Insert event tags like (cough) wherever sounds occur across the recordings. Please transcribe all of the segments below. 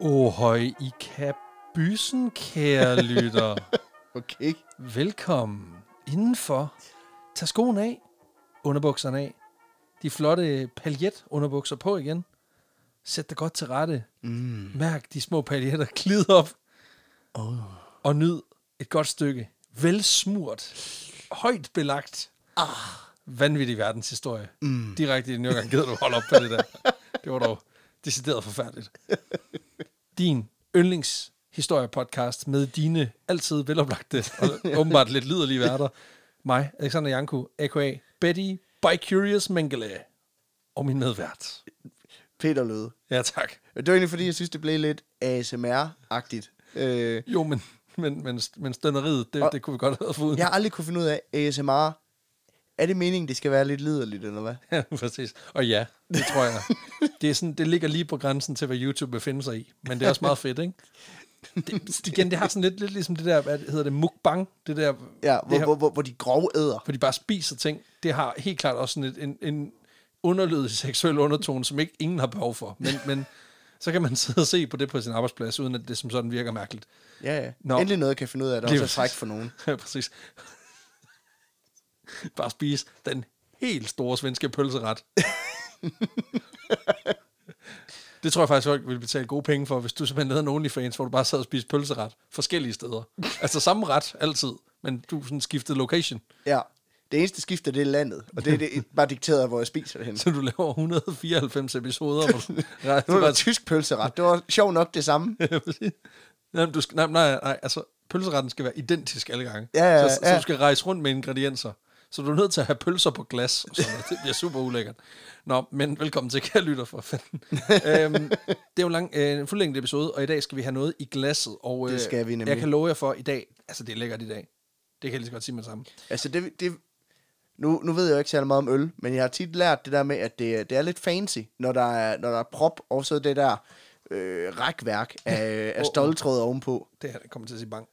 Halløj i kabysen, kære lytter. Okay. Velkommen indenfor. Tag skoen af, underbukserne af, de flotte paljetunderbukser på igen. Sæt dig godt til rette. Mm. Mærk de små paljetter (laughs) glide op. Oh. Og nyd et godt stykke. Velsmurt. Højt belagt. Ah. Vanvittig verdenshistorie. Mm. Direkte i den gang gider du holde op på det der. Det var dog decideret forfærdeligt. Din yndlingshistorie-podcast med dine altid veloplagte (laughs) og åbenbart lidt liderlige værter. Mig, Alexander Janku, a.k.a. Betty by Curious Mengele. Og min medvært. Peter lød. Ja, tak. Det var egentlig, fordi jeg synes, det blev lidt ASMR-agtigt. Øh, Jo, men, men, men, men stønneriet, det, Og- det kunne vi godt have fået. jeg har aldrig kunne finde ud af ASMR. Er det meningen, det skal være lidt liderligt, eller hvad? (laughs) Ja, præcis. Og ja, det tror jeg. Det, er sådan, det ligger lige på grænsen til, hvad YouTube befinder sig i. Men det er også meget fedt, ikke? Det, igen, det har sådan lidt, lidt ligesom det der, hvad hedder det, mukbang? Det der, Ja, det hvor, her, hvor, hvor, hvor de grove æder. hvor de bare spiser ting. Det har helt klart også sådan et, en, en underlødig (laughs) seksuel undertone, som ikke ingen har behov for. Men, men så kan man sidde og se på det på sin arbejdsplads, uden at det som sådan virker mærkeligt. Ja, ja. Nå. Nå. Endelig noget, jeg kan finde ud af, der Lige også er træk præcis. for nogen. Ja, præcis. Bare spise den helt store svenske pølseret. det tror jeg faktisk, folk ville betale gode penge for, hvis du simpelthen havde en OnlyFans, hvor du bare sad og spiste pølseret forskellige steder. Altså samme ret altid, men du sådan skiftede location, Ja. Det eneste skifter, det er landet. Og det (laughs) er det, bare dikteret af, hvor jeg spiser det hen. så du laver 194 episoder. Hvor du, nej, (laughs) Nu er der tysk pølseret. Det var sjovt nok det samme. (laughs) nej, du skal, nej, nej, nej, altså pølseretten skal være identisk alle gange. Ja, ja, så, så, ja. du skal rejse rundt med ingredienser. Så du er nødt til at have pølser på glas, og sådan noget. det bliver super ulækkert. Nå, men velkommen til, kære lytter for fanden. øhm, det er jo en lang, øh, en fuldlængde episode, og i dag skal vi have noget i glasset. Og, øh, Det skal vi nemlig. Jeg kan love jer for i dag, altså det er lækkert i dag. Det kan jeg lige så godt sige med det samme. Altså, det, det, nu, nu ved jeg jo ikke særlig meget om øl, men jeg har tit lært det der med, at det, er- det er lidt fancy, når der er, når der er prop, og så det der øh, rækværk (laughs) af, af stoltråd ovenpå. Det her det kommer til at sige bang.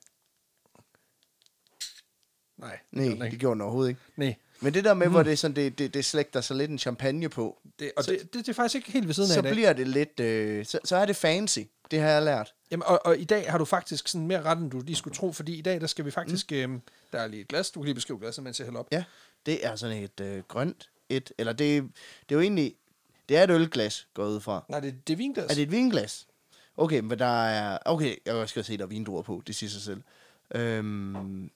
Nej, Nej, gjorde den det ikke. gjorde den overhovedet ikke. Nej. Men det der med, hvor det, er sådan, det, det, det slægter sig lidt en champagne på, Hmm. Det, og det, det, det, er faktisk ikke helt ved siden af så i dag. bliver det lidt, øh, så, så er det fancy. Det har jeg lært. Jamen, og, og i dag har du faktisk sådan mere ret, end du lige skulle tro, fordi i dag, der skal vi faktisk... Mm. Øhm, der er lige et glas. Du kan lige beskrive glasset, mens jeg hælder op. Ja, det er sådan et øh, grønt, et, eller det, det er jo egentlig, det er et ølglas, går jeg ud fra. Nej, det, det er vinglas. Er det et vinglas? Okay, men der er... Okay, jeg kan også godt se, der er vindruer på. Det siger sig selv. Øhm,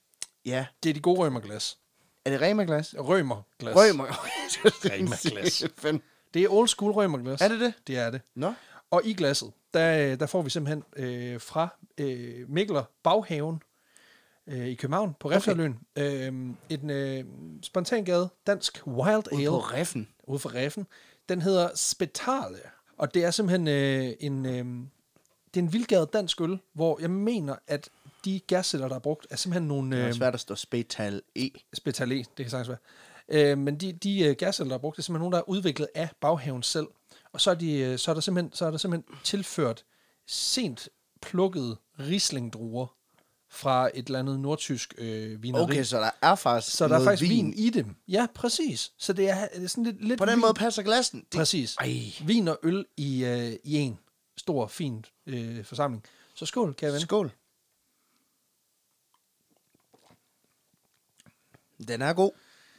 ja. det er de gode rømerglas. Er det Rema-glas? Rømerglas. Rømer. (laughs) Rema-glas. Det er old school rømerglas. Er det det? Det er det. Nå. Og i glasset, der, øh, der får vi simpelthen øh, fra øh, Mikler Baghaven øh, i København på Refsaløen. Okay. Øh, en øh, spontangade dansk wild ale. Ude på reffen. ude for Reffen. Den hedder Spetale, og det er simpelthen øh, en, øh, det er en vildgade dansk øl, hvor jeg mener, at de gasceller, der er brugt, er simpelthen Det nogle er øh, svært at stå spetal E. Spetale, det kan sagtens være. Øh, men de, de øh, gasceller, der er brugt, er simpelthen nogle, der er udviklet af baghaven selv. Og så er, de, øh, så er, der, simpelthen, så er der simpelthen tilført sent plukkede rislingdruer fra et eller andet nordtysk øh, vineri. Okay, så der er faktisk så der er noget faktisk vin. vin i dem. Ja, præcis. Så det er, det er sådan lidt, lidt På den vin- måde passer glassen. Det, Præcis. Ej. Vin og øl i, øh, i en stor, fin øh, forsamling. Så skål, kære ven. Skål. Den er god.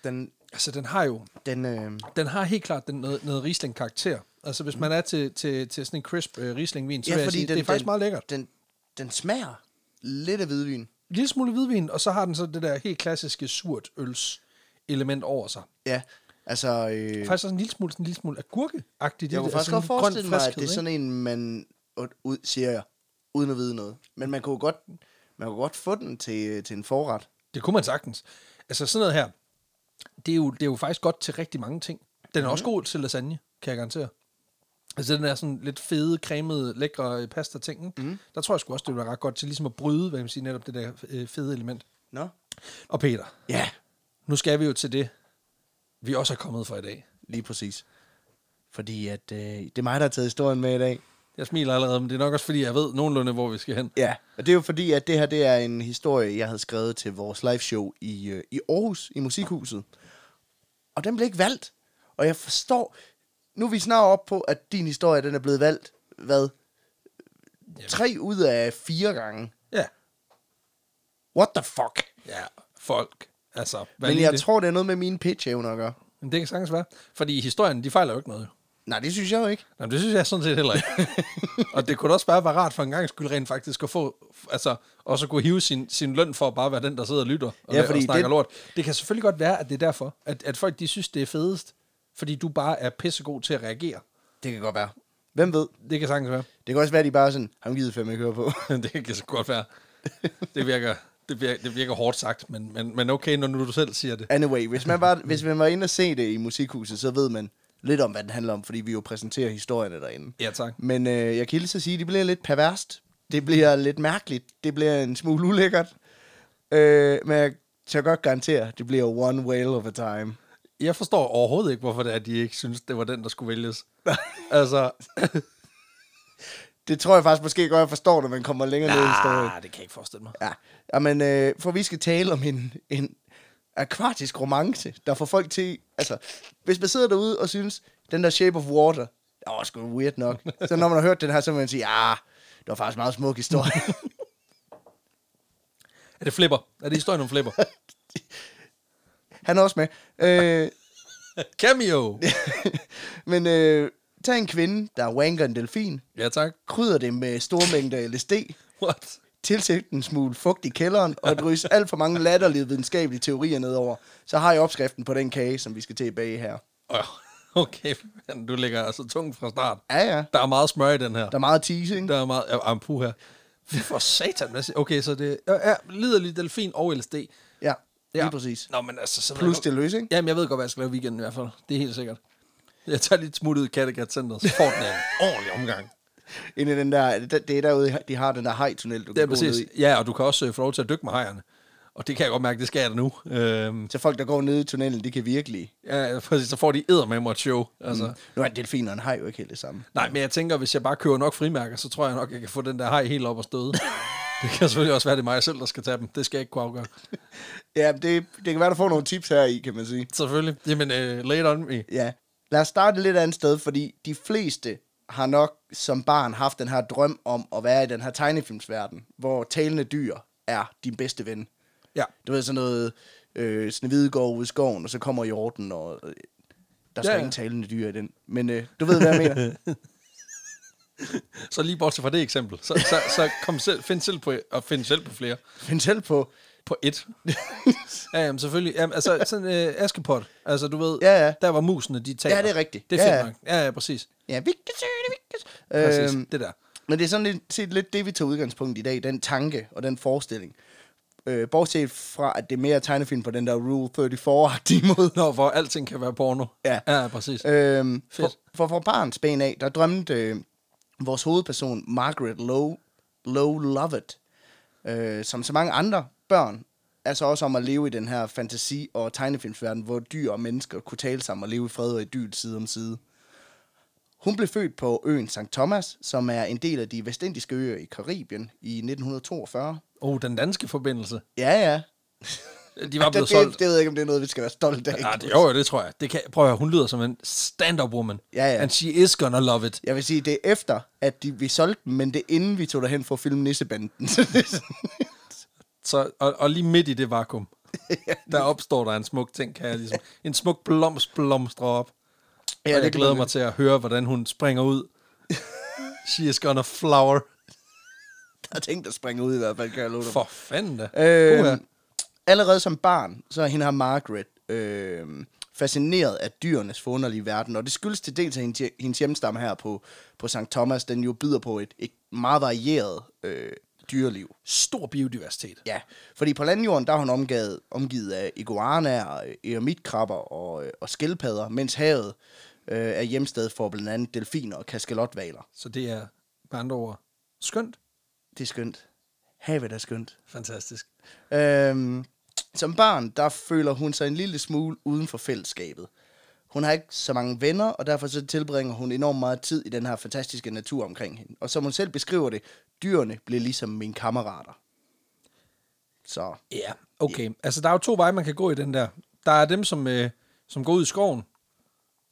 Den, Altså, den har jo, den, øh, den har helt klart den, noget, noget Riesling-karakter. Altså, hvis man er til, til, til sådan en crisp øh, Riesling-vin, så ja, vil jeg sige, den, det er faktisk den, meget lækkert. Den, den smager lidt af hvidvin. En lille smule hvidvin, og så har den så det der helt klassiske surt øls element over sig. Ja, altså... Øh, Faktisk også en lille smule, sådan en lille smule agurke-agtigt. i det. jeg kunne Altså faktisk sådan godt grøn forestille mig, at friskhed, det er ikke? sådan en, man og- ud, siger jeg, uden at vide noget. Men man kunne godt, man kunne godt få den til, til en forret. Det kunne man sagtens. Altså sådan noget her, det er jo, det er jo faktisk godt til rigtig mange ting. Den er mm. også Mhm. god til lasagne, kan jeg garantere. Altså den er sådan lidt fede, cremede, lækre pasta ting. Mhm. Mm. Der tror jeg sgu også, det vil være ret godt til ligesom at bryde, hvad man siger, netop det der øh, fede element. Nå? Og Peter, Ja, nu skal vi jo til det, vi også er kommet for i dag. lige præcis. Fordi at, øh, det er mig, der har taget historien med i dag. Jeg smiler allerede, men det er nok også fordi, jeg ved nogenlunde, hvor vi skal hen. Ja, og det er jo fordi, at det her det er en historie, jeg havde skrevet til vores live show i, øh, i Aarhus, i Musikhuset. Og den blev ikke valgt. Og jeg forstår, nu er vi snart op på, at din historie den er blevet valgt, hvad, Tre ud af fire gange. Ja. What the fuck? Ja, folk. Altså, hvad Men lige jeg det? tror, det er noget med mine pitch-evner at gøre. Men det kan sagtens være. Fordi historien, de fejler jo ikke noget. jo. Nej, det synes jeg jo ikke. Jamen, det synes jeg sådan set heller ikke. (laughs) og det kunne da også bare være rart for en gang skyld rent faktisk at få, altså, også at kunne hive sin, sin løn for at bare være den, der sidder og lytter og, Ja, ja, fordi og snakker det- det... lort. Det kan selvfølgelig godt være, at det er derfor, at, at folk de synes, det er fedest, fordi du bare er pissegod til at reagere. Det kan godt være. Hvem ved? Det kan sagtens være. Det kan også være, at de bare er sådan, ham gider fem ikke høre på. (laughs) det kan så godt være. Det virker, det virker, det virker hårdt sagt, men, men, men okay, når nu du selv siger det. Anyway, hvis man, var, hvis man var inde og se det i musikhuset, så ved man lidt om, hvad den handler om, fordi vi jo præsenterer historierne derinde. Ja, tak. Men øh, jeg kan hilse at sige, at det bliver lidt perverst. Det bliver lidt mærkeligt. Det bliver en smule ulækkert. Øh, men jeg tør godt garantere, at det bliver one whale of a time. Jeg forstår overhovedet ikke, hvorfor det er, at de ikke synes, det var den, der skulle (laughs) vælges. altså, Det tror jeg faktisk måske godt, jeg forstår, når man kommer længere Ah, ned i historien. det kan jeg ikke forestille mig. Ja, Jamen, øh, for vi skal tale om en, en akvatisk romance, der får folk til... Altså, hvis man sidder derude og synes, den der Shape of Water, det var sgu weird nok. Så når man har hørt den her, så vil man sige, ja, det var faktisk en meget smuk historie. (laughs) Er det flipper? Er det historien om (laughs) flipper? Han er også med. Øh, (laughs) Cameo! men øh, tag en kvinde, der wanker en delfin, Ja, tak. krydder det med store mængder LSD, What? tilsæt en smule fugt i kælderen, og drys alt for mange latterlige videnskabelige teorier nedover. Så har jeg opskriften på den kage, som vi skal tilbage her. Øh, Okay, men du ligger altså tungt fra start. Ja, ja. Der er meget smør i den her. Der er meget teasing. Der er meget ja, ampu her. Vi får satan. hvad siger- Okay, så det er ja, liderlig delfin og LSD. Ja, lige præcis. Nå, men altså... Så ved Plus jeg- det løs, ikke? Jamen, jeg ved godt, hvad jeg skal lave i weekenden i hvert fald. Det er helt sikkert. Jeg tager lidt smut ud i Kattegat Center, så får den en (laughs) ordentlig omgang. Inden den der, det det er derude, de har den der hajtunnel, du Det er kan gå ned præcis. i. Ja, og du kan også øh, få lov til at dykke med hejerne. Og det kan jeg godt mærke, det skal jeg da nu. Øhm, Så folk, der går ned i tunnelen, de kan virkelig... ja, præcis, så får de edder med mig et show. Altså. Mm. Nu er en delfin og en haj jo ikke helt det samme. Nej, men jeg tænker, hvis jeg bare køber nok frimærker, så tror jeg nok, jeg kan få den der hej helt op og (laughs) støde. det kan selvfølgelig også være, det er mig selv, der skal tage dem. Det skal jeg ikke kunne afgøre. Ja, det, det kan være, der får nogle tips her i, kan man sige. Selvfølgelig. Jamen, uh, later on me. Ja. Lad os starte et lidt andet sted, fordi de fleste har nok som barn haft den her drøm om at være i den her tegnefilmsverden, hvor talende dyr er din bedste ven. Ja. Du ved sådan noget, øh, Snevide går ud i skoven, og så kommer jorden, og øh, der skal Ja, ja. ja. ingen talende dyr i den. Men øh, du ved, hvad (laughs) jeg mener. Så lige bortset fra det eksempel, så, så, så kom selv, find selv på, og find selv på flere. Find selv (laughs) på, På et. ja, jamen, selvfølgelig. Jamen, altså, sådan uh, Askepot. Altså, du ved, Ja, ja. der var musene, de taler. Ja, det er rigtigt. Det er Ja, fedt ja. nok. Ja, ja, præcis. Ja, vi kan søge det, vi kan Præcis, søge. Øhm, det der. men det er sådan lidt, set lidt det, vi tager udgangspunkt i dag, den tanke og den forestilling. Øh, bortset fra, at det er mere tegnefilm på den der Rule 34-agtige måde. Nå, hvor alting kan være porno. Ja. Ja, Øh. præcis. Øhm, for, Fedt. for fra barns ben af, der drømte øh, vores hovedperson, Margaret Lowe, Lowe Lovett, øh, som så mange andre børn, altså også om at leve i den her fantasi- og tegnefilmsverden, hvor dyr og mennesker kunne tale sammen og leve i fred og idyl side om side. Hun blev født på øen St. Thomas, som er en del af de vestindiske øer i Karibien i 1942. Oh, den danske forbindelse. Ja, ja. De var blevet det, det, solgt. det ved jeg ikke, om det er noget, vi skal være stolte af. Ja, Ah, det, jo, jo, det tror jeg. Det kan, prøv at høre, hun lyder som en stand-up woman. Ja, ja. And she is gonna love it. Jeg vil sige, det er efter, at de, vi solgte dem, men det er inden, vi tog derhen for at filme Nissebanden. (laughs) Så det er sådan- Så, og, og lige midt i det (laughs) vakuum, der opstår der en smuk ting, kan jeg (laughs) ligesom. En smuk blomst blomstrer op. Ja, og jeg det glæder glæder mig til at høre, hvordan hun springer (laughs) ud. she is gonna flower. der er ting, der springer ud i hvert fald, kan jeg love dig. For fanden da. Uha. Øh, allerede som barn, så er hende her Margaret øh, fascineret af dyrenes forunderlige verden, og det skyldes til dels, at hendes, hje- hendes hjemstamme her på, på St. Thomas, den jo byder på et, et meget varieret øh, dyreliv. Stor biodiversitet. Ja, fordi på landjorden, der er hun omgivet, omgivet af iguanaer, eremitkrabber og, øh, og skildpadder, mens havet øh, er hjemsted for blandt andet delfiner og kaskelotvaler. Så det er med andre ord skønt. Det er skønt. Havet er skønt. Fantastisk. Øhm, som barn, der føler hun sig en lille smule uden for fællesskabet. Hun har ikke så mange venner, og derfor så tilbringer hun enormt meget tid i den her fantastiske natur omkring hende. Og som hun selv beskriver det, dyrene blev ligesom mine kammerater. Så Ja, okay. Altså, der er jo to veje, man kan gå i den der. Der er dem, som, øh, som går ud i skoven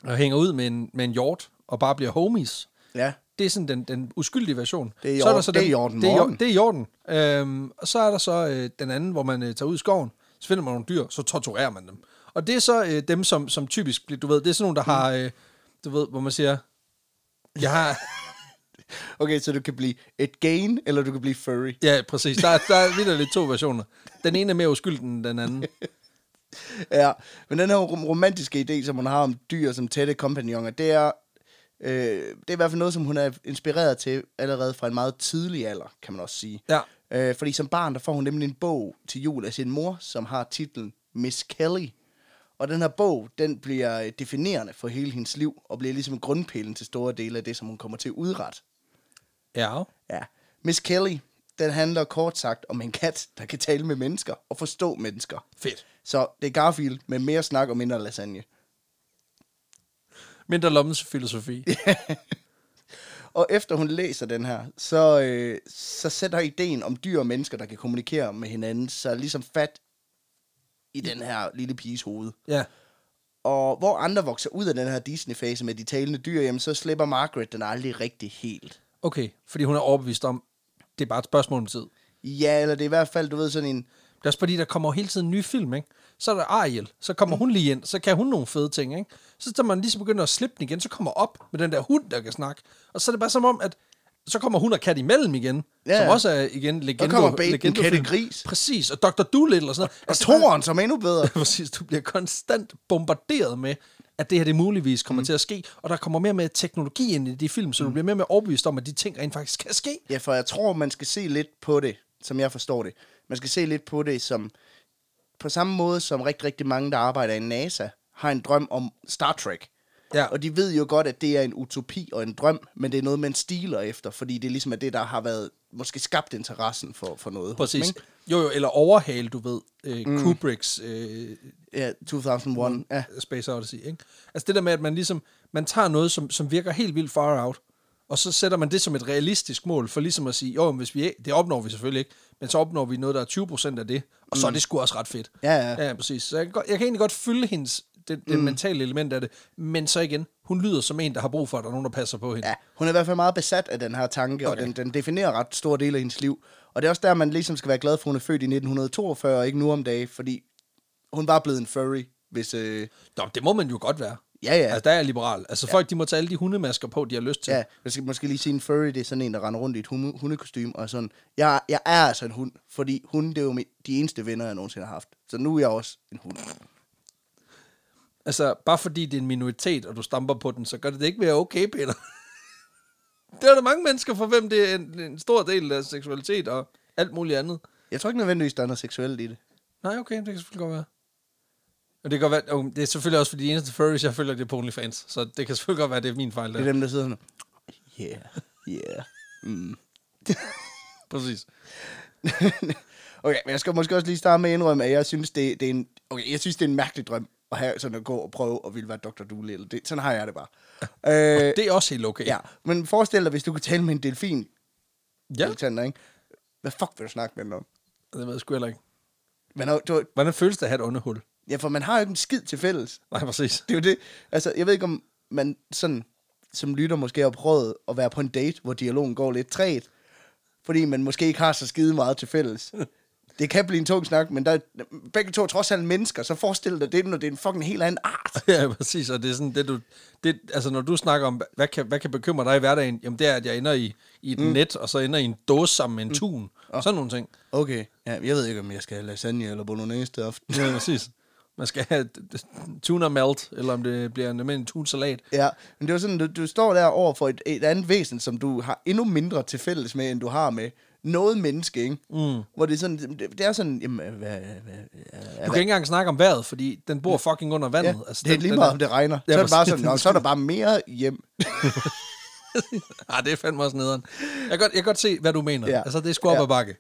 og hænger ud med en, med en hjort og bare bliver homies. Ja. Det er sådan den, den uskyldige version. Det er i så er der orden- så det er den- i orden Det er, i or- morgen. det er i orden. Øhm, og så er der så øh, den anden, hvor man øh, tager ud i skoven, så finder man nogle dyr, så torturerer man dem. Og det er så øh, dem, som, som typisk, bliver- du ved, det er sådan nogle, der har, Mm. øh, du ved, hvor man siger, jeg har, Okay, så du kan blive et gain, eller du kan blive furry. ja præcis, der, er- der er vidderligt to versioner. Den ene er mere uskyldig end den (laughs) anden. Ja, men den her rom- romantiske idé, som hun har om dyr som tætte kompagnoner, det er, øh, det er i hvert fald noget, som hun er inspireret til allerede fra en meget tidlig alder, kan man også sige. Ja. Øh, fordi som barn, der får hun nemlig en bog til jul af sin mor, som har titlen Miss Kelly. Og den her bog, den bliver øh, definerende for hele hendes liv, og bliver ligesom grundpillen til store dele af det, som hun kommer til at udrette. Ja, Ja. Miss Kelly, den handler kort sagt om en kat, der kan tale med mennesker og forstå mennesker. fedt. Så det er Garfield med mere snak og mindre lasagne. Mindre lommens filosofi. Og efter hun læser den her, så, øh, så sætter ideen om dyr og mennesker, der kan kommunikere med hinanden, så ligesom fat i den her lille piges hoved. Ja, Og hvor andre vokser ud af den her Disney-fase med de talende dyr, jamen så slipper Margaret den aldrig rigtig helt. okay, fordi hun er overbevist om, det er bare et spørgsmål om tid. Ja, eller det er i hvert fald, du ved, sådan en... Det er også fordi, der kommer jo hele tiden nye film, ikke? Så er der Ariel, så kommer hun lige ind, så kan hun nogle fede ting, ikke? Så da man lige så begynder at slippe den igen, så kommer op med den der hund, der kan snakke. Og så er det bare som om, at så kommer hun og kat imellem igen, Ja. ja. som også er igen legende. kommer Babe, den legende- katte gris. Præcis, og Dr. Doolittle og sådan noget. Altså, Og toren, som er endnu bedre. (laughs) Præcis, du bliver konstant bombarderet med, at det her det muligvis kommer mm. til at ske, og der kommer mere med teknologi ind i de film, så mm. du bliver mere med overbevist om, at de ting rent faktisk kan ske. Ja, for jeg tror, man skal se lidt på det, som jeg forstår det. Man skal se lidt på det som... På samme måde som rigtig, rigtig mange, der arbejder i NASA, har en drøm om Star Trek. Ja. Og de ved jo godt, at det er en utopi og en drøm, men det er noget, man stiler efter, fordi det ligesom er det, der har været måske skabt interessen for, for noget. hos dem, Præcis. ikke? Jo, jo, eller overhale, du ved, øh, mm. Kubricks øh, Ja, 2001. Ja. (laughs) Space Odyssey, ikke? Altså det der med, at man ligesom, man tager noget, som, som virker helt vildt far out, og så sætter man det som et realistisk mål, for ligesom at sige, jo, men hvis vi, det opnår vi selvfølgelig ikke, men så opnår vi noget, der er 20% af det, og så er det sgu også ret fedt. Mm. Ja, ja. Ja, præcis. Så jeg kan, godt, jeg kan egentlig godt fylde hendes, det, det mm. mentale element af det, men så igen, hun lyder som en, der har brug for, at der er nogen, der passer på hende. Ja, hun er i hvert fald meget besat af den her tanke, okay. og den, den definerer ret stor del af hendes liv. Og det er også der, man ligesom skal være glad for, at hun er født i 1942, og ikke nu om dagen, fordi hun var blevet en furry, hvis... Øh, Nå, det må man jo godt være. Ja, ja. Altså, der er jeg liberal. Altså, folk, de må tage alle de hundemasker på, de har lyst til. ja, jeg skal måske lige sige, en furry, det er sådan en, der render rundt i et hunde, hundekostyme, og er sådan, jeg, jeg er altså en hund, fordi hunde, det er jo mit, de eneste venner, jeg nogensinde har haft. Så nu er jeg også en hund. Altså, bare fordi det er en minoritet, og du stamper på den, så gør det det ikke mere okay, Peter. (laughs) der er der mange mennesker, for hvem det er en, en stor del af deres seksualitet og alt muligt andet. Jeg tror ikke nødvendigvis, der er noget seksuelt i det. Nej, okay, det kan selvfølgelig godt være. Og det kan godt være, og det er selvfølgelig også fordi de eneste furries, jeg følger, det er på OnlyFans. Så det kan selvfølgelig godt være, det er min fejl. Det Der. er dem, der sidder sådan, yeah, yeah. Mm. Præcis. (laughs) okay, men jeg skal måske også lige starte med at indrømme, at jeg synes, det, det er en, okay, jeg synes, det er en mærkelig drøm at have sådan at gå og prøve og ville være Dr. Doolittle. Det, sådan har jeg (laughs) det bare. øh, Det er også helt okay. ja, men forestil dig, hvis du kunne tale med en delfin, ja. ja Alexander, ikke? Hvad fuck vil du snakke med den om? det ved jeg sgu heller ikke. Man har, du, Hvordan føles det at have et åndehul? ja, for man har jo ikke en skid til fælles. Nej, præcis. Det er jo det. Altså, jeg ved ikke, om man sådan, som lytter måske har prøvet at være på en date, hvor dialogen går lidt træt, fordi man måske ikke har så skide meget til fælles. Det kan blive en tung snak, men der er begge to er trods alt mennesker, så forestil dig det, når det er en fucking helt anden art. (laughs) Ja, præcis, og det er sådan, det du, det, altså når du snakker om, hvad kan, hvad kan bekymre dig i hverdagen, jamen det er, at jeg ender i, i et mm. net, og så ender i en dåse sammen med Mm. en tun, og sådan nogle ting. Okay, ja, jeg ved ikke, om jeg skal have lasagne eller bolognese til aften. Ja, præcis. Man skal have d- d- tuna melt, eller om det bliver en almindelig tunsalat. (laughs) Ja, men det var sådan, du, du står der over for et, et andet væsen, som du har endnu mindre til fælles med, end du har med noget menneske, ikke? Mm. Hvor det er sådan, det, det er sådan, jamen, hvad, hvad, hvad, Du kan ikke engang snakke om vejret, fordi den bor fucking under vandet. Ja, altså, det er lige meget, om det regner. Ja, så er det bare præcis. sådan, (laughs) "Nå, så er der bare mere hjem. Ah, det er fandme også nederen. Jeg kan godt, jeg kan godt se, hvad du mener. Ja. Ja. Altså, det er sgu op Ja. ja. ad bakke.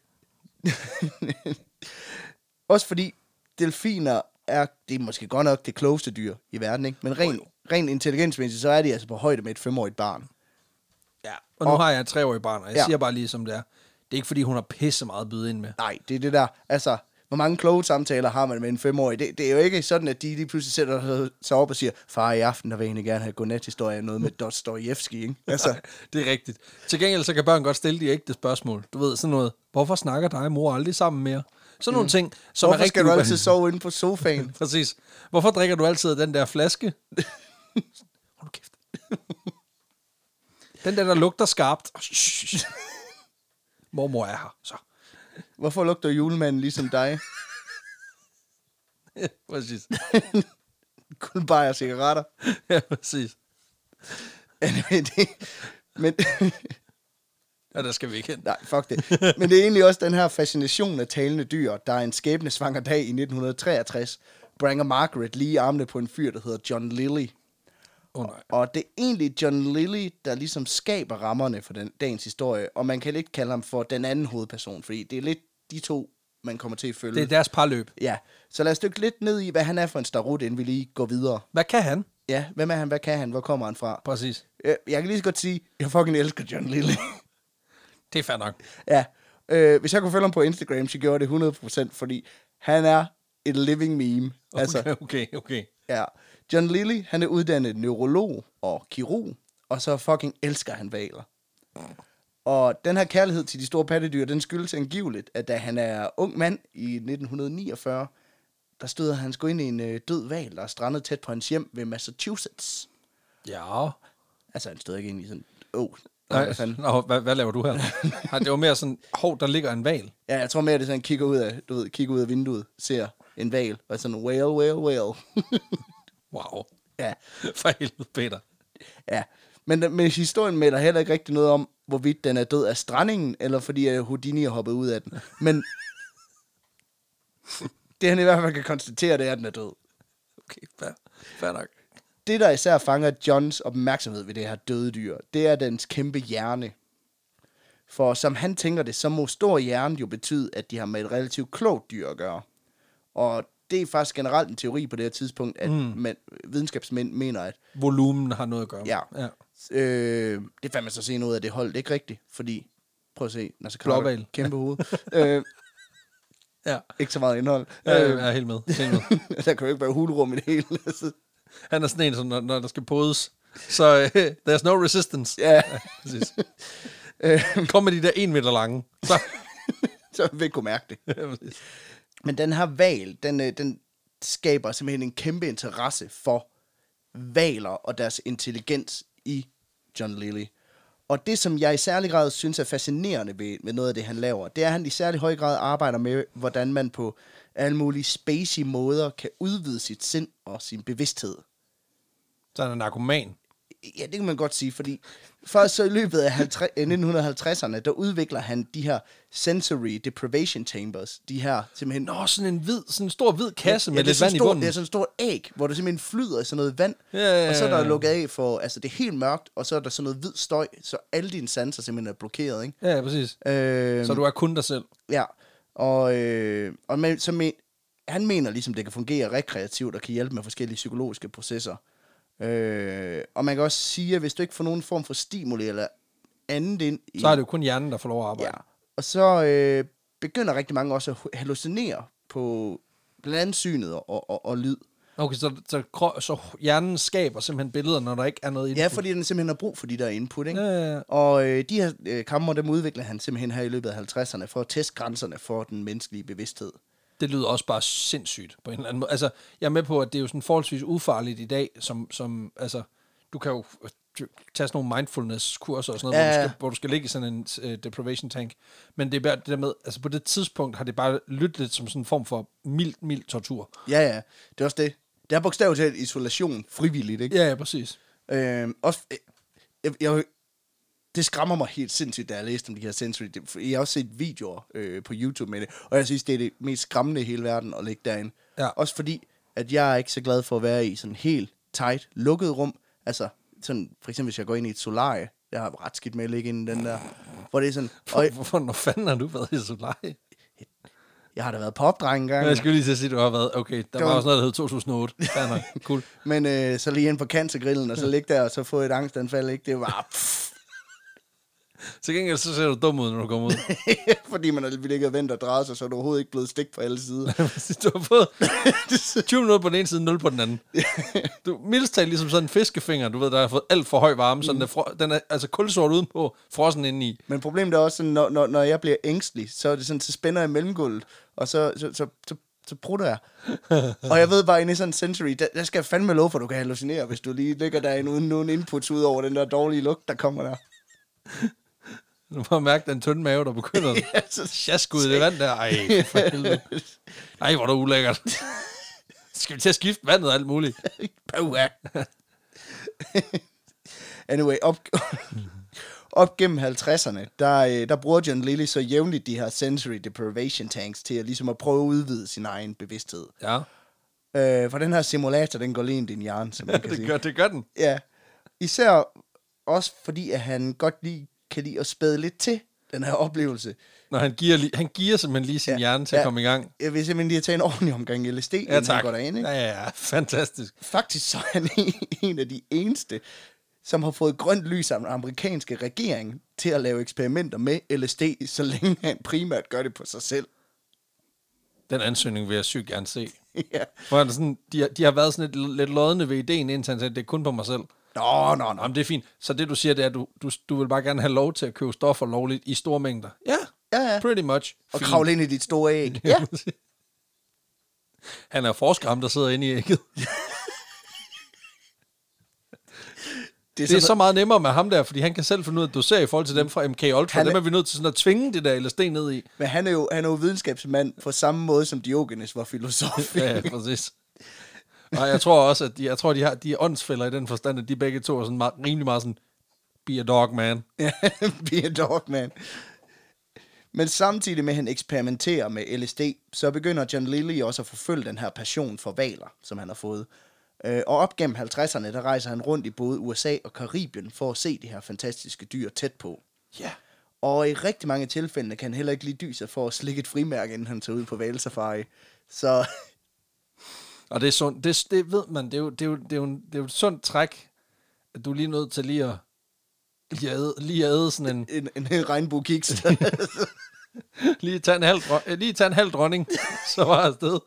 Også fordi delfiner er, det er måske godt nok det klogeste dyr i verden, ikke? Men ren, ren intelligensmæssigt, så er de altså på højde med et femårigt barn. Ja. Og nu Og- har jeg et treårig barn, og jeg Ja. ja. siger bare lige som det er. Det er ikke, fordi hun har pisse meget at byde ind med. Nej, det er det der, altså, Hvor mange kloge samtaler har man med en femårig? Det, det er jo ikke sådan, at de lige pludselig sætter sig op og siger, far i aften, der vil jeg egentlig gerne have godnat-historie, noget med Dostojevski, ikke? (laughs) Altså, Det er rigtigt. Til gengæld så kan børn godt stille de ægte spørgsmål. Du ved, sådan noget. Hvorfor snakker dig og mor aldrig sammen mere? Sådan nogle ting, som er hvorfor rigtig skal du ube- altid sove inde på sofaen? Præcis. Hvorfor drikker du altid af den der flaske? (laughs) Hold nu kæft. den der, der lugter skarpt. (laughs) Mormor er her, så. (laughs) Hvorfor lugter julemanden ligesom dig? præcis. (laughs) Kun bare og cigaretter. Ja, præcis. Men det, men, (laughs) Ja, der skal vi ikke hen. nej, fuck det. Men det er egentlig også den her fascination af talende dyr, der er en skæbnesvanger dag i 1963 bringer Margaret lige i armene på en fyr, der hedder John Lilly. Åh oh, nej. Og det er egentlig John Lilly, der ligesom skaber rammerne for den dagens historie, og man kan lidt kalde ham for den anden hovedperson, fordi det er lidt de to, man kommer til at følge. Det er deres parløb. Ja, så lad os dykke lidt ned i, hvad han er for en starut, inden vi lige går videre. Hvad kan han? Ja, hvem er han, hvad kan han, hvor kommer han fra? Præcis. Øh, Jeg kan lige så godt sige, jeg fucking elsker John Lilly. Det er fair nok. ja, øh, hvis jeg kunne følge ham på Instagram, så gjorde jeg det 100%, fordi han er et living meme. Okay, altså. okay, okay. Ja. John Lilly, han er uddannet neurolog og kirurg, og så fucking elsker han valer. Og den her kærlighed til de store pattedyr, den skyldes angiveligt, at da han er ung mand i 1949, der støder han sgu ind i en øh, død val, der er strandet tæt på hans hjem ved Massachusetts. Ja. Altså, han støder ikke ind i sådan, åh, oh, Nej, Nå, hvad, hvad laver du (laughs) her? Nej, det var mere sådan, hov, der ligger en val. Ja, jeg tror mere, det er sådan, kigger ud af, du ved, kigger ud af vinduet, ser en val, og er sådan, whale, whale, whale. Wow. ja, (laughs) For helvede, Peter. (laughs) Ja, men, men historien melder heller ikke rigtig noget om, hvorvidt den er død af strandingen, eller fordi øh, Houdini er hoppet ud af den. Men det han i hvert fald kan konstatere, det er, at den er død. Okay, fair, fair nok. Det, der især fanger Johns opmærksomhed ved det her døde dyr, det er dens kæmpe hjerne. For som han tænker det, så må stor hjerne jo betyde, at de har med et relativt klogt dyr at gøre. Og det er faktisk generelt en teori på det her tidspunkt, at mm. man, videnskabsmænd mener, at Volumen har noget at gøre. med. Ja. ja. Øh, det fandt man så senere ud af, det holdt ikke rigtigt, fordi... Prøv at se, Nasser Carter, Blåhval. kæmpe hoved. øh, Ja, ikke så meget indhold. jeg, Øh, jeg er helt med. Helt med. (laughs) der kan jo ikke være hulrum i det hele. (laughs) altså. Han er sådan en, som når, når der skal podes, så uh, (laughs) there's no resistance. ja, (laughs) (laughs) Præcis. Kom med de der en meter lange. Så. (laughs) så vi ikke kunne mærke det. Ja, præcis. Men den her val, den, øh, den skaber simpelthen en kæmpe interesse for valer og deres intelligens i John Lilly. Og det, som jeg i særlig grad synes er fascinerende ved, ved noget af det, han laver, det er, at han i særlig høj grad arbejder med, hvordan man på alle mulige spacey måder kan udvide sit sind og sin bevidsthed. så er han en narkoman. Ja, det kan man godt sige, fordi først så i løbet af 50, øh, 1950'erne, der udvikler han de her sensory deprivation chambers, de her simpelthen Nå, sådan en, hvid, sådan en stor hvid kasse med det er lidt sådan vand i stor- bunden. Det er sådan et stort æg, hvor der simpelthen flyder i sådan noget vand, Ja, ja, ja, og så er der ja. lukket af for, altså det er helt mørkt, og så er der sådan noget hvid støj, så alle dine sanser simpelthen er blokeret, ikke? Ja, ja, præcis. Øh, Så du er kun dig selv. Ja, og, øh, og men, så men, han mener ligesom, det kan fungere rekreativt og kan hjælpe med forskellige psykologiske processer. Øh, og man kan også sige, at hvis du ikke får nogen form for stimuli eller andet ind i... Så er det jo kun hjernen, der får lov at arbejde. Ja, og så øh, begynder rigtig mange også at hallucinere på blandt andet synet og, og, og, og lyd. Okay, så, så, kro- så hjernen skaber simpelthen billeder, når der ikke er noget i Ja, fordi den simpelthen har brug for de der input, ikke? Ja, ja, ja. Og øh, de her øh, kammer, dem udvikler han simpelthen her i løbet af 50'erne for at teste grænserne for den menneskelige bevidsthed. det lyder også bare sindssygt på en eller anden måde. Altså, jeg er med på, at det er jo sådan forholdsvis ufarligt i dag, som, som altså, du kan jo øh, du- tage sådan nogle mindfulness-kurser og sådan noget, Ja, hvor, ja. du skal, hvor du skal ligge i sådan en uh, deprivation tank. Men det er bare det der med, altså på det tidspunkt har det bare lyttet lidt som sådan en form for mild, mild tortur. Ja, ja, det er også det. Det er bogstaveligt talt isolation frivilligt, ikke? Ja, ja, præcis. Ja. Øh, også, øh, jeg, jeg, det skræmmer mig helt sindssygt, da jeg læste om de her sensory. Det- for Jeg har også set videoer øh, på YouTube med det, og jeg synes, det er det mest skræmmende i hele verden at ligge derinde. Ja. Også fordi, at jeg er ikke så glad for at være i sådan helt tight, lukket rum. Altså, sådan, for eksempel hvis jeg går ind i et solarie, jeg har ret skidt med at ligge inde i den der, hvor det er sådan, og jeg, Hvorfor når fanden har du været i Solaj? jeg har da været popdreng engang. Jeg skulle lige til at sige, at du har været, okay, der Kom. var også noget, der hed 2008. Fair nok. Cool. Men øh, så lige ind på cancergrillen, og så ligge der, og så få et angstanfald, ikke? Det var... Pff, Til gengæld så ser du dum ud, når du kommer ud. (laughs) Fordi man har ligget og ventet og drejet sig, så er du overhovedet ikke blevet stik på alle sider. du har (laughs) fået 20 minutter på den ene side, 0 på den anden. Du mildest talt ligesom sådan en fiskefinger, du ved, der har fået alt for høj varme, sådan Mm. den, er fro- den er altså kulsort udenpå, frossen indeni. Men problemet er også, sådan, når, når, når jeg bliver ængstelig, så er det sådan, så spænder jeg mellemgulvet, og så, så, så, så, så prutter jeg. og jeg ved bare, inde i sådan en sensory, der, der skal jeg fandme lov for, at du kan hallucinere, hvis du lige ligger derinde uden nogen inputs ud over den der dårlige lugt, der kommer der. Du må mærke den tynde mave, der begynder. (laughs) Ja, så- Sjask ud i det vand der. Ej, (laughs) for helvede. Ej, hvor er det ulækkert. Skal vi til at skifte vandet og alt muligt? Puha. anyway, op, (laughs) op gennem 50'erne, der, øh, der bruger John Lilly så jævnligt de her sensory deprivation tanks til at, ligesom at prøve at udvide sin egen bevidsthed. (laughs) Ja, Øh, for den her simulator, den går lige ind i din hjerne, som man (laughs) kan det sige. gør, det gør den. Ja. Især også fordi, at han godt lige kan lide at spæde lidt til den her oplevelse. Når han giver, li- han giver simpelthen lige sin Ja, ja. hjerne til at ja. komme i gang. Jeg vil simpelthen lige at tage en ordentlig omgang LSD, ja, Ja, inden han tak. går derind. Ikke? Ja, ja, ja. Fantastisk. Faktisk så er han (laughs) en- en af de eneste, som har fået grønt lys af den amerikanske regering til at lave eksperimenter med LSD, så længe han primært gør det på sig selv. (laughs) Den ansøgning vil jeg sygt gerne se. ja. Hvor han sådan, de, har- de har været sådan lidt, lidt lodne ved ideen, indtil han sagde, det er kun på mig selv. Nå, nå, nå. Jamen, det er fint. Så det, du siger, det er, at du, du, du vil bare gerne have lov til at købe stoffer lovligt i store mængder. Ja, Ja, ja. pretty much. Og Fint. kravle ind i dit store æg. Ja. Han er forsker, ham der sidder inde i ægget. (laughs) Det er så meget nemmere med ham der, fordi han kan selv finde ud af at dosere i forhold til dem fra MK Ultra. Han er- Dem er vi nødt til sådan at tvinge det der LSD ned (laughs) i. Men han er, jo, han er jo videnskabsmand på samme måde, som Diogenes var filosof. Ja, ja, (laughs) præcis. Og jeg tror også, at de, jeg tror, de, har, de er åndsfælder i den forstand, at de begge to er sådan meget, rimelig meget sådan, be a dog, man. Ja, (laughs) be a dog, man. Men samtidig med, at han eksperimenterer med LSD, så begynder John Lilly også at forfølge den her passion for valer, som han har fået. Øh, Og op gennem 50'erne, der rejser han rundt i både USA og Karibien for at se de her fantastiske dyr tæt på. Ja. Og i rigtig mange tilfælde kan han heller ikke lige dyse for at slikke et frimærke, inden han tager ud på valsafari. Så (laughs) Og det er sundt. Det, det ved man. Det er, jo, det, er jo, det, er jo, en- det er jo et sundt træk, at du er lige er nødt til lige at lige at æde, lige at æde sådan en, en, en, en regnbuekiks. lige tage en halv, dron- øh, lige tage en halv dronning, (laughs) så var jeg (laughs) afsted.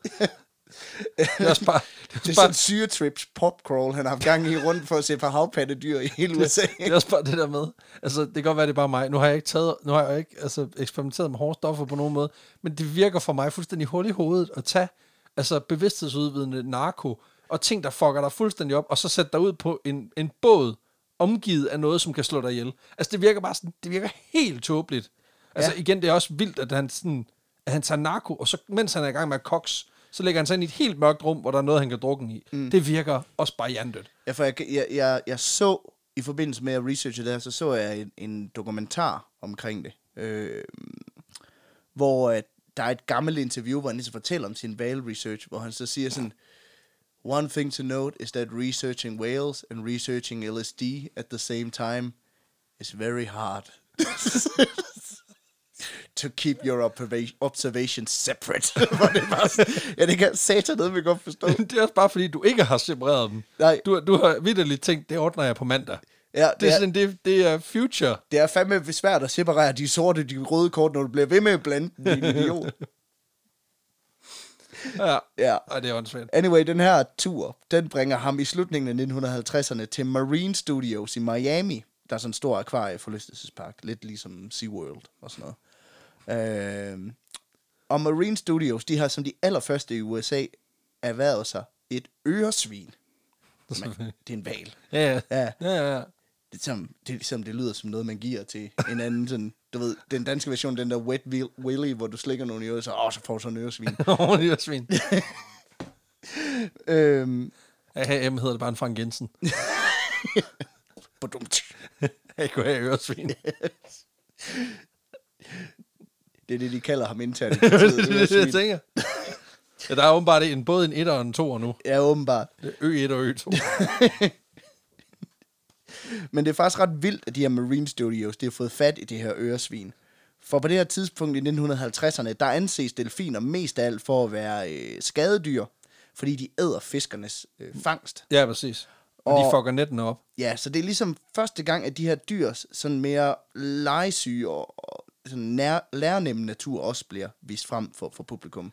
Det er også bare, det er Det er også sådan en bare, syretrips popcrawl, han har haft gang i rundt for at se på havpattedyr i hele USA. (laughs) det er også bare det der med. Altså, det kan godt være, det er bare mig. Nu har jeg ikke, taget, nu har jeg ikke altså, eksperimenteret med hårde stoffer på nogen måde, men det virker for mig fuldstændig hul i hovedet at tage altså, bevidsthedsudvidende narko og ting, der fucker dig fuldstændig op, og så sætte dig ud på en, en båd omgivet af noget, som kan slå dig ihjel. Altså, det virker bare sådan, det virker helt tåbeligt. Altså, ja. igen, det er også vildt, at han, sådan, at han tager narko, og så, mens han er i gang med at koks, så lægger han sig ind i et helt mørkt rum, hvor der er noget, han kan drukke i. Mm. Det virker også bare hjernedødt. Ja, for jeg, jeg, jeg, jeg så, i forbindelse med at researche det her, så så jeg en, en dokumentar omkring det, øh, hvor øh, der er et gammelt interview, hvor han ligesom fortæller om sin whale research, hvor han så siger sådan, One thing to note is that researching whales and researching LSD at the same time is very hard. to keep your observa- observations separate. (laughs) Hvor det bare sådan- ja, det kan satan med godt (laughs) forstå. det er også bare fordi, du ikke har separeret dem. Nej. Du, du har vidderligt tænkt, det ordner jeg på mandag. Ja, det, det er er- sådan, det, det er future. Det er fandme svært at separere de sorte de røde kort, når du bliver ved med at blande dem, din idiot. Ja. Ja. Og det er åndssvagt. Anyway, den her tur, den bringer ham i slutningen af 1950'erne til Marine Studios i Miami. Der er sådan en stor akvarieforlystelsespark, lidt ligesom SeaWorld og sådan noget. Øhm, og Marine Studios, de har som de allerførste i USA erhvervet sig et øresvin. Man, det er en val. Ja, Ja. ja. ja, (laughs) ja. det, som, det, er ligesom, det lyder som noget, man giver til en anden. Sådan, du ved, den danske version, den der Wet Wil- Willy, hvor du slikker nogle ører, så, åh, så får du sådan (laughs) en øresvin. Ordentligt og svin. øhm, A.M. hedder det bare en Frank (laughs) Jensen. badumt. A.K.A. (laughs) Øresvin. det er det, de kalder (laughs) ham internt. i det er partiet, det, jeg øresvin. tænker. Ja, der er åbenbart en, både en 1 og en 2 nu. Ja, åbenbart. Det er Ø1 og (laughs) Ø2. Men det er faktisk ret vildt, at de her Marine Studios, de har fået fat i det her øresvin. For på det her tidspunkt i 1950'erne, der anses delfiner mest af alt for at være øh, skadedyr, fordi de æder fiskernes øh, fangst. Ja, præcis. Og de fucker nettene op. Ja, så det er ligesom første gang, at de her dyrs sådan mere legesyge og, og sådan nær, lærnemme natur også bliver vist frem for, for publikum.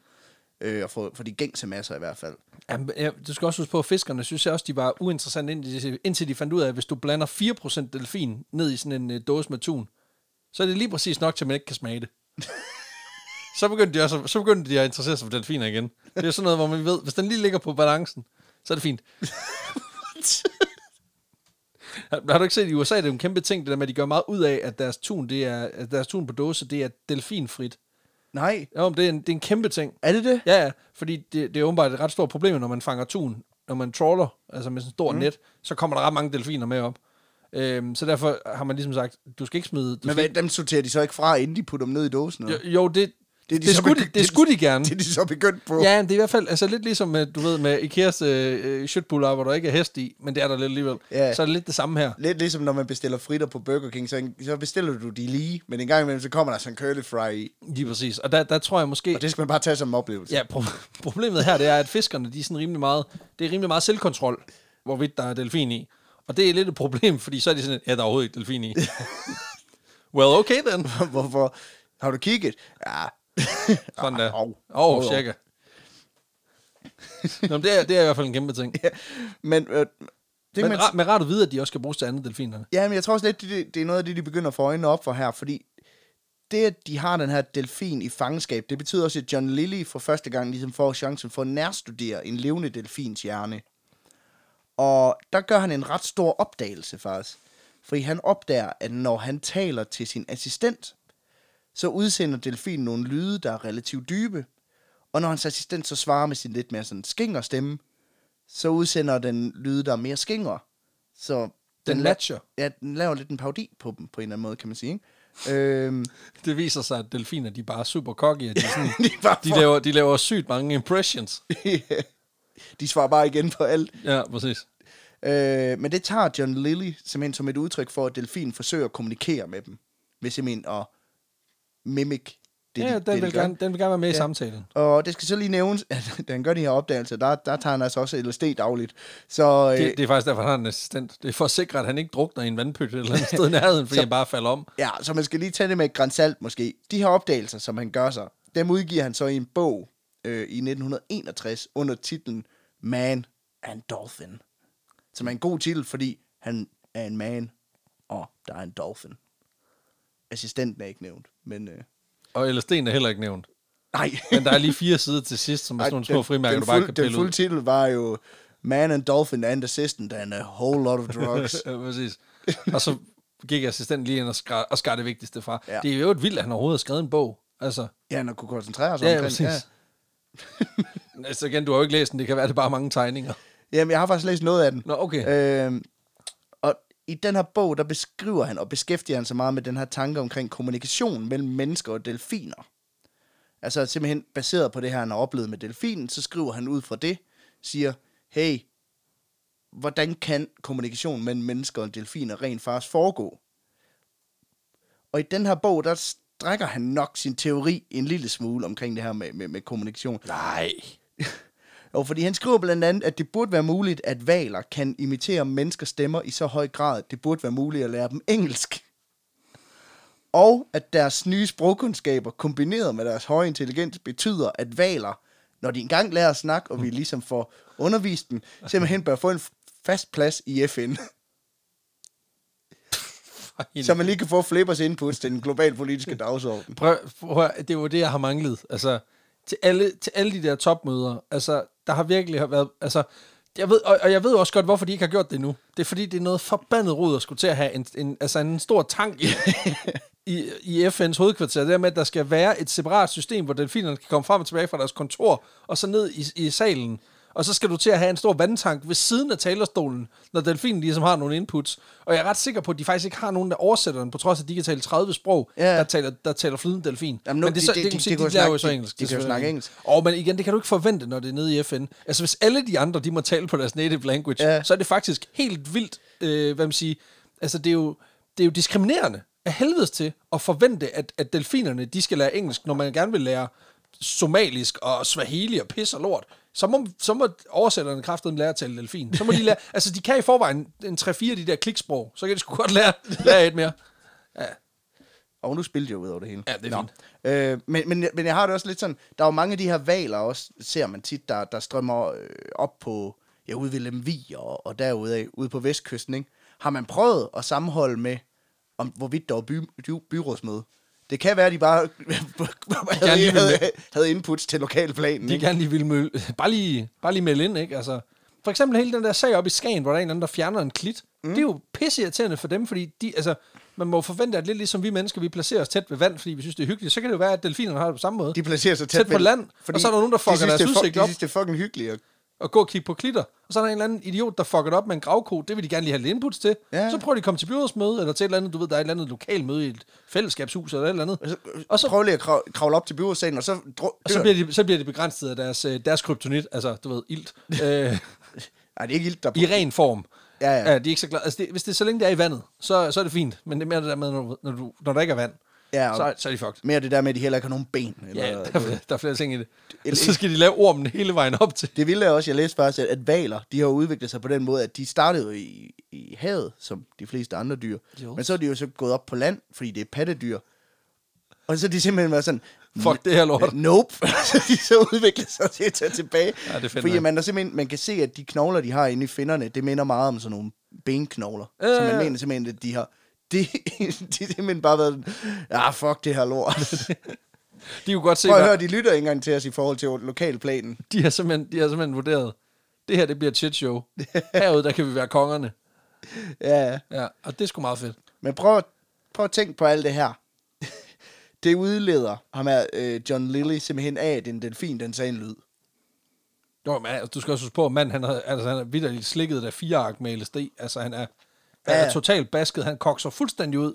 Øh, og for, for de gængse masser i hvert fald. Jamen, ja, du skal også huske på, at fiskerne synes jeg også, de var uinteressante, indtil de, indtil de fandt ud af, at hvis du blander 4% delfin ned i sådan en uh, dåse med tun, så er det lige præcis nok til, at man ikke kan smage det. så, begyndte de også, så begyndte de at interessere sig for delfiner igen. Det er sådan noget, hvor man ved, hvis den lige ligger på balancen, så er det fint. har, har du ikke set i USA, det er jo en kæmpe ting, det der med, at de gør meget ud af, at deres tun, det er, at deres tun på dåse, det er delfinfrit. Nej, Jo, men det er en, det er en kæmpe ting. er det det? Ja, ja, fordi det, det er åbenbart et ret stort problem, når man fanger tun, når man trawler, altså med sådan et stort mm. net, så kommer der ret mange delfiner med op. Øhm, så derfor har man ligesom sagt, du skal ikke smide... Du Men skal hvad, dem sorterer de så ikke fra, inden de putter dem ned i dåsen? eller? ikke, jo, jo, det, det, ligesom de det, så skulle, begy- de, det skulle de gerne. (laughs) Det er ligesom de så begyndt på. Ja, det er i hvert fald altså lidt ligesom, øh, du ved, med Ikeas øh, øh, shitbuller, hvor der ikke er hest i, men det er der lidt alligevel. Ja. Så er det lidt det samme her. Lidt ligesom når man bestiller fritter på Burger King, så, så bestiller du de lige, men en gang imellem, så kommer der sådan en curly fry i. Lige præcis. Og der, der tror jeg måske... Og det skal man bare tage som en oplevelse. Ja, pro- (laughs) problemet her, det er, at fiskerne, de er sådan rimelig meget, det er rimelig meget selvkontrol, hvorvidt der er delfin i. Og det er lidt et problem, (laughs) fordi så er de sådan, ja, der er overhovedet ikke delfin (laughs) i. well, okay then. (laughs) Hvorfor? Har du kigget? Ja. Sådan der. Åh, Au. oh, Au. cirka. Nå, men det er, det er i hvert fald en kæmpe ting. (laughs) Ja, Men, øh, det, Men, man, ra- men rart at vide, at de også skal bruges til andet delfinerne. ja, men jeg tror også lidt, det- det, det er noget af det, de begynder at få øjnene op for her, fordi det, at de har den her delfin i fangenskab, det betyder også, at John Lilly for første gang ligesom får chancen for at nærstudere en levende delfins hjerne. Og der gør han en ret stor opdagelse faktisk. Fordi han opdager, at når han taler til sin assistent, så udsender delfinen nogle lyde, der er relativt dybe. Og når hans assistent så svarer med sin lidt mere sådan skinger stemme, så udsender den lyde, der er mere skinger. Så den, la- matcher. Ja, den laver lidt en parodi på dem, på en eller anden måde, kan man sige. Ikke? Øhm, Det viser sig, at delfiner, de er bare super cocky, og de, er sådan, (laughs) de, er bare de, for- laver, de laver sygt mange impressions. (laughs) de svarer bare igen på alt. Ja, præcis. Øh, men det tager John Lilly simpelthen som et udtryk for, at delfinen forsøger at kommunikere med dem. Ved simpelthen at mimic det, ja, de, det, den, vil de gør. gerne, den vil gerne være med i Ja. samtalen. Og det skal så lige nævnes, (laughs) at da han gør de her opdagelser, der, der tager han altså også LSD dagligt. Så, øh, Det, det er faktisk derfor, han har en assistent. Det er for at sikre, at han ikke drukner i en vandpyt eller et eller (laughs) andet sted i nærheden, fordi Så- han bare falder om. ja, så man skal lige tage det med et gran salt måske. De her opdagelser, som han gør sig, dem udgiver han så i en bog øh, i 1961 under titlen Man and Dolphin. Som er en god titel, fordi han er en man, og der er en dolphin. Assistenten er ikke nævnt, men... Øh, Og LSD'en er heller ikke nævnt. (laughs) nej, Men der er lige fire sider til sidst, som er Ej, sådan nogle små frimærker, den, du bare fuld, kan den pille fulde ud. titel var jo Man and Dolphin and Assistant and a øh, whole lot of (laughs) drugs. ja, præcis. Og så gik assistenten lige ind og skar, og skar det vigtigste fra. Ja. Ja. Det er jo et vildt, at han overhovedet har skrevet en bog. Altså, ja, han kunne koncentrere sig ja, ja, omkring. præcis. (laughs) Ja. altså igen, du har jo ikke læst den. Det kan være, det er bare mange tegninger. Jamen, jeg har faktisk læst noget af den. Nå, okay. Øhm, og i den her bog, der beskriver han og beskæftiger han sig meget med den her tanke omkring kommunikation mellem mennesker og delfiner. Altså simpelthen baseret på det her, han har oplevet med delfinen, så skriver han ud fra det, siger, hey, hvordan kan kommunikation mellem mennesker og delfiner rent faktisk foregå? Og i den her bog, der strækker han nok sin teori en lille smule omkring det her med, med, med kommunikation. Nej. Og fordi han skriver blandt andet, at det burde være muligt, at valer kan imitere menneskers stemmer i så høj grad, at det burde være muligt at lære dem engelsk. Og at deres nye sprogkundskaber, kombineret med deres høje intelligens, betyder, at valer, når de engang lærer at snakke, og vi ligesom får undervist dem, simpelthen bør få en f- fast plads i FN, (laughs) så man lige kan få flippers input til den global politiske dagsorden. Prøv, prøv, at høre, det var det, jeg har manglet. Altså, til alle, til alle de der topmøder, altså, der har virkelig været, altså, jeg ved, og, og jeg ved også godt, hvorfor de ikke har gjort det nu. Det er fordi, det er noget forbandet rod at skulle til at have en, en, altså en stor tank i, i, i FN's hovedkvarter. Det der med, at der skal være et separat system, hvor delfinerne kan komme frem og tilbage fra deres kontor, og så ned i, i salen. Og så skal du til at have en stor vandtank ved siden af talerstolen, når delfinen ligesom har nogle inputs. Og jeg er ret sikker på, at de faktisk ikke har nogen, der oversætter den, på trods af, at de kan tale 30 sprog, Ja. der, taler, der taler flydende delfin. Jamen nu- men det, er de- så, de- det, det, de- det, de det, kan jo det, lærer snakke- jo så de- engelsk. de kan jo selvfølgelig. snakke engelsk. Åh, men igen, det kan du ikke forvente, når det er nede i FN. Altså, hvis alle de andre, de må tale på deres native language, Ja. ja. så er det faktisk helt vildt, øh, hvad man siger. Altså, det er jo, det er jo diskriminerende af helvedes til at forvente, at, at delfinerne, de skal lære engelsk, når man gerne vil lære somalisk og swahili og pis og lort. så må, så må oversætterne kraftedeme lære at tale delfin. Så må (laughs) de lære, altså de kan i forvejen en 3-4 af de der kliksprog, så kan de sgu godt lære, lære et mere. Og nu spillede jeg jo ud over det hele. Ja, det er fint. Øh, men, men, jeg- men jeg har det også lidt sådan, der er jo mange af de her valer også, ser man tit, der, der strømmer øh, op på, ja, ude ved Lemvig og, og derude af, ude på vestkysten, ikke? Har man prøvet at sammenholde med, om, hvorvidt der var by, by, byrådsmøde? Det kan være, at de bare (laughs) havde, lige vil havde, havde inputs til lokalplanen. De Ikke? gerne lige vil møl, (laughs) bare, lige, bare lige melde ind, ikke? Altså, for eksempel hele den der sag op i Skagen, hvor der er en eller anden, der fjerner en klit. Mm. Det er jo pisseirriterende for dem, fordi de, altså, man må jo forvente, at lidt ligesom vi mennesker, vi placerer os tæt ved vand, fordi vi synes, det er hyggeligt. Så kan det jo være, at delfinerne har det på samme måde. De placerer sig tæt, Tæt på ved- land, og så er der nogen, der de fucker synes, deres det er fu- udsigt De op. synes, det er fucking hyggeligt. at- og gå og kigge på klitter. Og så er der en eller anden idiot, der fucker det op med en gravko. Det vil de gerne lige have lidt inputs til. Ja. Ja. Så prøver de at komme til byrådsmøde, eller til et eller andet, du ved, der er et eller andet lokalmøde i et fællesskabshus, eller et eller andet. Og så, Og så så- Altså, øh, prøv lige at krav- kravle op til byrådssalen, og så dro- Og dør så bliver de, så bliver de begrænset af deres, øh, deres kryptonit, altså, du ved, ilt, øh, Nej, det er ikke ild, der... i ren form. Ja, ja. ja de er ikke så glade. Altså, det, hvis det er så længe det er i vandet, så, så er det fint. Men det er mere det der med, når, du- når, du, når der ikke er vand, Ja, og- så, så er de fucked. Mere det der med, at de heller ikke har nogen ben. Eller, Ja, der, er- der er flere ting i det. Eller- så skal de lave ormen hele vejen op til. Det vilde er også, jeg læste faktisk, at, at valer, de har udviklet sig på den måde, at de startede jo i, i havet, som de fleste andre dyr. Jo. Men så er de jo så gået op på land, fordi det er pattedyr. Og så er de simpelthen været sådan, Fuck det her lort. nope. (laughs) så de så udviklet sig til at tage tilbage. Ja, det er fedt fordi nok. man, der simpelthen, man kan se, at de knogler, de har inde i finnerne, det minder meget om sådan nogle benknogler. Ja, Så ja, man ja. mener simpelthen, at de har... (laughs) Det, de har simpelthen bare været, sådan, ah, fuck det her (laughs) lort. De kunne godt se, Prøv at hvad- høre, de lytter ikke engang til os i forhold til lokalplanen. de har simpelthen, de har simpelthen vurderet, det her det bliver et shit show. Herude, der kan vi være kongerne. Ja, Ja, og det er sgu meget fedt. men prøv, at- prøv at tænke på alt det her. (laughs) det udleder ham her, øh, John Lilly, simpelthen af, at den delfin, den sagde en lyd. Jo, men altså, du skal også huske på, at manden, han har, altså, han er vidderligt slikket af fire ark med LSD. Altså, han er, han Ja. er totalt basket. Han kokser fuldstændig ud.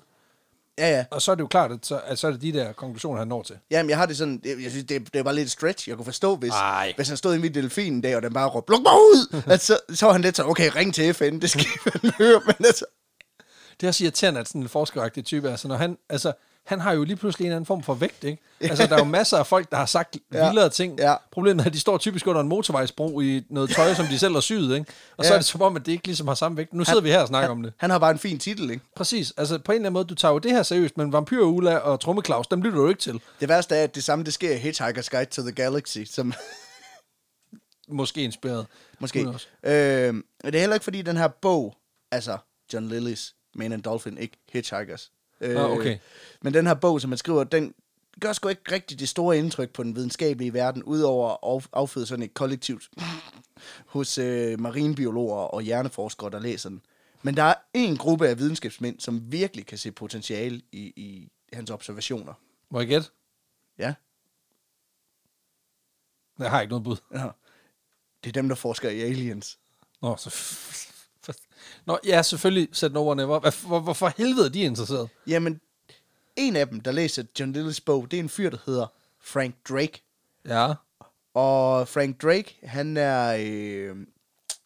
Ja, ja. Og så er det jo klart, at så, at så er det de der konklusioner, han når til. Jamen, jeg har det sådan, jeg, jeg synes, det, det er bare lidt stretch. Jeg kunne forstå, hvis, Ej. hvis han stod inde i delfinen en dag, og den bare råbte, luk mig (laughs) ud! at så, så var han lidt så, okay, ring til FN, det skal man høre, (laughs) men altså... Det er også irriterende, at sådan en forskeragtig type, altså, når han, altså, han har jo lige pludselig en eller anden form for vægt, (laughs) ikke? Altså, der er jo masser af folk, der har sagt Ja. vildere ting. Ja. Problemet er, at de står typisk under en motorvejsbro i noget tøj, som de selv har syet, ikke? Og så Ja. er det som om, at det ikke ligesom har samme vægt. Nu sidder vi her og snakker om det. Han har bare en fin titel, ikke? Præcis. Altså, på en eller anden måde, du tager jo det her seriøst, men Vampyr Ulla og Trumme Claus, dem lytter du jo ikke til. Det værste er, at det samme, det sker i Hitchhiker's Guide to the Galaxy, som Måske inspireret. Måske. Gud også. Øh, det er heller ikke, fordi den her bog, altså John Lillys Man and Dolphin, ikke Hitchhikers. Øh, Ah, okay. Men den her bog, som man skriver, den gør sgu ikke rigtig det store indtryk på den videnskabelige verden, udover at af- afføde sådan et kollektivt (laughs) hos øh, marinbiologer og hjerneforskere, der læser den. Men der er en gruppe af videnskabsmænd, som virkelig kan se potentiale i, i hans observationer. (laughs) Må jeg gætte? Ja. Jeg har ikke noget bud. Nå. Det er dem, der forsker i aliens. Nå, så... (laughs) Nå, ja, selvfølgelig. Sæt no one ever. Hvad- Hvor, hvorfor helvede er de interesseret? Jamen, en af dem, der læser John Lilles bog, det er en fyr, der hedder Frank Drake. Ja. Og Frank Drake, han er, øh,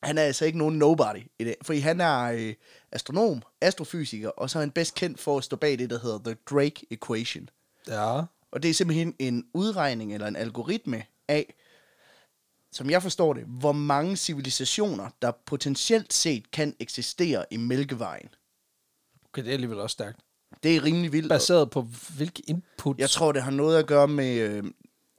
han er altså ikke nogen nobody i det, fordi han er øh, astronom, astrofysiker, og så er han bedst kendt for at stå bag det, der hedder The Drake Equation. Ja. Og det er simpelthen en udregning eller en algoritme af, som jeg forstår det, hvor mange civilisationer, der potentielt set kan eksistere i Mælkevejen. Okay, det er alligevel også stærkt. Det er rimelig vildt. og- Baseret på hvilke input? Jeg tror, det har noget at gøre med... Øh,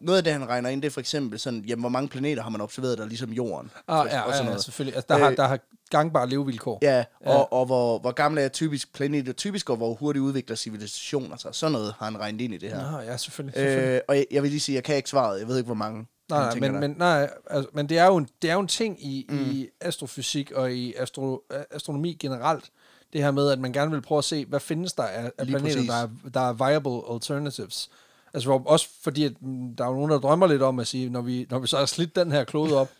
noget af det, han regner ind, det er for eksempel sådan, jamen, hvor mange planeter har man observeret, der er ligesom jorden? Ah, ja, og ja, ja, selvfølgelig. Altså, der, har, der har gangbare levevilkår. Øh, Ja, og, og hvor, hvor gamle er typisk planeter typisk, og hvor hurtigt udvikler civilisationer sig. Sådan noget har han regnet ind i det her. Nå, ja, selvfølgelig. selvfølgelig. Øh, og jeg, jeg vil lige sige, jeg kan ikke svaret. Jeg ved ikke, hvor mange. Nej, han nej, tænker men, der. men, nej altså, men det, er jo en, det er jo en ting i, mm. i astrofysik og i astro, øh, astronomi generelt, det her med, at man gerne vil prøve at se, hvad findes der af, af Lige planeter, præcis. der er, der er viable alternatives. Altså hvor, også fordi, at, mm, der er jo nogen, der drømmer lidt om at sige, når vi, når vi så har slidt den her klode (laughs) op,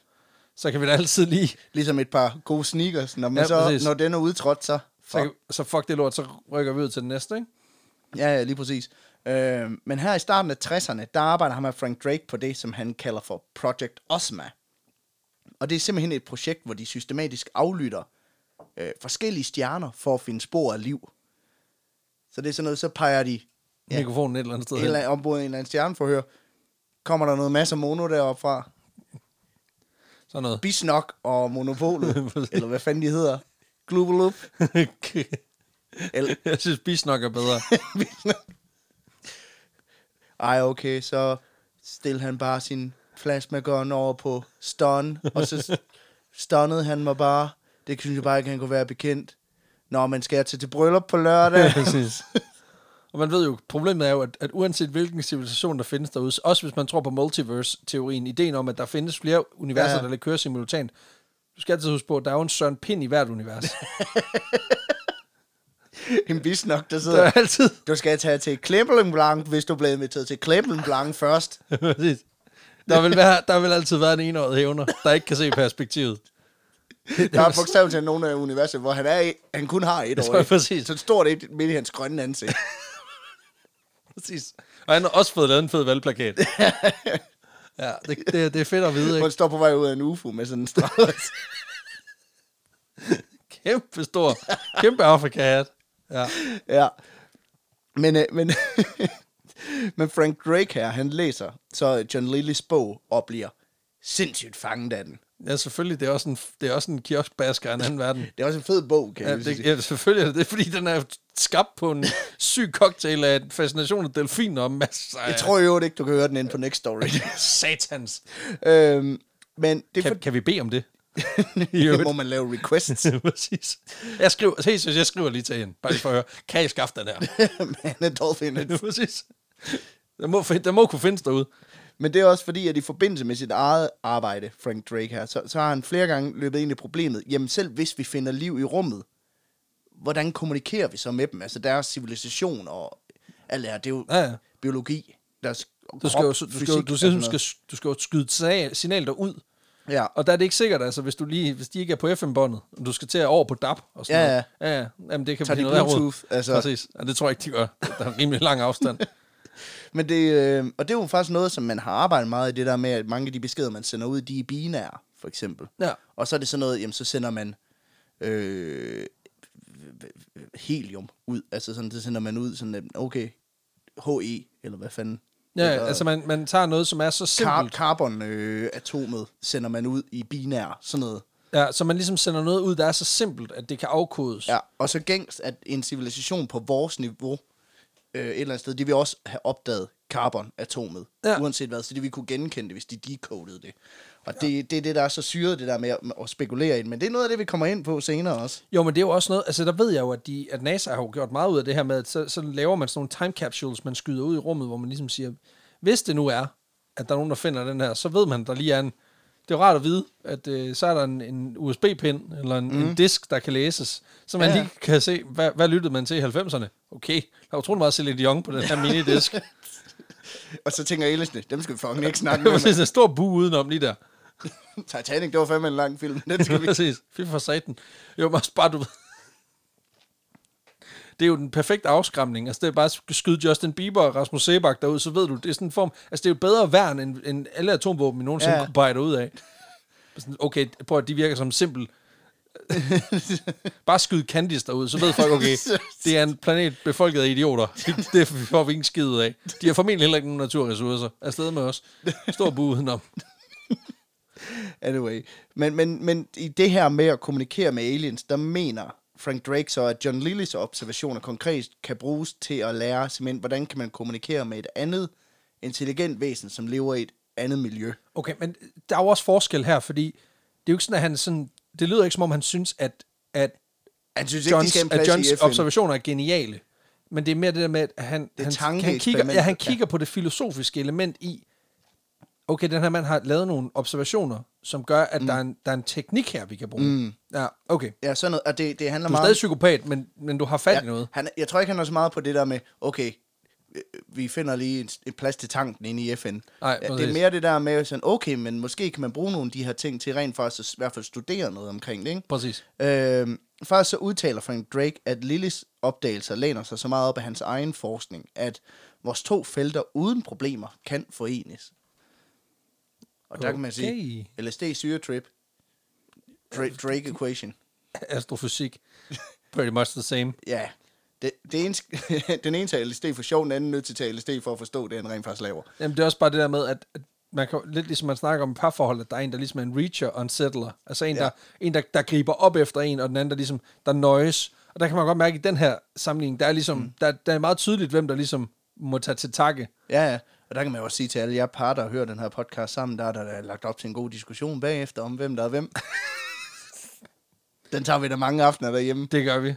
så kan vi da altid lige, Ligesom et par gode sneakers. Når, man Ja, så, præcis. når den er udtrådt, så... så, kan, så fuck det lort, så rykker vi ud til den næste, ikke? Ja, ja, lige præcis. Øh, men her i starten af 60'erne, der arbejder han med Frank Drake på det, som han kalder for Project Osma. Og det er simpelthen et projekt, hvor de systematisk aflytter øh, forskellige stjerner for at finde spor af liv. Så det er sådan noget, så peger de Ja. Mikrofonen et eller andet sted. et hen. eller andet, ombord i en eller anden stjerneforhør. Kommer der noget masser af mono deroppe fra? Sådan noget. (laughs) Bisnok og Monopolo, eller hvad fanden de hedder. Glubulup. Eller, jeg synes, bisnok er bedre. ej, okay, så stillede han bare sin plasma gun over på stun, (laughs) og så stunnede han mig bare. Det synes jeg bare ikke, han kunne være bekendt. Nå, man skal jeg til til bryllup på (laughs) lørdag? (laughs) Præcis. Og man ved jo, problemet er jo, at, at uanset hvilken civilisation, der findes derude, også hvis man tror på multiverse-teorien, ideen om, at der findes flere universer, Ja. ja. der lidt kører simultant, du skal altid huske på, at der er jo en Søren Pind i hvert univers. en bisnok, der der sidder. er altid... Du skal tage til Klemmelen Blanc, hvis du blev inviteret til Klemmelen Blanc først. Præcis. der, vil være, der vil altid være en enåret hævner, der ikke kan se perspektivet. Der er bogstaveligt talt nogle af universet, hvor han, er, i- han kun har et Jeg år. tror, ikke? præcis. Så står det ikke midt i hans (laughs) grønne ansigt. Præcis. Og han har også fået lavet en fed valgplakat. ja, det, det, det er fedt at vide, Hvor han (laughs) ikke? står på vej ud af en UFO med sådan en streg. Kæmpe stor, kæmpe afrikahat. Ja. ja. Men, øh, men, (laughs) men Frank Drake her, han læser så John Lillys bog og bliver sindssygt fanget af den. ja, selvfølgelig, det er også en, det er også en kioskbasker af en anden verden. Det er også en fed bog, kan Ja, jeg det, sige. ja, selvfølgelig er det, det fordi den er skabt på (laughs) en syg cocktail af en fascination af delfiner og masser af Jeg tror jo ikke, du kan høre den ind på Next Story. (laughs) satans. øhm, men det, er Kan, for, (laughs) kan vi bede om det? I det øvrigt. må man lave requests. (laughs) Præcis. Jeg skriver, se, så jeg skriver lige til hende, bare lige for at høre, kan I skaffe (laughs) den her? man er (laughs) dolphin. Præcis. Der må, fin- der må kunne findes derude. Men det er også fordi, at i forbindelse med sit eget arbejde, Frank Drake her, så, så har han flere gange løbet ind i problemet. Jamen selv hvis vi finder liv i rummet, hvordan kommunikerer vi så med dem? Altså deres civilisation og alt det her, det er jo Ja, ja. biologi. Deres Du skal jo, du skal, jo, du, skal, du, skal, du skal jo skyde et signal, signal derud. Ja, Og der er det ikke sikkert, altså, hvis, du lige, hvis de ikke er på FM-båndet, og du skal til at over på DAB og sådan Ja, ja. noget. Ja, ja. Jamen, det kan Tager blive de noget af Bluetooth, råd. altså? Præcis. Ja, det tror jeg ikke, de gør. Der er rimelig lang (laughs) afstand. men det, øh, og det er jo faktisk noget, som man har arbejdet meget i, det der med, at mange af de beskeder, man sender ud, de er binære, for eksempel. Ja. Og så er det sådan noget, jamen så sender man øh, helium ud. Altså sådan, så sender man ud sådan, at, okay, HE, eller hvad fanden. Ja, eller, altså man, man tager noget, som er så Kar- simpelt. carbon-atomet sender man ud i binær, sådan noget. Ja, så man ligesom sender noget ud, der er så simpelt, at det kan afkodes. Ja, og så gængst, at en civilisation på vores niveau, øh, et eller andet sted, de vil også have opdaget carbon-atomet, ja. Ja. uanset hvad, så de vil kunne genkende det, hvis de decodede det. Og det, det er det, der er så syret, det der med at, at spekulere i det. Men det er noget af det, vi kommer ind på senere også. Jo, men det er jo også noget, altså der ved jeg jo, at, de, at NASA har jo gjort meget ud af det her med, at så, så laver man sådan nogle time capsules, man skyder ud i rummet, hvor man ligesom siger, hvis det nu er, at der er nogen, der finder den her, så ved man, der lige er en, det er jo rart at vide, at øh, så er der en, en USB-pind, eller en, mm. en disk, der kan læses, så man Ja, ja. ja. lige kan se, hvad, hvad lyttede man til i 90'erne? Okay, der er utrolig meget Celine Dion på den her minidisk. Og så tænker Elisne, dem skal vi fucking (laughs) ikke snakke det var med. sådan en stor bu udenom lige der. Titanic, det var fandme en lang film. Den (laughs) skal vi... Præcis. Fy for satan. Jo, men også bare, du ved. Det er jo den perfekte afskræmning. Altså, det er bare at skyde Justin Bieber og Rasmus Sebak derud, så ved du, det er sådan en form... Altså, det er jo bedre værn, end, end alle atomvåben, vi nogensinde Ja. ja. kunne pege dig ud af. Sådan, Okay, prøv at de virker som simpel... bare skyde Candice derud, så ved folk, (laughs) okay, det er en planet befolket af idioter. Det- Det får vi ingen skid ud af. De har formentlig heller ikke nogen naturressourcer. Afsted med os. Stor bu udenom. Anyway. Men, men, men i det her med at kommunikere med aliens, der mener Frank Drake så, at John Lillys observationer konkret kan bruges til at lære, simpelthen, hvordan kan man kommunikere med et andet intelligent væsen, som lever i et andet miljø. Okay, men øh, der er jo også forskel her, fordi det er jo ikke sådan, at han sådan... Det lyder ikke, som om han synes, at, at Han synes ikke, de Johns, skal have en at plads Johns i FN. observationer er geniale. Men det er mere det der med, at han, han, han, kigger, ja, han tankeeksperimentet, ja. kigger på det filosofiske element i, okay, den her mand har lavet nogle observationer, som gør, at mm. der, er en, der er en teknik her, vi kan bruge. Mm. Ja, okay. Ja, sådan noget. Og det, det handler Du er meget stadig psykopat, men, men du har fat ja. i Ja, noget. Han, jeg tror ikke, han er så meget på det der med, okay, øh, vi finder lige en, en plads til tanken inde i FN. Nej, Ja, det er præcis. mere det der med, sådan, okay, men måske kan man bruge nogle af de her ting til rent faktisk at s- i hvert fald studere noget omkring det. Ikke? (laughs) Præcis. Øhm, faktisk så udtaler Frank Drake, at Lillys opdagelser læner sig så meget op af hans egen forskning, at vores to felter uden problemer kan forenes. Og der kan man sige, LSD syretrip, Dra- Drake equation. Astrofysik. Pretty much the same. Ja. Det, det (laughs) eneste, den ene tager LSD for sjov, den anden nødt til at tage LSD for at forstå det, han rent faktisk laver. Jamen, det er også bare det der med, at at man kan, lidt ligesom man snakker om parforhold, at der er en, der ligesom er en reacher og en settler. Altså en, ja. der, en der, der griber op efter en, og den anden, der ligesom, der nøjes. Og der kan man godt mærke, at i den her sammenligning, der er ligesom, mm. der, der er meget tydeligt, hvem der ligesom må tage til takke. Ja, ja. Og der kan man jo også sige til alle jer par, der hører den her podcast sammen, der er der da lagt op til en god diskussion bagefter om, hvem der er hvem. (laughs) den tager vi da mange aftener derhjemme. Det gør vi.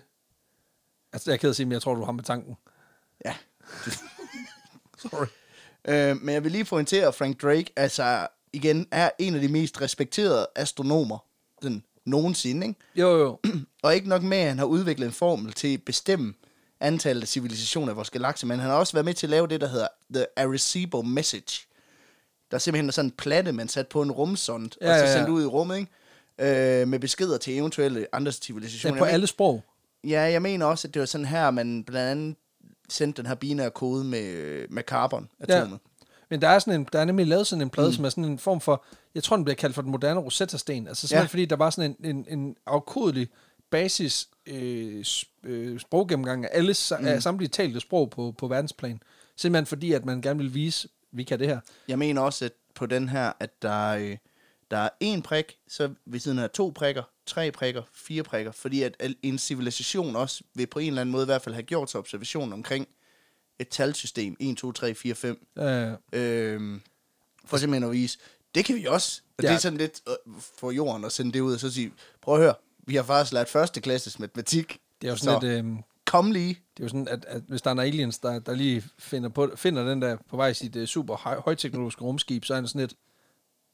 Altså, jeg er ked af at sige, men jeg tror, du har med tanken. Ja. Sorry. Øh, men jeg vil lige pointere, at Frank Drake, altså igen, er en af de mest respekterede astronomer den nogensinde. Ikke? Jo, (clears throat) jo. Og ikke nok med, at han har udviklet en formel til at bestemme antallet af civilisationer i vores galakse, men han har også været med til at lave det, der hedder The Arecibo Message. Der simpelthen er sådan en platte, man sat på en rumsond, Ja, og så ja, ja. sendt ud i rummet, ikke? Øh, med beskeder til eventuelle andre civilisationer. Ja, på Jeg alle sprog. Ja, jeg mener også, at det var sådan her, man blandt andet sendte den her binære kode med, med carbon-atomet. Men der er, sådan en, der er nemlig lavet sådan en plade, mm. som er sådan en form for, jeg tror, den bliver kaldt for den moderne Rosetta-sten. Altså simpelthen Ja. ja. fordi, der var sådan en, en, en afkodelig basis øh, s- øh, sproggennemgang af alle sa- mm. af samtlige talte sprog på, på verdensplan. Simpelthen fordi, at man gerne vil vise, vi kan det her. Jeg mener også, at på den her, at der er, øh, der er én prik, så ved siden af to prikker, tre prikker, fire prikker, fordi at al- en civilisation også vil på en eller anden måde i hvert fald have gjort sig observation omkring et talsystem, 1, 2, 3, 4, 5, Øh, øhm, for simpelthen at vise, det kan vi også. Og ja. det Ja. er sådan lidt øh, for jorden at sende det ud og så sige, prøv at høre, vi har faktisk lært førsteklasses matematik. det er jo sådan så lidt... Øh, Kom lige. det er jo sådan, at, at hvis der er en aliens, der, der lige finder, på, finder den der på vej i sit uh, super høj, højteknologiske rumskib, så er han sådan lidt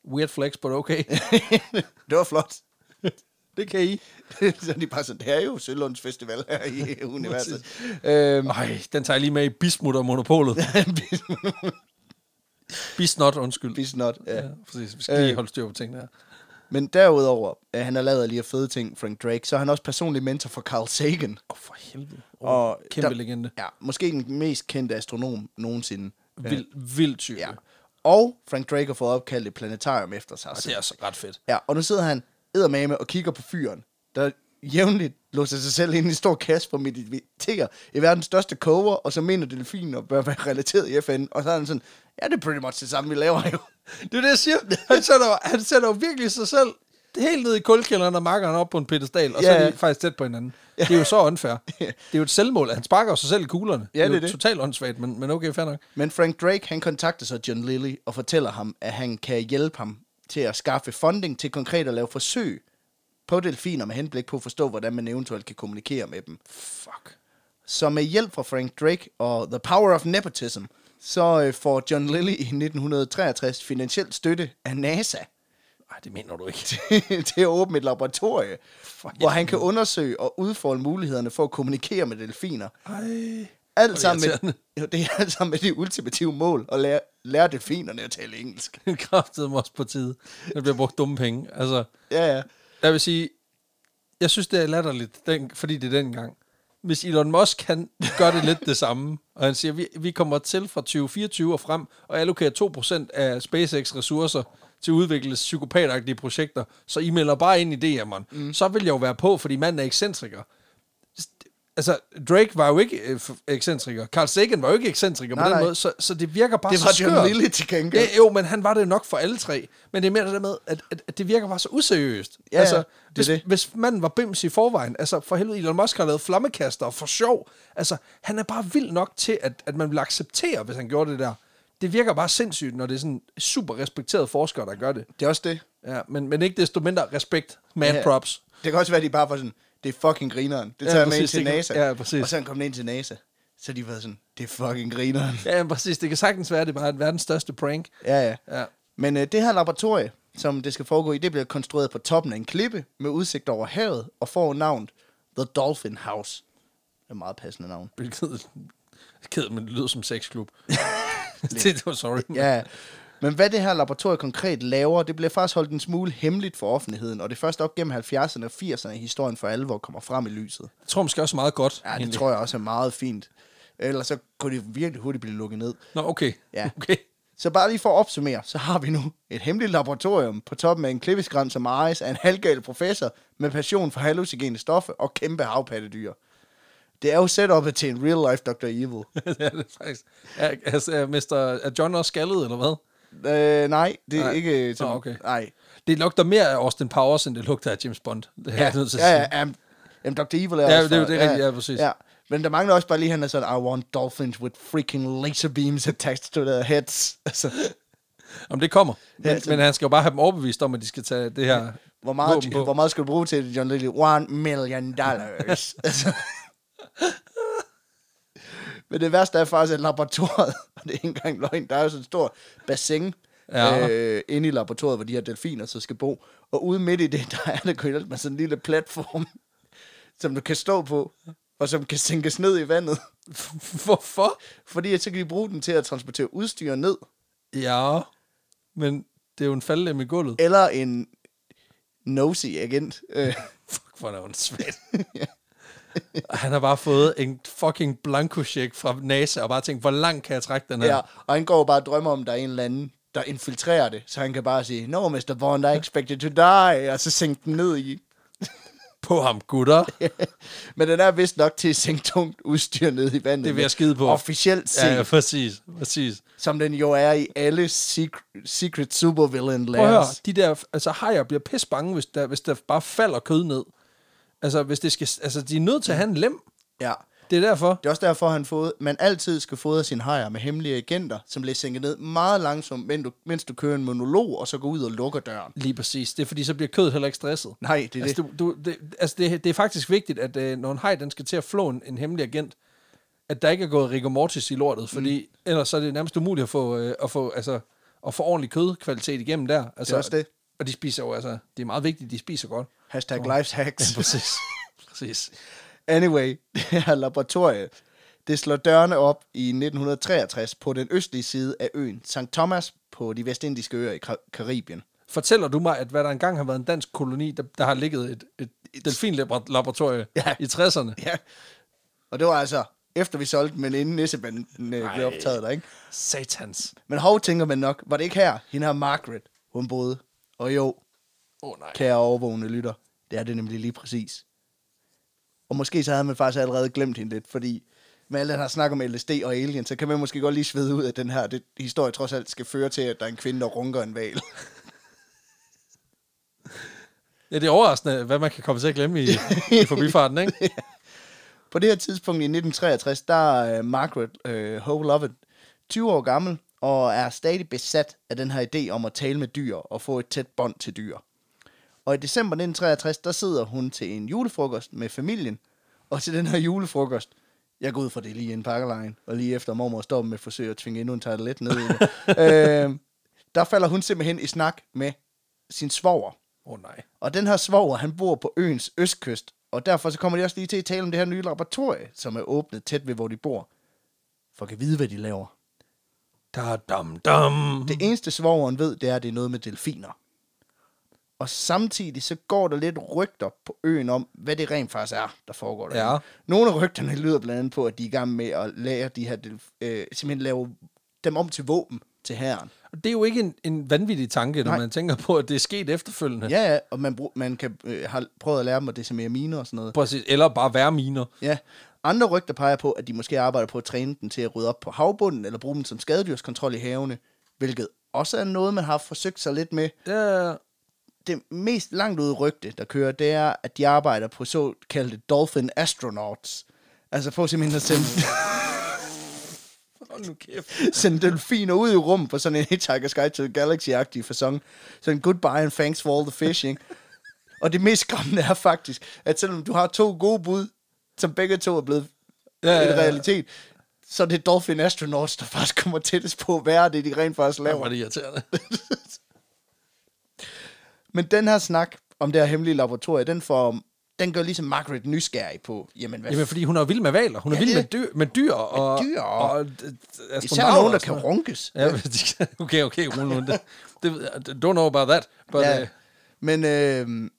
weird flex, but okay. (laughs) (laughs) det var flot. det kan I. (laughs) så er de bare sådan, det er jo Sølunds Festival her (laughs) i universet. øhm, altså- Ej, den tager jeg lige med i Bismut og (laughs) Monopolet. Bisnot, undskyld. Bis not. Ja. Ja, Øh. præcis. Vi skal lige holde styr på tingene her. Men derudover, øh, han har lavet lige fede ting, Frank Drake, så er han også personlig mentor for Carl Sagan. Åh, oh, for helvede. Oh, Og og kæmpe der- der, legende. Ja, måske den mest kendte astronom nogensinde. Vild, vild type. Ja. Ja. Og Frank Drake har fået opkaldt et planetarium efter sig. Og det er altså ret fedt. Ja, og nu sidder han eddermame og kigger på fyren, der jævnligt låser sig selv ind i en stor kasse for mediterer i verdens største koger, og så mener delfiner bør være relateret i FN. Og så er han sådan, ja, det er pretty much det samme, vi laver jo. Det er det, jeg siger. Han sætter, jo- han sætter jo virkelig sig selv helt ned i kulkælderen og makkeren op på en pedestal, og så Ja, er ja. de faktisk tæt på hinanden. Det er jo så unfair. Det er jo et selvmål. Han sparker jo sig selv i kuglerne. Ja, det er jo det. totalt åndssvagt, men, men okay, fair nok. Men Frank Drake, han kontakter så John Lilly og fortæller ham, at han kan hjælpe ham til at skaffe funding til konkret at lave forsøg på delfiner med henblik på at forstå, hvordan man eventuelt kan kommunikere med dem. Fuck. Så med hjælp fra Frank Drake og The Power of Nepotism, så øh, får John Lilly i 1963 finansiel støtte af NASA (laughs) Ej, det mener du ikke. til at åbne et laboratorie, hvor han kan undersøge og udfolde mulighederne for at kommunikere med delfiner. Ej. Alt det sammen med, irriterende. jo, det er alt sammen med det ultimative mål at lære, lære delfinerne at tale engelsk. (laughs) Kraftede mig også på tide. Der bliver brugt dumme penge. Altså, Ja, ja. jeg vil sige, jeg synes, det er latterligt, den, fordi det er dengang. Hvis Elon Musk kan gøre det lidt det samme, og han siger, vi, vi kommer til fra 2024 og frem, og allokerer 2% af SpaceX ressourcer til at udvikle psykopatagtige projekter, så I melder bare ind i DM'eren. Mm. Så vil jeg jo være på, fordi manden er ekscentriker. Altså, Drake var jo ikke øh, f- ekscentriker. Carl Sagan var jo ikke ekscentriker Nej, på den nej. måde, så, så det virker bare Det så var skørt. John Lilly til gengæld. Ja, jo, men han var det jo nok for alle tre. Men det er mere det der med, at, at, at det virker bare så useriøst. Altså, Ja, ja, det er hvis, det. hvis manden var bims i forvejen, altså for helvede, Elon Musk har lavet flammekaster for sjov. Altså, han er bare vild nok til, at, at man vil acceptere, hvis han gjorde det der. Det virker bare sindssygt, når det er sådan super respekterede forskere, der gør det. Det er også det. Ja, men, men ikke desto mindre respekt, man Ja. ja. props. Det kan også være, at de bare var sådan, det er fucking grineren. Det Ja, tager ja, med ind præcis, til det kan- NASA. ja, præcis. Og så kom den ind til NASA. Så de var sådan, det er fucking grineren. Ja, men præcis. Det kan sagtens være, at det bare er verdens største prank. Ja, ja. Ja. Men øh, det her laboratorie, som det skal foregå i, det bliver konstrueret på toppen af en klippe med udsigt over havet og får navnet The Dolphin House. Det er et meget passende navn. Hvilket ked, men det lyder som (laughs) sexklub. det var sorry. Ja, men hvad det her laboratorie konkret laver, det bliver faktisk holdt en smule hemmeligt for offentligheden, og det er først op gennem 70'erne og 80'erne, at historien for alvor kommer frem i lyset. Jeg tror måske også meget godt. Ja, det egentlig. tror jeg også er meget fint. Ellers så kunne det virkelig hurtigt blive lukket ned. Nå, okay. Ja. (laughs) Okay. Så bare lige for at opsummere, så har vi nu et hemmeligt laboratorium på toppen af en klippeskrant, som ejes af en halvgal professor med passion for hallucinogene stoffer og kæmpe havpattedyr. Det er jo setupet til en real-life Dr. Evil. ja, det er faktisk. Er, altså, er, Mr. er John også skaldet, eller hvad? Øh, nej, det er Nej. ikke... øh, Nå, okay. Nej. Det lugter mere af Austin Powers, end det lugter af James Bond. Det er jeg nødt til at ja, sige. (laughs) ja, ja. Jamen, Dr. Evil er Ja, også det er jo fra- det rigtige, ja, præcis. Ja. Men der mangler også bare lige, han er sådan, I want dolphins with freaking laser beams attached to their heads. Altså, Om det kommer. Ja, Men, så- men han skal jo bare have dem overbevist om, at de skal tage det her hvor våben meget, på. hvor meget skal du bruge til det, John Lilly? One million (laughs) dollars. altså. Men det værste er faktisk, at laboratoriet, (laughs) og det er ikke engang løgn, der er jo sådan et stort bassin Ja. ja. øh, inde i laboratoriet, hvor de her delfiner så skal bo. Og ude midt i det, (laughs) der er der kølet med sådan en lille platform, som du kan stå på, og som kan sænkes ned i vandet. (laughs) Hvorfor? Fordi at så kan de bruge den til at transportere udstyr ned, Ja, men det er jo en faldlem i gulvet. eller en nosy agent. Øh, (laughs) Fuck, hvor er han (laughs) svært. Han har bare fået en fucking blanko fra NASA og bare tænkt, hvor langt kan jeg trække den her? ja. Og han går bare og drømmer om, at der er en eller anden, der infiltrerer det. Så han kan bare sige, no, Mr. Bond, I expected to die, og så sænke den ned i. (laughs) På ham, gutter. Men den er vist nok til at sænke tungt udstyr ned i vandet. Det vil jeg skide på. Officielt set, Ja, ja, ja, præcis. præcis. som den jo er i alle secret, secret supervillain Prøv at høre, layers. de der, altså hajer bliver pis bange, hvis der, hvis der bare falder kød ned. Altså, hvis det skal, altså, de er nødt til at have en lem. Ja. Det er derfor. Det er også derfor, han fod, man altid skal fodre sine hajer med hemmelige agenter, som bliver sænket ned meget langsomt, mens du, mens du kører en monolog, og så går ud og lukker døren. Lige præcis. Det er fordi, så bliver kødet heller ikke stresset. Nej, det er altså, det. du, du, det, altså det, det er faktisk vigtigt, at øh, når en haj, den skal til at flå en, en hemmelig agent, at der ikke er gået rigor mortis i lortet, fordi mm. ellers så er det nærmest umuligt at få, øh, at få, altså, at få ordentlig kødkvalitet igennem der. Altså, også det. Og de spiser jo, altså, det er meget vigtigt, de spiser godt. Hashtag lifehacks. Præcis. (laughs) præcis. Anyway, (laughs) det her laboratorie, det slår dørene op i 1963 på den østlige side af øen St. Thomas på de vestindiske øer i Kar- Karibien. Fortæller du mig, at hvad der engang har været en dansk koloni, der, der har ligget et, et, et delfinlaboratorium ja. Ja. i 60'erne? Ja. Og det var altså efter vi solgte den, men inden Nissebanden øh, blev optaget der, ikke? Satans. Men hov, tænker man nok, var det ikke her, hende her Margaret, hun boede? Og jo, Åh oh, nej. kære overvågende lytter, det er det nemlig lige præcis. Og måske så havde man faktisk allerede glemt hende lidt, fordi med alle den her snak om LSD og alien, så kan man måske godt lige svede ud af den her det, historie, trods alt skal føre til, at der er en kvinde, der runker en val. Ja, det er overraskende, hvad man kan komme til at glemme i, i forbifarten, (laughs) ikke? På det her tidspunkt i 1963, der er øh, Margaret øh, Hope Lovett 20 år gammel, og er stadig besat af den her idé om at tale med dyr og få et tæt bånd til dyr. Og i december 1963, der sidder hun til en julefrokost med familien, og til den her julefrokost, jeg går ud fra det er lige i en pakkelejen, og lige efter mormor står med forsøg at tvinge endnu en tartelet ned i det. øh, der falder hun simpelthen i snak med sin svoger. Åh oh, nej. Og den her svoger, han bor på øens østkyst, og derfor så kommer de også lige til at tale om det her nye laboratorie, som er åbnet tæt ved, hvor de bor. For at kan vide, hvad de laver. Da dum dum. Det eneste svogeren ved, det er, at det er noget med delfiner. Og samtidig så går der lidt rygter på øen om, hvad det rent faktisk er, der foregår der. Ja. Nogle af rygterne lyder blandt andet på, at de er i gang med at lære de her, delf- øh, simpelthen lave dem om til våben til herren. Og det er jo ikke en, en vanvittig tanke, når Nej. Nej. man tænker på, at det er sket efterfølgende. Ja, ja, og man, brug, man kan, øh, har prøvet at lære dem at decimere miner og sådan noget. Præcis. Eller bare være miner. Ja. Andre rygter peger på, at de måske arbejder på at træne den til at rydde op på havbunden, eller bruge dem som skadedyrskontrol i havene, hvilket også er noget, man har forsøgt sig lidt med. Ja, Det mest langt ude rygte, der kører, det er, at de arbejder på såkaldte dolphin astronauts. Altså på simpelthen at sende, hold nu kæft. (laughs) sende delfiner ud i rum på sådan en Hitchhiker's Guide to the Galaxy-agtig fasong. Sådan goodbye and thanks for all the fishing. Og det mest skræmmende er faktisk, at selvom du har to gode bud, som begge to er blevet Ja, ja, ja, ja. en realitet, så er det Dolphin Astronauts, der faktisk kommer tættest på, hvad er det, de rent faktisk Hvor var laver. det (laughs) irriterende. Men den her snak om det her hemmelige laboratorie, den, får, den gør ligesom Margaret nysgerrig på, jamen hvad Jamen, fordi hun er vild med valer. Hun er Ja, vild det- med dyr, med dyr og... dyr og- og, øh, og astronauter Især nogen, der og kan sådan noget. runkes. Ja, men de- (laughs) okay, okay, Rune Lund. Det, det, ved jeg- don't know about that. But, Ja. ja. Men øh,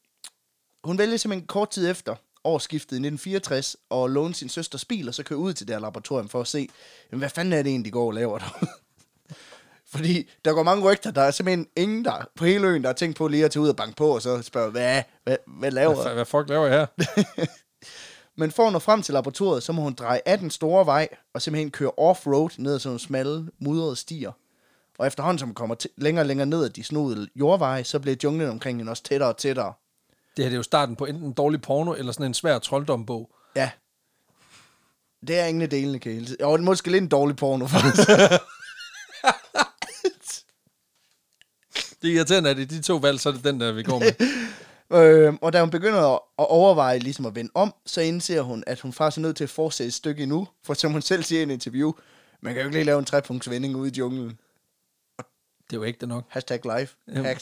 hun vælger simpelthen kort tid efter årsskiftet i 1964 og låne sin søsters bil, og så køre ud til det her laboratorium for at se, jamen, hvad fanden er det egentlig, de går og laver der? (laughs) Fordi der går mange rygter, der er simpelthen ingen der på hele øen, der har tænkt på lige at tage ud og banke på, og så spørge, hvad, hvad, hvad laver hvad, hvad fuck laver jeg her? Men for at nå frem til laboratoriet, så må hun dreje af den store vej og simpelthen køre off-road ned ad sådan nogle smalle, mudrede stier. Og efterhånden, som man kommer til, længere og længere ned ad de snodede jordveje, så bliver junglen omkring hende også tættere og tættere. Det her det er jo starten på enten dårlig porno, eller sådan en svær trolddombog. Ja. Det er ingen af delene, kan jeg hele tiden. Jo, det er måske lidt en dårlig porno, faktisk. (laughs) Det er irriterende, at i de to valg, så er det den der, vi går (laughs) med. øhm, og da hun begynder at at overveje ligesom at vende om, så indser hun, at hun faktisk er nødt til at fortsætte et stykke endnu. For som hun selv siger i en interview, man kan jo ikke lige lave en trepunktsvending ude i junglen. Det er jo ægte nok. Hashtag live. Jamen. Hack.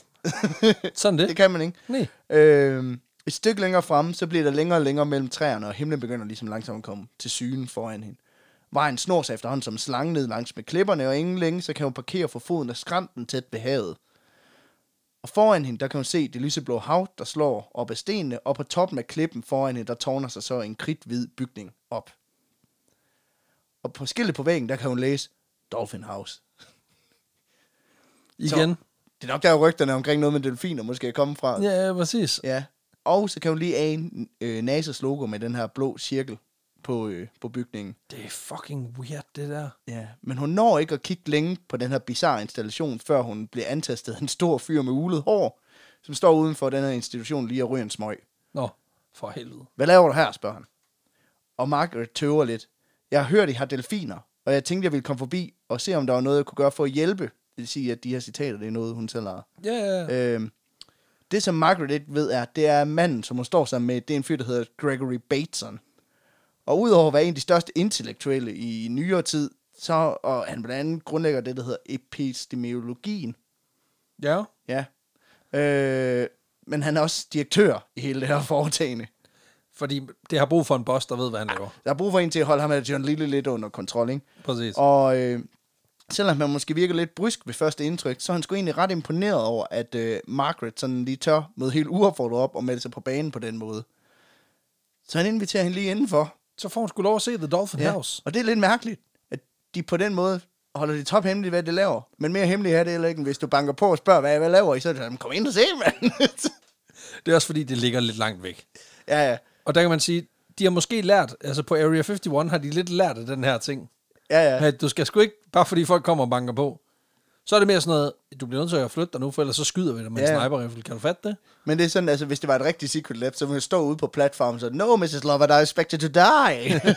(laughs) Sådan det. det kan man ikke. Nej. Øhm, et stykke længere fremme, så bliver der længere og længere mellem træerne, og himlen begynder ligesom langsomt at komme til syne foran hende. Vejen snor sig efterhånden som en slange ned langs med klipperne, og ingen længe, så kan hun parkere for foden af skrænten tæt ved havet. Og foran hende, der kan hun se det lyseblå hav, der slår op ad stenene, og på toppen af klippen foran hende, der tårner sig så en kridhvid bygning op. Og på skiltet på væggen, der kan hun læse Dolphin House. Igen. Så, det er nok der, hvor rygterne omkring noget med delfiner måske er kommet fra. Ja, ja, præcis. Ja. Og så kan hun lige ane øh, NASA's logo med den her blå cirkel på, øh, på bygningen. Det er fucking weird, det der. Ja. Men hun når ikke at kigge længe på den her bizarre installation, før hun bliver antastet af en stor fyr med ulet hår, som står uden for den her institution lige og ryger en smøg. Nå, for helvede. Hvad laver du her, spørger han. Og Margaret tøver lidt. Jeg har hørt, I har delfiner, og jeg tænkte, jeg ville komme forbi og se, om der var noget, jeg kunne gøre for at hjælpe. Det vil sige, at de her citater, det er noget, hun selv har Ja, ja, ja. Øhm, det, som Margaret ikke ved, er, det er manden, som hun står sammen med, det er en fyr, der hedder Gregory Bateson. Og udover at være en af de største intellektuelle i nyere tid, så og han blandt andet grundlægger det, der hedder epistemologien. ja. Ja. Øh, men han er også direktør i hele det her foretagende. Fordi det har brug for en boss, der ved, hvad han laver. Der er brug for en til at holde ham af John Lille lidt under kontrol, ikke? Præcis. Og øh, selvom han måske virker lidt brysk ved første indtryk, så er han sgu egentlig ret imponeret over, at øh, Margaret sådan lige tør møde helt uopfordret op og melde sig på banen på den måde. Så han inviterer hende lige indenfor. Så får hun skulle lov at se The Dolphin House. Og det er lidt mærkeligt, at de på den måde holder det top hemmeligt, hvad det laver. Men mere hemmeligt er det heller ikke, end hvis du banker på og spørger, hvad, hvad laver I, så er det sådan, kom ind og se, mand. (laughs) Det er også fordi, det ligger lidt langt væk. ja, ja, Og der kan man sige, de har måske lært, altså på Area 51 har de lidt lært af den her ting. ja, ja. At du skal sgu ikke, bare fordi folk kommer og banker på. Så er det mere sådan noget, du bliver nødt til at flytte dig nu, for ellers så skyder vi dig med Ja. en sniper Kan du fatte det? Men det er sådan, altså, hvis det var et rigtigt Secret Lab, så ville jeg stå ude på platformen så, no, Mrs. Lovett, I expected to die. (laughs)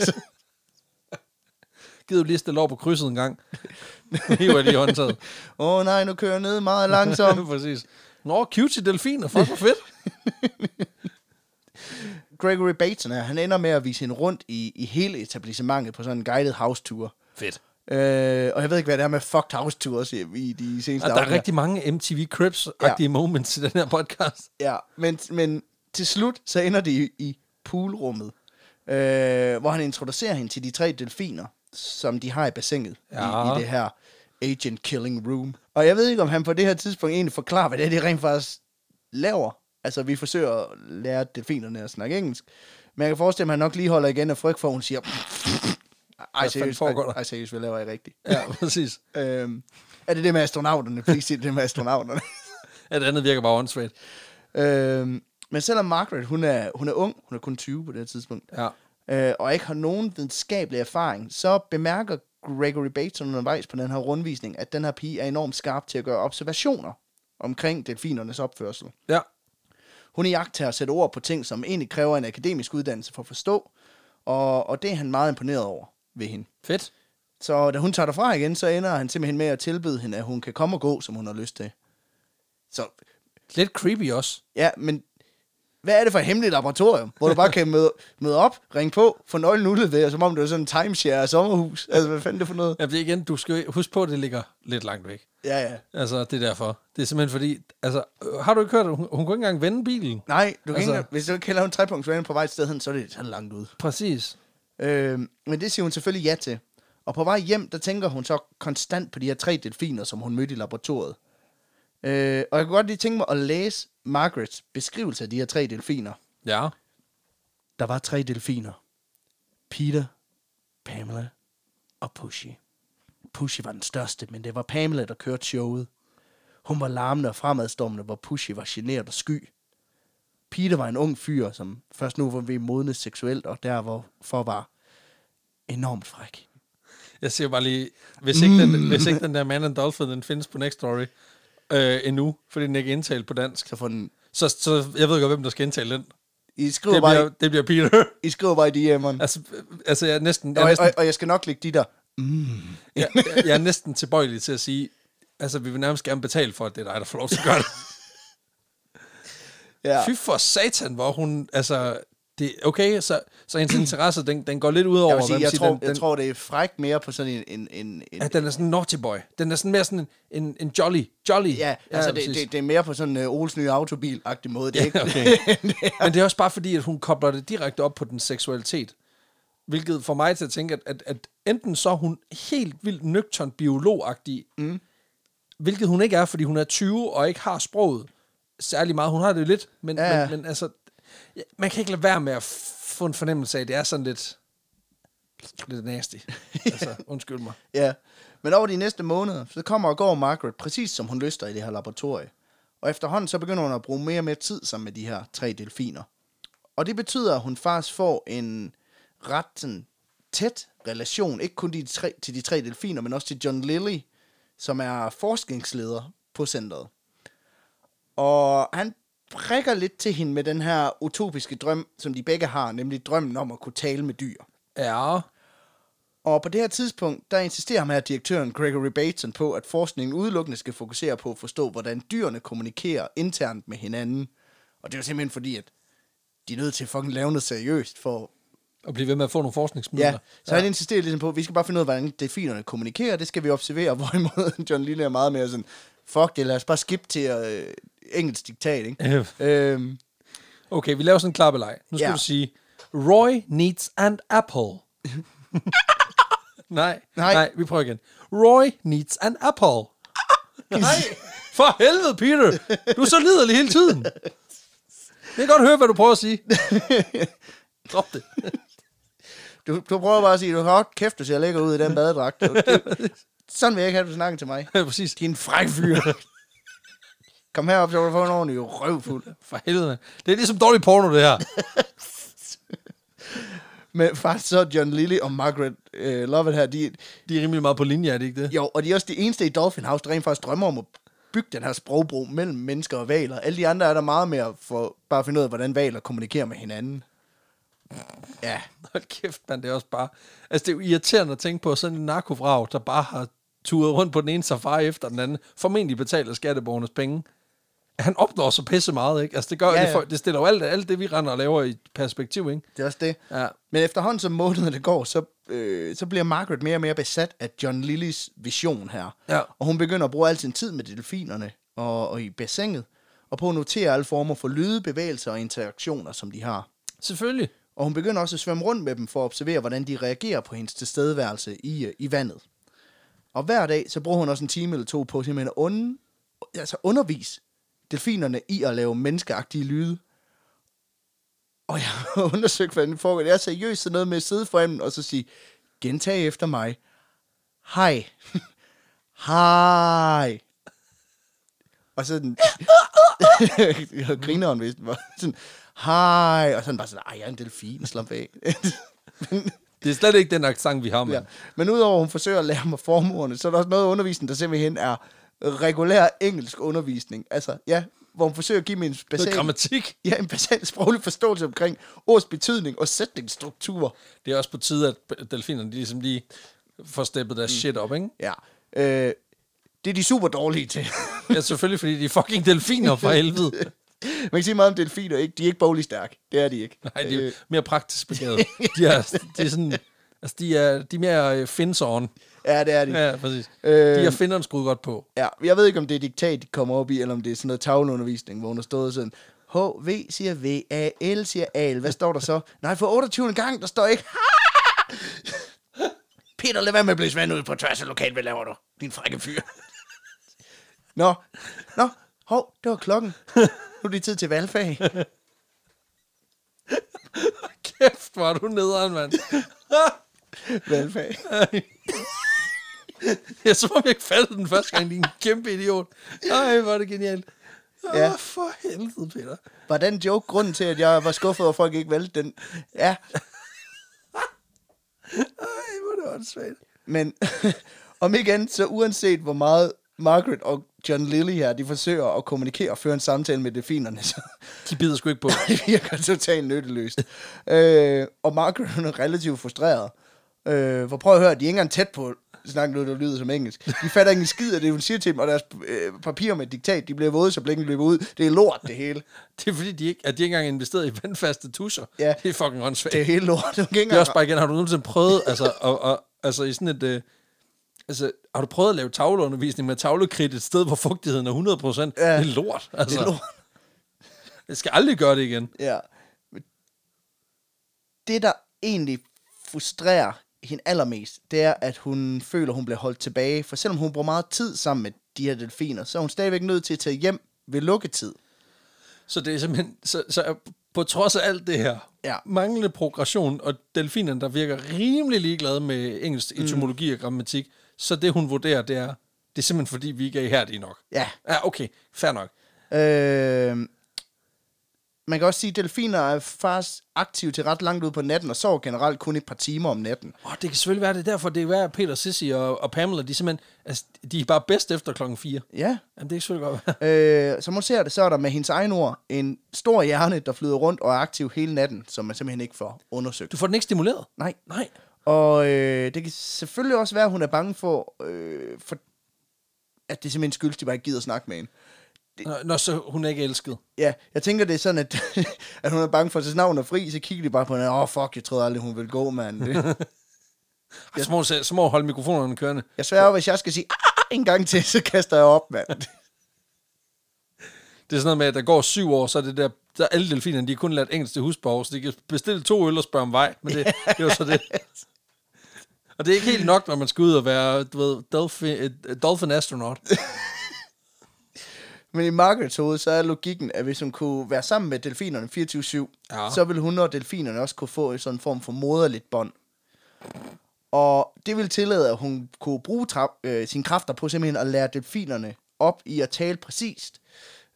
Gider du lige stille over på krydset en gang? (laughs) Hiver jeg lige i håndtaget. Åh oh, nej, nu kører jeg ned meget langsomt. (laughs) Præcis. Nå, cutie delfiner, fuck hvor fedt. Gregory Bateson her, han ender med at vise hende rundt i, i hele etablissementet på sådan en guided house tour. (laughs) fedt. Øh, og jeg ved ikke, hvad det er med fucked house tours i, i de seneste Og der er afsnit. rigtig mange MTV Cribs-agtige ja. moments i den her podcast. Ja, men, men til slut, så ender de i, i poolrummet, øh, hvor han introducerer hende til de tre delfiner, som de har i bassinet ja. i, Ja. i det her Agent Killing Room. Og jeg ved ikke, om han på det her tidspunkt egentlig forklarer, hvad det er, de rent faktisk laver. Altså, vi forsøger at lære delfinerne at snakke engelsk. Men jeg kan forestille mig, at han nok lige holder igen af frygt for, at hun siger... Ej, fanden seriøst, foregår der?" ej, seriøst, hvad laver I rigtigt? Ja, (laughs) præcis. (laughs) Øhm, er det det med astronauterne? Please sig det med astronauterne. At andet virker bare åndssvagt. Øhm, men selvom Margaret, hun er, hun er ung, hun er kun 20 på det her tidspunkt, Ja. øh, og ikke har nogen videnskabelig erfaring, så bemærker Gregory Bateson undervejs på den her rundvisning, at den her pige er enormt skarp til at gøre observationer omkring delfinernes opførsel. Ja. Hun er jagt til at sætte ord på ting, som egentlig kræver en akademisk uddannelse for at forstå, og, og det er han meget imponeret over ved hende. Fedt. Så da hun tager derfra igen, så ender han simpelthen med at tilbyde hende, at hun kan komme og gå, som hun har lyst til. Så Lidt creepy også. Ja, men hvad er det for et hemmeligt laboratorium, hvor du bare kan møde, møde op, ringe på, få nøglen udleveret, som om det var sådan en timeshare af sommerhus? Altså, hvad fanden er det for noget? Ja, det er igen, du skal jo huske på, at det ligger lidt langt væk. Ja, ja. Altså, det er derfor. Det er simpelthen fordi, altså, øh, har du ikke hørt, at hun, hun kunne ikke engang vende bilen? Nej, du kan altså... Altså- ikke, hvis du ikke kan lave en trepunktsvane på vej et sted hen, så er det sådan langt ud. Præcis. Øh, men det siger hun selvfølgelig ja til. Og på vej hjem, der tænker hun så konstant på de her tre delfiner, som hun mødte i laboratoriet. Øh, og jeg kunne godt lige tænke mig at læse Margarets beskrivelse af de her tre delfiner. Ja. Der var tre delfiner. Peter, Pamela og Pushy. Pushy var den største, men det var Pamela, der kørte showet. Hun var larmende og fremadstormende, hvor Pushy var generet og sky. Peter var en ung fyr, som først nu var ved modne seksuelt, og derfor var enormt fræk. Jeg ser bare lige, hvis ikke, mm. den, hvis ikke den der Man and Dolphin, den findes på Next Story øh, endnu, fordi den ikke er indtalt på dansk, Så få den... så, så jeg ved godt, hvem der skal indtale den. I skriver, Det bare, bliver, det bliver Peter. i, I skriver bare i (laughs) DM'eren. altså, altså, jeg er næsten, jeg Og, er næsten, og, og, jeg skal nok lægge de der. jeg, jeg er næsten tilbøjelig til at sige, altså, vi vil nærmest gerne betale for, at det er dig, der får lov til at gøre det. Ja. Fy for satan, hvor hun, altså, det, okay, så, så hendes interesse, den, den går lidt ud over, Jeg, vil sige, hvad man jeg, siger, tror, den, den, jeg tror, det er frækt mere på sådan en... en, en, en at den er sådan en naughty boy. Den er sådan mere sådan en, en, en jolly, jolly. ja, altså det, præcis. det, det, er mere på sådan en uh, Oles nye autobil-agtig måde. Det er ikke, Ja, (laughs) okay. Men det er også bare fordi, at hun kobler det direkte op på den seksualitet. Hvilket får mig til at tænke, at, at, at enten så er hun helt vildt nøgtern biologagtig, mm. hvilket hun ikke er, fordi hun er 20 og ikke har sproget særlig meget. Hun har det lidt, men, Ja, ja. ja. men, men altså, ja, man kan ikke lade være med at f- få en fornemmelse af, at det er sådan lidt, lidt (laughs) nasty. Altså, undskyld mig. Ja, men over de næste måneder, så kommer og går Margaret præcis som hun lyster i det her laboratorie. Og efterhånden så begynder hun at bruge mere og mere tid sammen med de her tre delfiner. Og det betyder, at hun faktisk får en ret sådan, tæt relation, ikke kun de tre, til de tre delfiner, men også til John Lilly, som er forskningsleder på centret. Og han prikker lidt til hende med den her utopiske drøm, som de begge har, nemlig drømmen om at kunne tale med dyr. Ja, Og på det her tidspunkt, der insisterer ham her direktøren Gregory Bateson på, at forskningen udelukkende skal fokusere på at forstå, hvordan dyrene kommunikerer internt med hinanden. Og det er jo simpelthen fordi, at de er nødt til at fucking lave noget seriøst for... og blive ved med at få nogle forskningsmidler. Ja, så han insisterer ligesom på, at vi skal bare finde ud af, hvordan delfinerne kommunikerer, det skal vi observere, (laughs) hvorimod John Lille er meget mere sådan, fuck det, lad os bare skip til øh, engelsk diktat, ikke? øhm, Okay, vi laver sådan en klappeleg. Nu skal Ja. ja. du sige, Roy needs an (laughs) apple. nej, Nej. nej, nej, vi prøver igen. Roy needs an apple. nej, for helvede, Peter. Du er så liderlig hele tiden. Jeg kan godt høre, hvad du prøver at (laughs) sige. Drop det. (laughs) (laughs) du, du prøver bare at sige, du har kæft, du ser lækker ud i den badedragt. Det- det- Sådan vil jeg ikke have, du snakker til mig. Ja, Præcis. Din fræk fyr. Kom herop, så kan du få en ordentlig røvfuld. (laughs) For helvede, mand. Det er ligesom dårlig porno, det her. Men faktisk så er John Lilly og Margaret øh, Lovett her, de, De er rimelig meget på linje, er det ikke det? jo, og de er også de eneste i Dolphin House, der rent faktisk drømmer om at bygge den her sprogbro mellem mennesker og valer. Alle de andre er der meget mere for bare at finde ud af, hvordan valer kommunikerer med hinanden. Ja, (laughs) Hold kæft, mand, det er også bare... Altså, det er jo irriterende at tænke på sådan en narkovrag, der bare har turet rundt på den ene safari efter den anden, formentlig betalt af skatteborgernes penge. Han opnår så pisse meget, ikke? Altså, det gør, Ja, ja, ja. ja. Det, for, det stiller jo alt, alt det, vi render og laver i perspektiv, ikke? det er også det. Ja. Men efterhånden som månederne går, så, øh, så bliver Margaret mere og mere besat af John Lillys vision her. Ja. Og hun begynder at bruge al sin tid med delfinerne og, og i bassinet, og på at notere alle former for lyde, bevægelser og interaktioner, som de har. Selvfølgelig. Og hun begynder også at svømme rundt med dem for at observere, hvordan de reagerer på hendes tilstedeværelse i, øh, i vandet. Og hver dag, så bruger hun også en time eller to på simpelthen at un, altså undervise delfinerne i at lave menneskeagtige lyde. Og jeg har (laughs) undersøgt, hvordan det foregår. Det er seriøst sådan noget med at sidde foran dem og så sige, gentag efter mig. Hej. (laughs) Hej. Og så den... (laughs) og grineren, hvis den var sådan... Hej. Og sådan bare sådan, ej, jeg er en delfin, slap af. (laughs) Det er slet ikke den accent, vi har, med. ja. Men udover at hun forsøger at lære mig formordene, så er der også noget af undervisningen, der simpelthen er regulær engelsk undervisning. Altså, ja, hvor hun forsøger at give mig en Det er basal, grammatik. ja, en basal sproglig forståelse omkring ords betydning og sætningsstruktur. Det er også på tide, at delfinerne de ligesom lige får steppet deres shit op, ikke? Ja. Øh, det er de super dårlige til. (laughs) Ja, selvfølgelig, fordi de er fucking delfiner (laughs) for helvede. Man kan sige meget om delfiner, ikke? De er ikke boglig stærke. Det er de ikke. Øh, Nej, de er mere praktisk (laughs) begavet. De er, de er sådan... Altså, de er, de er mere fins on. Ja, det er de. Ja, præcis. Øh, Øh, de har finderen skruet godt på. (laughs) Ja, jeg ved ikke, om det er diktat, de kommer op i, eller om det er sådan noget tavleundervisning, hvor hun har stået sådan, HV siger V, A, L siger AL. Hvad står der så? (laughs) Nej, for 28. gang, der står ikke. (laughs) Peter, lad være med at blive svand ud på tværs af lokalt. Hvad laver du? Din frække fyr. (laughs) Nå, nå, hov, det var klokken. Nu er det tid til valgfag. Kæft, hvor er du nederen, mand. valgfag. jeg så om jeg ikke fattede den første gang, din kæmpe idiot. Ej, hvor er det genialt. Åh, Ja. ja. for helvede, Peter. Var den joke grunden til, at jeg var skuffet, og folk ikke valgte den? Ja, Ej, hvor er det åndssvagt. Men (laughs) om ikke andet, så uanset hvor meget Margaret og John Lilly her, de forsøger at kommunikere og føre en samtale med delfinerne, (laughs) så De bider sgu (laughs) ikke på. det virker totalt nytteløst. øh, og Margaret hun er relativt frustreret. Øh, for prøv at høre, de er ikke engang tæt på at snakke noget, der lyder som engelsk. De fatter ikke en skid af det, hun siger til dem, og deres øh, papirer med et diktat, de bliver våde, så blinken løber ud. Det er lort, det hele. Det er fordi, de ikke, at de ikke engang investeret i vandfaste tuscher. Ja. Det er fucking åndssvagt. Det er helt lort. Hun kan ikke Det er også engang- bare igen, har du nogensinde prøvet, altså, og, og, altså i sådan et, øh, altså, har du prøvet at lave tavleundervisning med tavlekridt et sted, hvor fugtigheden er 100%? Ja. Det er lort, altså. Det er lort. Jeg skal aldrig gøre det igen. Ja. Men Det, der egentlig frustrerer hende allermest, det er, at hun føler, hun bliver holdt tilbage. For selvom hun bruger meget tid sammen med de her delfiner, så er hun stadigvæk nødt til at tage hjem ved lukketid. Så det er simpelthen, så, så på trods af alt det her, Ja. manglende progression, og delfinerne, der virker rimelig ligeglade med engelsk Mm. etymologi og grammatik, så det hun vurderer, det er, det er simpelthen fordi, vi ikke er ihærdige nok. Ja. Ja, okay, fair nok. Øh, man kan også sige, at delfiner er faktisk aktive til ret langt ud på natten, og sover generelt kun et par timer om natten. Åh, det kan selvfølgelig være det er derfor, det er være at Peter, Sissi og, og Pamela, de er simpelthen, altså, de er bare bedst efter klokken 4. Ja. Jamen, det kan selvfølgelig godt være. Øh, som hun ser det, så er der med hendes egen ord en stor hjerne, der flyder rundt og er aktiv hele natten, som man simpelthen ikke får undersøgt. Du får den ikke stimuleret? Nej. Nej. Og øh, det kan selvfølgelig også være, at hun er bange for, øh, for at det simpelthen skyldes, at de bare ikke gider at snakke med hende. Nå, Nå, så hun er ikke elsket. Ja, jeg tænker, det er sådan, at, (laughs) at hun er bange for, at så snart hun er fri, så kigger de bare på hende, åh, oh, fuck, jeg troede aldrig, hun ville gå, mand. Det- Ja. Så, må, hun se- så må hun holde mikrofonerne kørende. Jeg sværger, hvis jeg skal sige, ah, en gang til, så kaster jeg op, mand. Det er sådan noget med, at der går syv år, så er det der, der er alle delfinerne, de har kun lært engelsk til husbehov, så de kan bestille to øl og spørge om vej, (laughs) men det, det var så det. Og det er ikke helt nok, når man skal ud og være, du ved, dolphin, øh, dolphin astronaut. Men i Margarets hoved, så er logikken, at hvis hun kunne være sammen med delfinerne 24-7, Ja. ja. så ville hun og delfinerne også kunne få en sådan form for moderligt bånd. Og det ville tillade, at hun kunne bruge tra- øh, sine kræfter på simpelthen at lære delfinerne op i at tale præcist.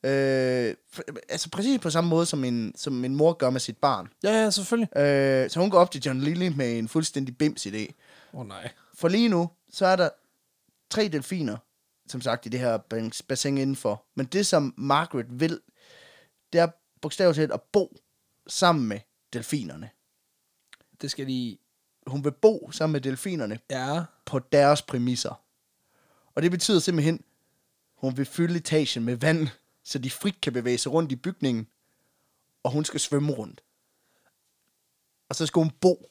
Øh, pr- altså præcis på samme måde, som en, som en mor gør med sit barn. Ja, ja, selvfølgelig. Øh, så hun går op til John Lilly med en fuldstændig bims idé. Åh oh, nej. For lige nu, så er der tre delfiner, som sagt, i det her bas- bassin indenfor. Men det, som Margaret vil, det er bogstaveligt talt at bo sammen med delfinerne. Det skal de... Hun vil bo sammen med delfinerne Ja. på deres præmisser. Og det betyder simpelthen, hun vil fylde etagen med vand, så de frit kan bevæge sig rundt i bygningen, og hun skal svømme rundt. Og så skal hun bo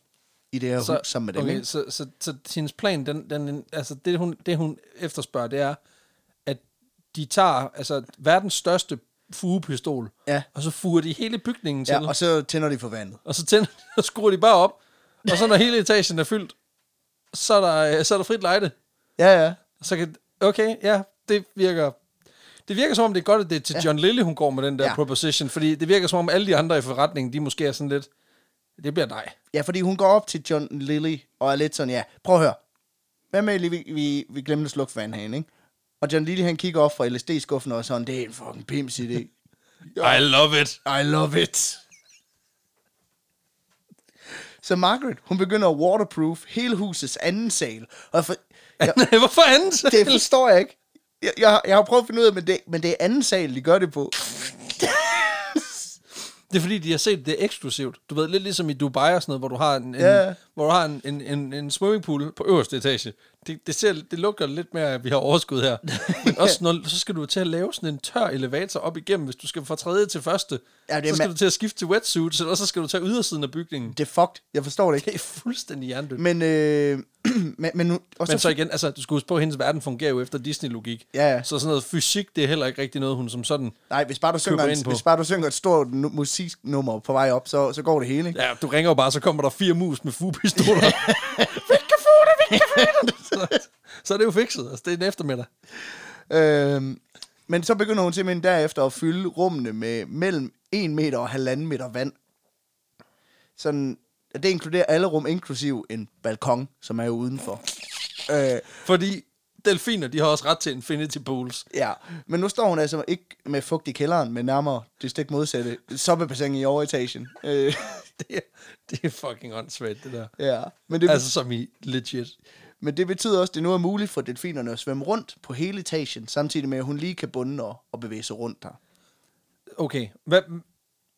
i det her så, hus sammen med dem. okay, ikke? så, så, så, så hendes plan, den, den, altså det hun, det hun efterspørger, det er, at de tager altså, verdens største fugepistol, Ja. og så fuger de hele bygningen til, Ja, og så tænder de for vandet. og så tænder, og skruer de (laughs) bare op, og så når hele etagen er fyldt, så er der, øh, så er der frit lejde. Ja, ja. Og Så kan, okay, ja, det virker... Det virker som om, det er godt, at det er til John Lilly, hun går med den der Ja. proposition, fordi det virker som om, alle de andre i forretningen, de måske er sådan lidt, det bliver dig. Ja, fordi hun går op til John Lilly og er lidt sådan, ja, prøv at høre. Hvad med, lige, vi, vi, vi glemte at slukke fanden herinde, ikke? Og John Lilly, han kigger op fra LSD-skuffen og er sådan, det er en fucking pims idé. I love it. I love it. Så Margaret, hun begynder at waterproof hele husets anden sal. Og for, jeg, (laughs) Hvorfor andet? (laughs) det forstår jeg ikke. Jeg, jeg, jeg har prøvet at finde ud af, men det, men det er anden sal, de gør det på. Det er fordi, de har set det er eksklusivt. Du ved, lidt ligesom i Dubai og sådan noget, hvor du har en, en, Ja. hvor du har en, en, en, en swimmingpool på øverste etage. Det, det, ser, det lugter lidt mere, at vi har overskud (laughs) her. Men også, når, så skal du til at lave sådan en tør elevator op igennem, hvis du skal fra tredje til første. Ja, det er så skal ma- du til at skifte til wetsuit, så- og så skal du tage ydersiden af bygningen. Det er fucked. Jeg forstår det ikke. (laughs) Det er fuldstændig hjernedødt. Men, Men, øh, (clears throat) men, men, hun- og men så igen, altså, du skal huske på, at hendes verden fungerer jo efter Disney-logik. Ja, ja. Så sådan noget fysik, det er heller ikke rigtig noget, hun som sådan... Nej, hvis bare du synger, køber en, ind på. hvis bare du synger et stort nu- musiknummer på vej op, så, så går det hele, ikke? Ja, du ringer jo bare, så kommer der fire mus med fuglepistoler. (laughs) vi kan få det, vi kan få det. (laughs) så er det jo fikset. Altså, det er en eftermiddag. Øhm, men så begynder hun simpelthen derefter at fylde rummene med mellem 1 meter og 1,5 meter vand. Sådan, og det inkluderer alle rum, inklusiv en balkon, som er jo udenfor. Øh, Fordi delfiner, de har også ret til infinity (laughs) pools. ja, men nu står hun altså ikke med fugt i kælderen, men nærmere det stik modsatte. Soppebassin i overetagen. Øh, Det er, det er fucking åndssvagt, det der. ja, men det, Altså som i legit. Men det betyder også, at det nu er muligt for delfinerne at svømme rundt på hele etagen, samtidig med, at hun lige kan bunde og, og bevæge sig rundt der. Okay, hvad,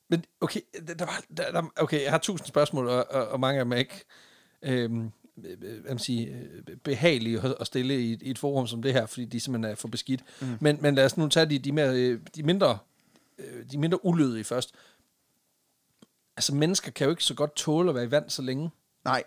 men okay, der- der var, der, der, okay, jeg har tusind spørgsmål, og, og, og mange af dem er ikke øhm, øh, hvad man siger, øh, behagelige at- at stille i, et- i et forum som det her, fordi de simpelthen er for beskidt. Mm. Men, men lad os nu tage de, de, mere, øh, de mindre øh, de mindre ulødige først. Altså, mennesker kan jo ikke så godt tåle at være i vand så længe. Nej,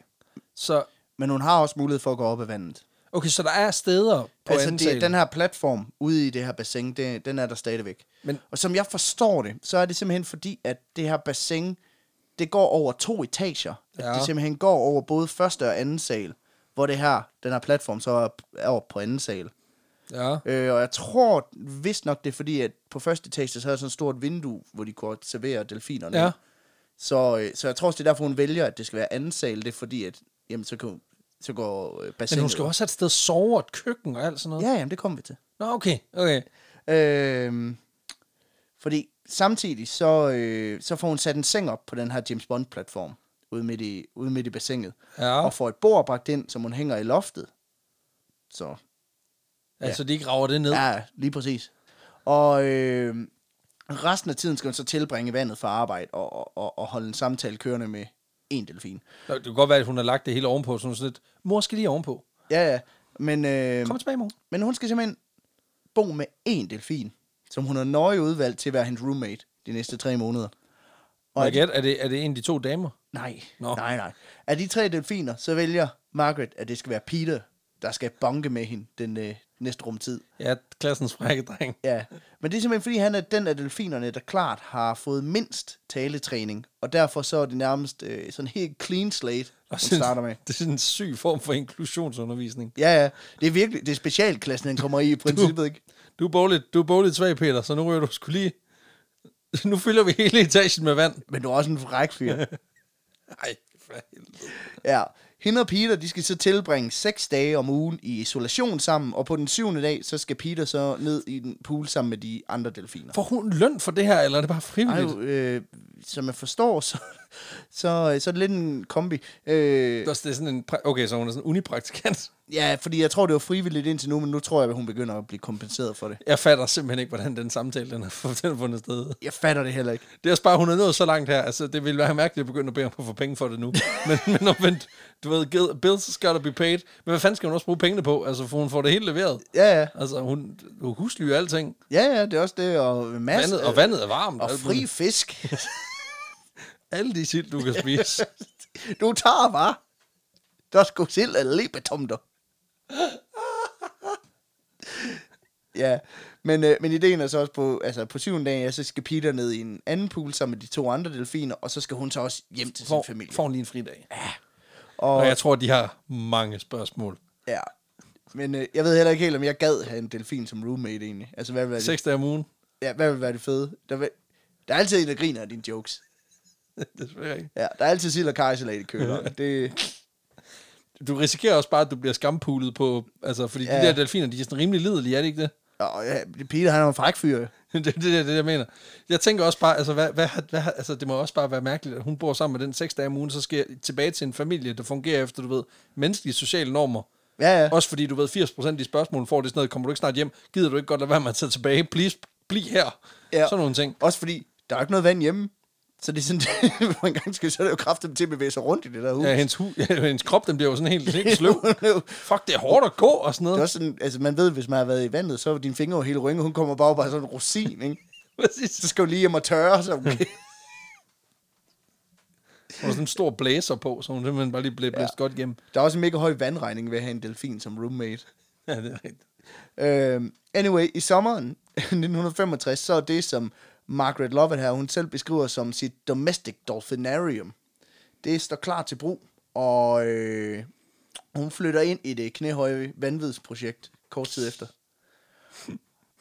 Så, men hun har også mulighed for at gå op ad vandet. okay, så der er steder på På altså, det, Andensalen. den her platform ude i det her bassin, det, den er der stadigvæk. Men- Men, og som jeg forstår det, så er det simpelthen fordi, at det her bassin, det går over to etager. Ja. Ja. At det simpelthen går over både første og anden sal, hvor det her, den her platform så er, er oppe på anden sal. Ja, Øh, og jeg tror vist nok, det er fordi, at på første etage, så havde jeg sådan et stort vindue, hvor de kunne servere delfinerne. Ja. Så, øh, så jeg tror også, det er derfor, hun vælger, at det skal være anden sal. Det er fordi, at jamen, så, kan, så går øh, bassinet... men hun skal jo også have et sted at sove og et køkken og alt sådan noget. Ja, jamen, det kommer vi til. Nå, okay, okay. Øh, fordi samtidig, så, øh, så får hun sat en seng op på den her James Bond-platform ude midt i, ude midt i bassinet. Ja. Og får et bord bragt ind, som hun hænger i loftet. Så Altså, de ikke rager det ned. Ja, lige præcis. Og øh, resten af tiden skal man så tilbringe i vandet for arbejde og, og- og, og holde en samtale kørende med en delfin. Nå, Det kan godt være, at hun har lagt det hele ovenpå, så hun er sådan lidt, mor skal lige ovenpå. Ja, ja. Men, øh, Kom tilbage i morgen. men hun skal simpelthen bo med en delfin, som hun har nøje udvalgt til at være hendes roommate de næste tre måneder. Og Og jeg gæt, er det, er det en af de to damer? Nej, Nå. no. nej, nej. Af de tre delfiner, så vælger Margaret, at det skal være Peter, der skal bonke med hende den øh, næste rumtid. Ja, klassens frække dreng. Ja, men det er simpelthen fordi, han er den af delfinerne, der klart har fået mindst taletræning, og derfor så er det nærmest øh, sådan helt clean slate, hun sådan- starter med. Det er sådan en syg form for inklusionsundervisning. Ja, ja, det er virkelig, det er specialklassen, han kommer i i princippet, ikke? Du er bogligt, du er bogligt svag, Peter, så nu ryger du skulle lige... Nu fylder vi hele etagen med vand. Men du er også en fræk fyr. Nej, for helvede. Ja, hende og Peter, de skal så tilbringe seks dage om ugen i isolation sammen, og på den syvende dag, så skal Peter så ned i den pool sammen med de andre delfiner. Får hun løn for det her, eller er det bare Ej, frivilligt? jo, øh, som jeg forstår, så, så, så er det lidt en kombi. Øh, Det er også- Det er sådan en... pra- Okay, så hun er sådan en unipraktikant. Ja, fordi jeg tror, det var frivilligt indtil nu, men nu tror jeg, at hun begynder at blive kompenseret for det. Jeg fatter simpelthen ikke, hvordan den samtale, den har fu- den har fundet sted. Jeg fatter det heller ikke. Det er også bare, hun er nået så langt her. Altså, det ville være mærkeligt at begynde at bede om at få penge for det (laughs) nu. men, men omvendt, du ved, gid- bills gotta be paid. Men hvad fanden skal hun også bruge pengene på? Altså, for hun får det hele leveret. Ja, ja. Altså, hun, hun husly og alting. Ja, ja, det er også det, og masser Vandet, og vandet er varmt. og alt fri muligt. fisk. (laughs) Alle de sild, du kan spise. du tager bare. Der er sgu sild af lebetomter. (laughs) ja, men, øh, men ideen er så også på, altså på syvende dagen, ja, så skal Peter ned i en anden pool sammen med de to andre delfiner, og så skal hun så også hjem til sin Får, familie. får hun lige en fri dag. og, Og jeg tror, de har mange spørgsmål. ja. Men øh, jeg ved heller ikke helt, om jeg gad have en delfin som roommate egentlig. Altså, hvad vil være det Seks dage om ugen. (laughs) Ja, hvad vil være det fede? Der, vil... der er altid en, der griner af dine jokes. Desværre ikke. Ja, der er altid sild og karrysalat i køleren. det, Du risikerer også bare, at du bliver skampulet på... Altså, fordi ja. Ja. de der delfiner, de er sådan rimelig lidelige, er det ikke det? og, ja, Peter, han er jo en fræk fyr. jo. (laughs) det, det, det, er det, jeg mener. Jeg tænker også bare, altså, hvad, hvad, hvad, altså, det må også bare være mærkeligt, at hun bor sammen med den seks dage om ugen, så skal jeg tilbage til en familie, der fungerer efter, du ved, menneskelige sociale normer. Ja, ja. Også fordi, du ved, 80% af de spørgsmål får det sådan noget, kommer du ikke snart hjem, gider du ikke godt lade være med at tage tilbage, please, bliv her. Ja. Ja. Sådan nogle ting. Også fordi, der er jo ikke noget vand hjemme. Så det er sådan, (laughs) hvor en gang skal så er det jo kraftigt til at bevæge sig rundt i det der hus. Ja, Ja, hendes, hu- (laughs) ja, hendes krop, den bliver jo sådan helt, helt (laughs) sløv. Fuck, det er hårdt at gå og sådan det er noget. også sådan, altså man ved, hvis man har været i vandet, så er dine fingre jo hele rynge. Hun kommer bare op af sådan en rosin, ikke? (laughs) Præcis. Så skal hun lige hjem og tørre, så okay. Hun har sådan en stor blæser på, så hun simpelthen bare lige blev blæst godt igennem. (laughs) Der er også en mega høj vandregning ved at have en delfin som roommate. Ja, det er rigtigt. Uh, anyway, i sommeren (laughs) 1965, så er det, som Margaret Lovett her, hun selv beskriver som sit domestic dolphinarium. Det står klar til brug, og øh, hun flytter ind i det knæhøje vanvidsprojekt kort tid efter.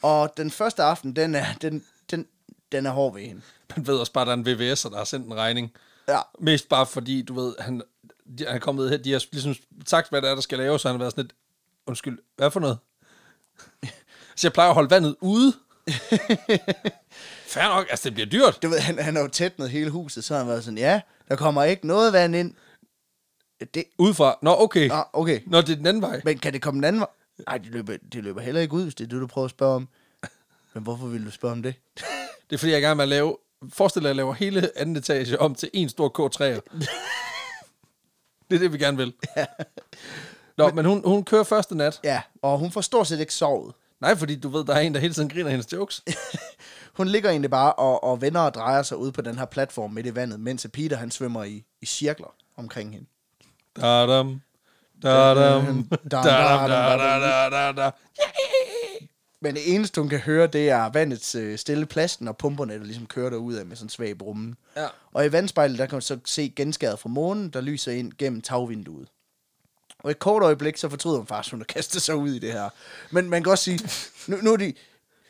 Og den første aften, den er, den, den, den er hård ved hende. Man ved også bare, at der er en VVS'er, der har sendt en regning. Ja, Mest bare fordi, du ved, han, de- han er kommet her, de har ligesom sagt, hvad der er, der skal laves, så han har været sådan lidt, undskyld, hvad for noget? (laughs) så jeg plejer at holde vandet (laughs) ude. Fair nok, altså det bliver dyrt. du ved, han, han har jo tætnet hele huset, så har han været sådan, ja, der kommer ikke noget vand ind. Det, Udefra. Nå, okay. ah, okay. Nå, det er den anden vej. Men kan det komme den anden vej? Nej, det løber, det løber heller ikke ud, hvis det er det, du prøver at spørge om. Men hvorfor vil du spørge om det? Det er fordi, jeg er i gang med at lave... Forestil dig, at jeg laver hele anden etage om til en stor (laughs) K3'er. det er det, vi gerne vil. Nå, men hun, hun kører første nat. Ja, og hun får stort set ikke sovet. Nej, fordi du ved, der er en, der hele tiden griner af hendes jokes. (laughs) Hun ligger egentlig bare og, og vender og drejer sig ud på den her platform midt i vandet, mens at Peter han svømmer i, i cirkler omkring hende. Da-dam. Da-dam. Da-dam, Da-dam, da-dam, da-da, (laughs) da-da. Men det eneste, hun kan høre, det er vandets øh, stille plasten og pumperne, der ligesom kører derud af med sådan svag brummen. Ja. Og i vandspejlet, der kan man så se genskæret fra månen, der lyser ind gennem tagvinduet. Og i et kort øjeblik, så fortryder hun faktisk, hun har kastet sig ud i det her. Men man kan også sige, nu, nu er de,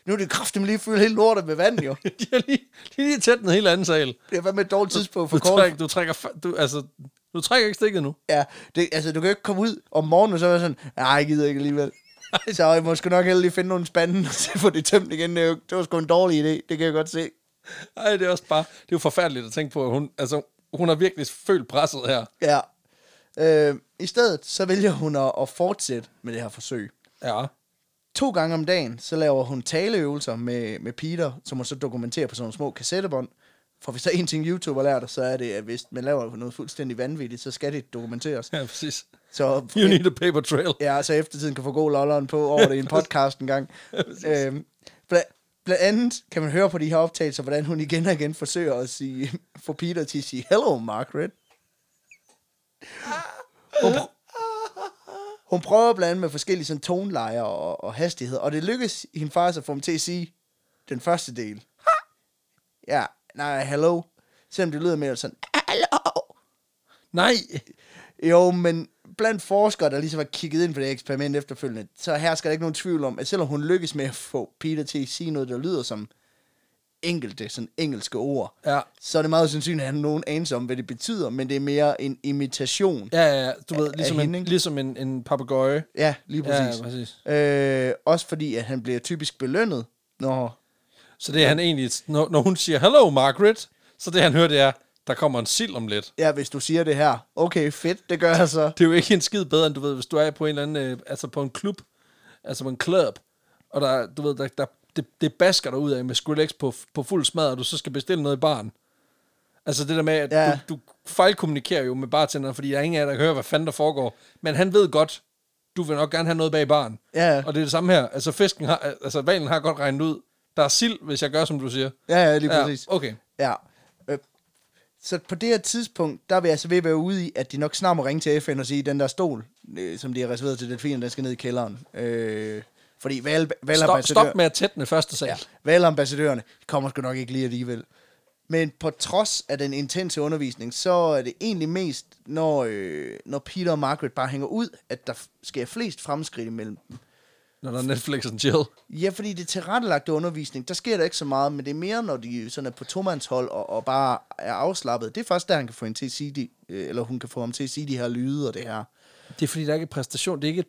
nu er de kraftigt lige fyldt helt lortet med vand, jo. De har lige, de er lige tæt den hele anden sal. Det var med et dårligt tidspunkt for Du, kort. træk, du trækker... fa- Du, altså, du trækker ikke stikket nu. Ja, det, altså, du kan jo ikke komme ud om morgenen, og så være sådan, nej, jeg gider ikke alligevel. Så jeg må sgu nok hellere lige finde nogle spanden, (laughs) og så få det tømt igen. Det er jo- det var sgu en dårlig idé, det kan jeg godt se. Ej, det er også bare... Det er jo forfærdeligt at tænke på, at hun... Altså, hun har virkelig følt presset her. Ja. Øh, I stedet, så vælger hun at, at fortsætte med det her forsøg. Ja. To gange om dagen, så laver hun taleøvelser med, med Peter, som hun så dokumenterer på sådan nogle små kassettebånd. For hvis der er en ting, YouTube har lært os, så er det, at hvis man laver noget fuldstændig vanvittigt, så skal det dokumenteres. Ja, præcis. Så (laughs) You need a paper trail. Ja, så eftertiden kan få god lolleren på over det i en podcast en gang. øhm, bla, blandt andet kan man høre på de her optagelser, hvordan hun igen og igen forsøger at sige, (laughs) få Peter til at sige, hello, Margaret. Hun, pr- hun prøver blandt andet med forskellige sådan, tonelejer og, og hastighed, og det lykkes hende faktisk at få ham til at sige den første del. Ja, nej, hello. Selvom det lyder mere sådan, hello. Nej. Jo, men blandt forskere, der ligesom har kigget ind på det eksperiment efterfølgende, så her skal der ikke nogen tvivl om, at selvom hun lykkes med at få Peter til at sige noget, der lyder som enkelte, sådan engelske ord, Ja. så er det meget sandsynligt, at han har nogen anelse om, hvad det betyder, men det er mere en imitation. Ja, ja, ja. Du ved, Af- ligesom af en, hende, ikke? ligesom en, en papegøje. Ja, lige præcis. Ja, præcis. Øh, også fordi, at han bliver typisk belønnet, når... Så det er han egentlig... Når, når hun siger, hello, Margaret, så det han hører, det er, der kommer en sild om lidt. Ja, hvis du siger det her, okay, fedt, det gør jeg så. Det er jo ikke en skid bedre, end du ved, hvis du er på en eller anden... Øh, altså på en klub. Altså på en club. Og der, du ved, der, der, det, det basker dig ud af med Skrillex på, på fuld smad, og du så skal bestille noget i baren. Altså det der med, at ja. Ja. du, du fejlkommunikerer jo med bartenderen, fordi der er ingen af jer, der hører, hvad fanden der foregår. Men han ved godt, du vil nok gerne have noget bag baren. Ja, Og det er det samme her. Altså, fisken har, altså valen har godt regnet ud. Der er sild, hvis jeg gør, som du siger. ja, ja lige præcis. Ja, okay. Ja. Øh, Så på det her tidspunkt, der vil jeg så ved at være ude i, at de nok snart må ringe til FN og sige, den der stol, øh, som de har reserveret til delfinen, den skal ned i kælderen. Øh, fordi val, Stop, valambassadør, stop med at tætne første sal. Ja. valambassadørerne kommer sgu nok ikke lige alligevel. Men på trods af den intense undervisning, så er det egentlig mest, når, øh, når Peter og Margaret bare hænger ud, at der f- sker flest fremskridt imellem dem. Når der er Netflix and chill. Ja, fordi det tilrettelagte undervisning, der sker der ikke så meget, men det er mere, når de sådan er på tomandshold og, og bare er afslappet. Det er først der, han kan få hende til at sige de, øh, eller hun kan få ham til at sige de her lyde og det her. Det er fordi, der er ikke er præstation. Det er ikke et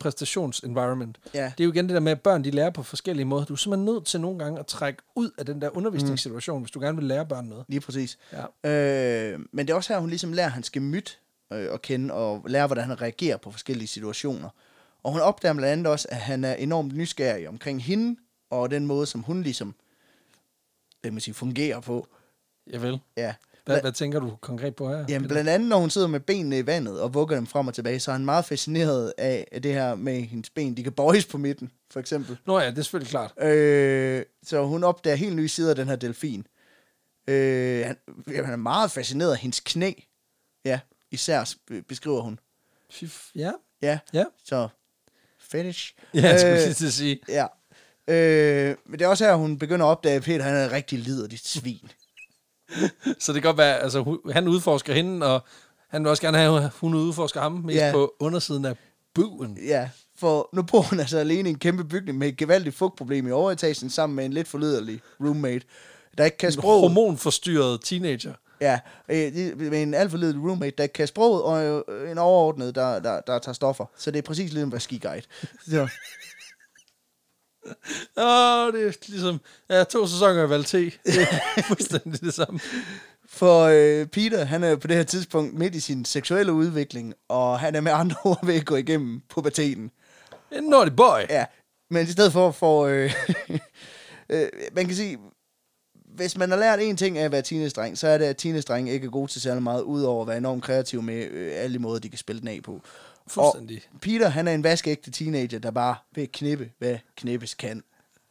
præstationsenvironment. Ja. Det er jo igen det der med, at børn de lærer på forskellige måder. Du er simpelthen nødt til nogle gange at trække ud af den der undervisningssituation, mm. hvis du gerne vil lære børn noget. Lige præcis. Ja. Øh, men det er også her, hun ligesom lærer, at han skal myt øh, at kende og lære, hvordan han reagerer på forskellige situationer. Og hun opdager blandt andet også, at han er enormt nysgerrig omkring hende og den måde, som hun ligesom det man sige, fungerer på. Jeg vil. Ja. Hvad, hvad tænker du konkret på her? Jamen blandt andet, når hun sidder med benene i vandet og vugger dem frem og tilbage, så er han meget fascineret af af det her med hendes ben. De kan bøjes på midten, for eksempel. Nå ja, det er selvfølgelig klart. Øh, så hun opdager helt nye sider af den her delfin. Øh, han, jamen, han er meget fascineret af hendes knæ. Ja, især sp- beskriver hun. Fy f- Ja. Ja, Ja. så fetish. Øh, Ja, jeg skulle lige til at sige. ja. Øh, men det er også her, hun begynder at opdage, at Peter han er et rigtig liderligt svin. Så det kan godt være, altså hu- han udforsker hende, og han vil også gerne have, at hun udforsker ham mest Ja. på undersiden af buen. Ja, for nu bor hun altså alene i en kæmpe bygning med et gevaldigt fugtproblem i overetagen sammen med en lidt forlyderlig roommate, der ikke kan sproget. Hormonforstyrret teenager. Ja, øh, det- med en alt for lidelig roommate, der ikke kan sproget, og øh, en overordnet, der, der, der tager stoffer. Så det er præcis ligesom at være skiguide. Så, Åh, det er ligesom ja, to sæsoner af Valté. Det er fuldstændig det samme. For øh, Peter, han er på det her tidspunkt midt i sin seksuelle udvikling, og han er med andre ord ved at gå igennem puberteten. En naughty boy. Ja, men i stedet for for... Øh, (laughs) øh, man kan sige, hvis man har lært en ting af at være teenage-dreng, så er det, at teenage-drenge ikke er gode til særlig meget, udover at være enormt kreative med øh, alle de måder, de kan spille den af på. Fuldstændig. Og Peter, han er en vaskeægte teenager, der bare vil knippe, hvad knippes kan.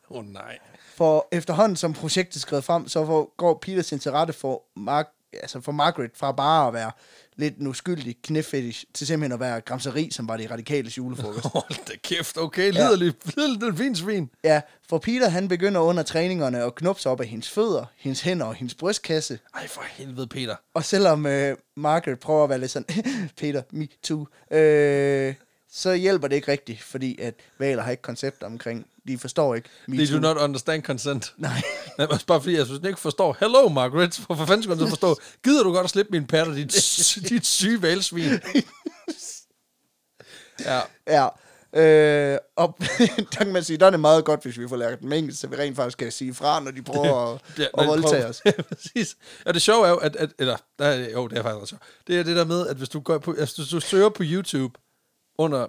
Åh oh, nej. For efterhånden, som projektet skred frem, så får- går Peters interesse for, Mar- altså for Margaret fra bare at være lidt en uskyldig knæfetish, til simpelthen at være gramseri, som var det radikale julefrokost. (laughs) Hold da kæft, okay. Liderlig, ja. liderlig fin svin. ja, for Peter han begynder under træningerne at knuppe sig op af hendes fødder, hendes hænder og hendes brystkasse. Ej, for helvede, Peter. Og selvom øh, Margaret prøver at være lidt sådan, (laughs) Peter, me too, øh, så hjælper det ikke rigtigt, fordi at valer har ikke koncept omkring, de forstår ikke me Did too. you not understand consent? (laughs) Nej. Nej, men også bare fordi, jeg synes, den ikke forstår. Hello, Margaret. Hvorfor fanden skulle du forstå? Gider du godt at slippe min patter, dit, (laughs) dit syge valsvin? ja. Ja. Øh, og (laughs) der kan man sige, der er det meget godt, hvis vi får lært dem engelsk, så vi rent faktisk kan sige fra, når de prøver at, Ja, at når de voldtage prøver- os. (laughs) Ja, Præcis. Og det sjove er jo, at, at eller, der er, jo, det er faktisk ret sjovt. Det er det der med, at hvis du, går på, altså, hvis du søger på YouTube under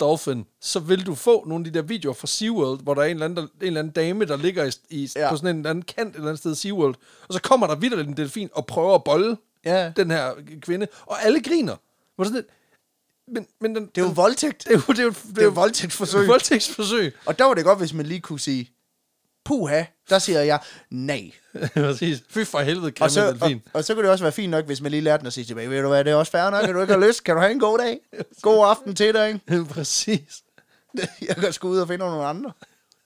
Dolphin, så vil du få nogle af de der videoer fra SeaWorld, hvor der er en eller anden, der, en eller anden dame, der ligger i, i, Ja. ja. på sådan en eller anden kant et eller andet sted i SeaWorld, og så kommer der videre en delfin og prøver at bolle Ja. den her kvinde, og alle griner. Hvor sådan lidt, men, men den, Det er jo den- voldtægt. (laughs) det er jo, det er jo, det er jo voldtægtsforsøg. (laughs) voldtægtsforsøg. Og der var det godt, hvis man lige kunne sige, puha, der siger jeg nej. Præcis. Fy for helvede, Og grimme så, og, delfin. og så kunne det også være fint nok, hvis man lige lærte den at sige tilbage, ved du hvad, det er også fair nok, at du ikke har lyst, kan du have en god dag? God aften til dig, (laughs) ikke? Præcis. Jeg kan sgu ud og finde nogle andre.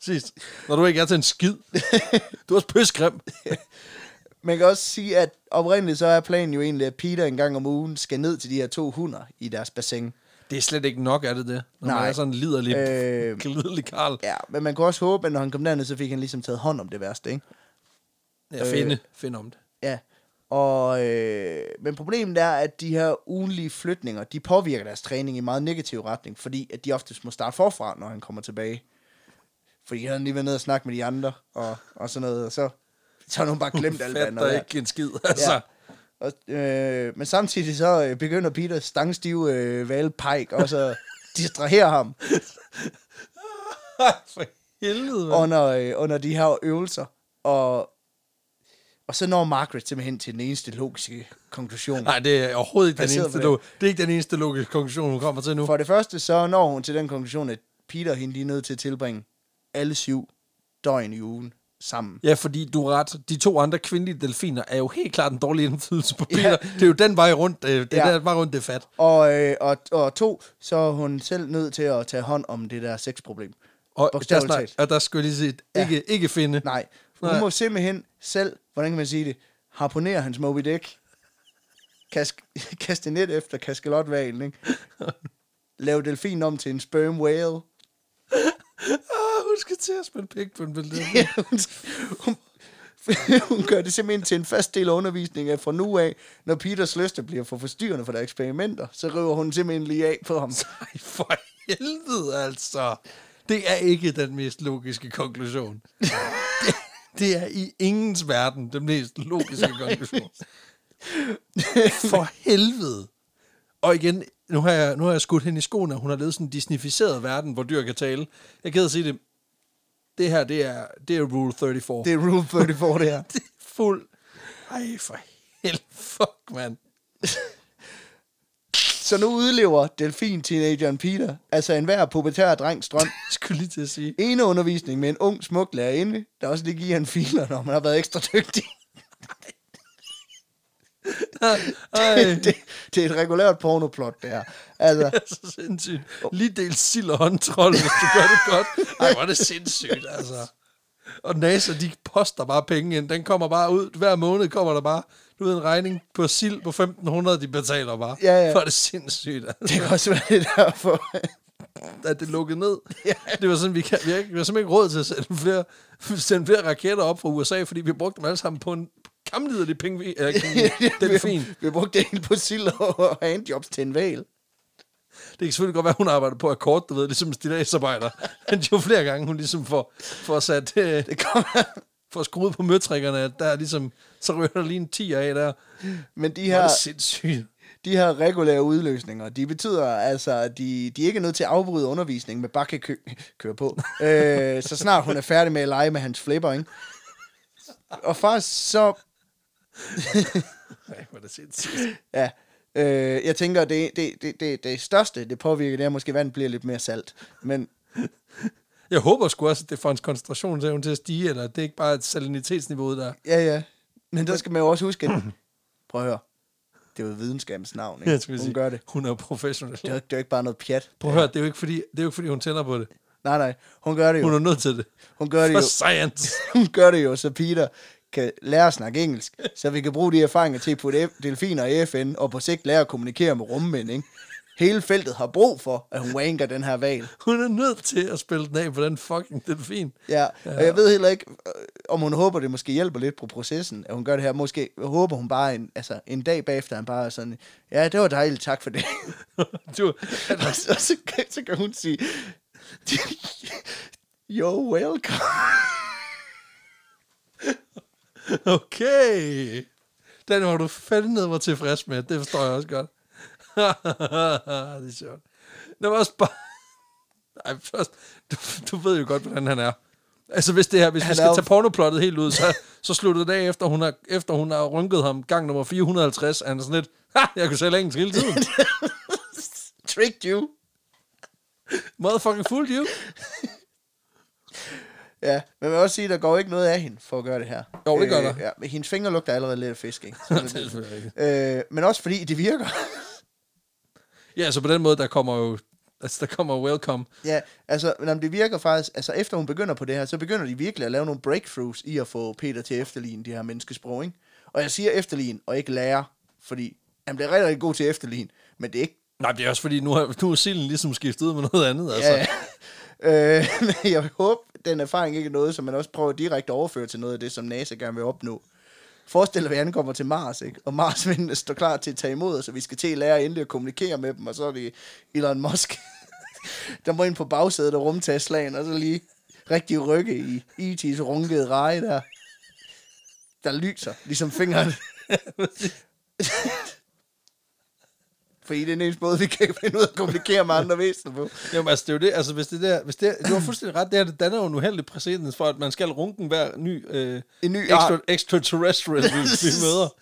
Præcis. Når du ikke er til en skid. Du er også pøsgrim. Man kan også sige, at oprindeligt så er planen jo egentlig, at Peter en gang om ugen skal ned til de her to hunder i deres bassin. (laughs) Det er slet ikke nok, er det det? Når Nej. man er sådan en liderlig, (laughs) Øh. øh... liderlig karl. Ja, Ja, men man kunne også håbe, at når han kom derned, så fik han ligesom taget hånd om det værste, ikke? ja finde, øh... finde om det. Ja. Og, øh, men problemet er, at de her ugenlige flytninger, de påvirker deres træning i meget negativ retning, fordi at de oftest må starte forfra, når han kommer tilbage. Fordi han har lige været nede og snakke med de andre, og, og sådan noget, og så, så har nogen bare glemt alt, hvad han har Fatter lært. ikke en skid, altså. (laughs) Ja. Og, øh, men samtidig så øh, begynder Peter stangstive øh, valgpejk (laughs) og så distraherer ham Ja. for helvede, mand. under, øh, under de her øvelser. Og, og så når Margaret simpelthen til den eneste logiske konklusion. Nej, det er overhovedet ikke den Baseret på eneste, det. log- det er ikke den eneste logiske konklusion, hun kommer til nu. For det første så når hun til den konklusion, at Peter og hende lige er nødt til at tilbringe alle syv døgn i ugen sammen. Ja, fordi du er ret. De to andre kvindelige delfiner er jo helt klart en dårlig indflydelse på Ja. Peter. Det er jo den vej rundt, øh, det er Ja. ja. den vej rundt, det er fat. Og, øh, og, og to, så er hun selv nødt til at tage hånd om det der sexproblem. Og, der, Bogstaveligt snak, talt. og der skulle jeg lige sige, Ja. ikke, ikke finde. Nej, hun Nej. må simpelthen selv, hvordan kan man sige det, harponere hans Moby Dick, kask, (laughs) kaste net efter (laughs) kaskelotvalen, ikke? Lave delfin om til en sperm whale. Ah, hun skal til at spille pik på en delfin. (laughs) hun, hun, (laughs) hun gør det simpelthen til en fast del af undervisningen, at fra nu af, når Peters lyster bliver for forstyrrende for deres eksperimenter, så river hun simpelthen lige af på ham. (laughs) Nej, for helvede altså. Det er ikke den mest logiske konklusion. det, det er i ingens verden den mest logiske konklusion. for helvede. Og igen, nu har jeg, nu har jeg skudt hende i skoene, og hun har levet sådan en disnificeret verden, hvor dyr kan tale. Jeg gider at sige det. Det her, det er, det er Rule 34. Det er Rule 34, det her. det er fuld. Ej, for helvede. Fuck, mand. Så nu udlever delfin-teenageren Peter, altså enhver pubertær drengs drøm, Jeg skulle lige til at sige. ene undervisning med en ung, smuk lærerinde, der også lige giver en filer, når man har været ekstra dygtig. Ej. (laughs) det, det, er et regulært pornoplot, det her. Altså, Det (laughs) er så sindssygt. Lige del sild og håndtrold, hvis du gør det godt. Ej, hvor er det sindssygt, altså. Og NASA, de poster bare penge ind. Den kommer bare ud. Hver måned kommer der bare du ved, en regning på sild på 1.500, de betaler bare. Ja, ja. For det sindssygt, altså. det kan også være det derfor. At det lukkede ned. Det var sådan, vi, kan, vi, har ikke, vi har simpelthen ikke råd til at sende flere, sende flere raketter op fra USA, fordi vi brugte dem alle sammen på en kamliderlig pingvin. Eller, (laughs) Mm. delfin. Vi, vi brugte det hele på sild og handjobs til en val. Det kan selvfølgelig godt være, hun arbejder på akkord, du (laughs) ved, ligesom en stillagsarbejder. Men jo flere gange hun ligesom får, får sat... Øh, Det kommer (laughs) får skruet på møtrikkerne, at der er ligesom, så ryger der lige en 10 af der. Men Ja. de Det her, er sindssygt. (laughs) de her regulære udløsninger, de betyder altså, at de, de ikke er nødt til at afbryde undervisningen, men bare kan kø- (laughs) køre på. øh, så snart hun er færdig med at lege med hans flipper, ikke? Og faktisk så (clears throat) Ej, hvor er det sindssygt. Ja. Øh, jeg tænker, det, det, det, det, det største, det påvirker, det er måske, at vandet bliver lidt mere salt. Men Jeg håber sgu også, at det får hans koncentrationsevne til at stige, eller at det ikke bare er salinitetsniveauet, der... ja, ja. Men der skal man jo også huske, at... (clears throat) Prøv at høre. Det er jo videnskabens navn, ikke? Jeg skulle Hun sige, gør det. Hun er professionel. Det er, jo ikke- det er jo ikke bare noget pjat. Prøv at høre, det er jo ikke fordi, det er jo ikke, fordi hun tænder på det. Nej, nej. Hun gør det jo. Hun er nødt til det. Hun gør det For jo. science. Hun gør det jo, så Peter kan lære at snakke engelsk, så vi kan bruge de erfaringer til at putte F- delfiner i FN, og på sigt lære at kommunikere med rummænd, ikke? Hele feltet har brug for, at hun wanker den her val. Hun er nødt til at spille den af på den fucking delfin. (laughs) Ja, og jeg ved heller ikke, øh, om hun håber, det måske hjælper lidt på processen, at hun gør det her. Måske håber hun bare en, altså, en dag bagefter, han bare er sådan, ja, det var dejligt, tak for det. du, og så, så, kan, så kan hun sige, you're welcome. okay. Den var du fandme var tilfreds med. Det forstår jeg også godt. (laughs) det er sjovt. Det var også bare... Ej, først, du, du ved jo godt, hvordan han er. Altså, hvis, det her, hvis vi Han skal er jo- tage pornoplottet helt ud, så, så slutter det af, efter hun, har, efter hun har rynket ham gang nummer 450, er han sådan lidt, ha, jeg kunne sælge engelsk hele tiden. Tricked you. Motherfucking fooled you. Ja, men jeg vil også sige, der går ikke noget af hende for at gøre det her. Jo, det gør der. Øh, ja, men hendes fingre lugter allerede lidt af fisk, ikke? (laughs) Så Det er det, selvfølgelig rigtigt. øh, men også fordi det virker. (laughs) ja, så på den måde, der kommer jo... Altså, der kommer welcome. Ja, altså, men om det virker faktisk, altså efter hun begynder på det her, så begynder de virkelig at lave nogle breakthroughs i at få Peter til at efterligne de her menneskesprog, ikke? Og jeg siger efterligne, og ikke lære, fordi han bliver rigtig, rigtig god til at efterligne, men det er ikke... Nej, det er også fordi, nu har, nu er silden ligesom skiftet ud med noget andet. Altså. Ja, ja. (laughs) øh, men jeg vil håbe, den erfaring ikke er noget, som man også prøver direkte at overføre til noget af det, som NASA gerne vil opnå. Forestil dig, at vi ankommer til Mars, ikke? Og Marsmændene står klar til at tage imod os, og vi skal til at lære endelig at kommunikere med dem, og så er det Elon Musk, (laughs) der må ind på bagsædet og rumtage slagen, og så lige rigtig rykke i E.T.'s runkede reje der, der lyser, ligesom (laughs) fingeren. Fordi det er den eneste måde, vi kan finde ud af at kommunikere med andre væsener på. Jamen, altså, det er jo det. Altså, hvis det der... Hvis det, du har fuldstændig ret. Det her, det danner jo en uheldig præcedens for, at man skal runken hver ny... Øh, En ny extra, art. extraterrestrial, vi, (laughs) vi møder.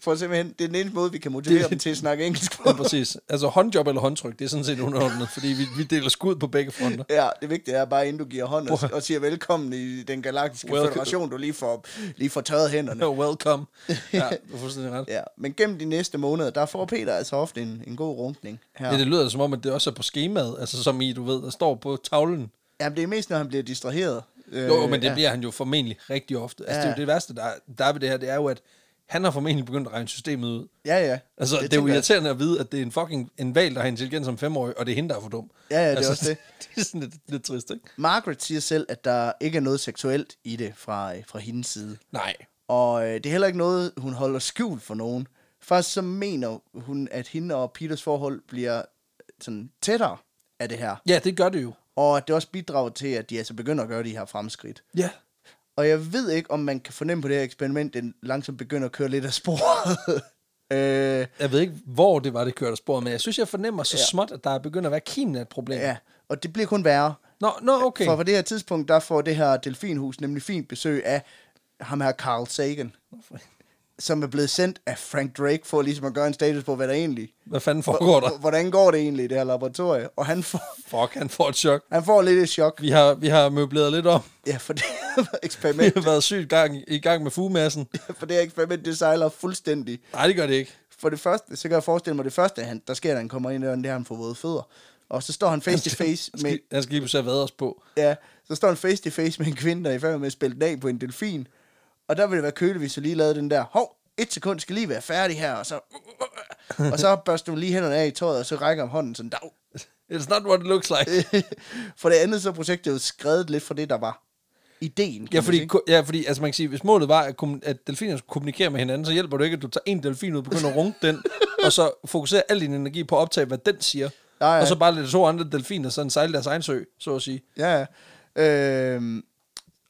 For simpelthen, det er den eneste måde, vi kan motivere Det- dem til at snakke (laughs) engelsk på. Ja, præcis. Altså, håndjob eller håndtryk, det er sådan set underordnet, fordi vi, vi deler skud på begge fronter. Ja, det vigtige er bare, inden du giver hånd og, og siger velkommen i den galaktiske Welcome. federation, du lige får, lige får tørret hænderne. No, (laughs) welcome. Ja, du har fuldstændig ret. Ja, men gennem de næste måneder, der får Peter altså ofte en, en god runkning her. Ja, det lyder som om, at det også er på skemaet, altså som I, du ved, der står på tavlen. Jamen, det er mest, når han bliver distraheret. Øh, Jo, jo, men det bliver han jo formentlig rigtig ofte. Altså, det er jo det værste, der, er- der er ved det her, det er jo, at han har formentlig begyndt at regne systemet ud. Ja, ja. Altså, det, det er jo tænker jeg. irriterende at vide, at det er en fucking en valg, der har intelligens som femårig, og det er hende, der er for dum. Ja, ja, det er altså, også det. (laughs) det er sådan lidt, lidt trist, ikke? Margaret siger selv, at der ikke er noget seksuelt i det fra, øh, fra hendes side. Nej. Og øh, det er heller ikke noget, hun holder skjult for nogen. Faktisk så mener hun, at hende og Peters forhold bliver øh, sådan tættere af det her. Ja, det gør det jo. Og at det også bidrager til, at de altså begynder at gøre de her fremskridt. Ja. Og jeg ved ikke, om man kan fornemme på det her eksperiment, den langsomt begynder at køre lidt af sporet. (laughs) øh, Jeg ved ikke, hvor det var, det kørte af sporet, men jeg synes, jeg fornemmer så ja. småt, at der er begyndt at være kimen af et problem. ja, og det bliver kun værre. Nå, nå, okay. For på det her tidspunkt, der får det her delfinhus nemlig fint besøg af ham her Carl Sagan, som er blevet sendt af Frank Drake for ligesom at gøre en status på, hvad der egentlig Hvad fanden foregår der? Hvordan går det egentlig i det her laboratorie? Og han får, Fuck, han får et chok. han får lidt et chok. Vi har, vi har møbleret lidt om. Ja, for det her Vi eksperiment, har været sygt gang, i gang med fugemassen. for det her eksperiment, det sejler fuldstændig. Nej, det gør det ikke. For det første, så kan jeg forestille mig, det første, han, der sker, da han kommer ind i døren, det er, at han får våde fødder. Og så står han face (laughs) to face Han med, skal, han skal lige pludselig have været os på. ja, så står han face to face med en kvinde, der er i færd med at spille den af på en delfin. Og der vil det være køligt, hvis jeg lige lavede den der, hov, et sekund skal lige være færdig her, og så... (laughs) Og så børster hun lige hænderne af i tøjet, og så rækker hun hånden sådan, dag. It's not what it looks like. (laughs) For det andet, så er projektet jo skrevet lidt fra det, der var ideen. kan Ja, man fordi, sige. ko- ja, fordi altså man kan sige, hvis målet var, at, kommun- at delfinerne skulle kommunikere med hinanden, så hjælper det ikke, at du tager en delfin ud og begynder at runke (laughs) den, og så fokuserer al din energi på at optage, hvad den siger. Nej, nej. Og så bare lade to andre delfiner sådan sejle deres egen sø, så at sige. Ja, ja. Øhm,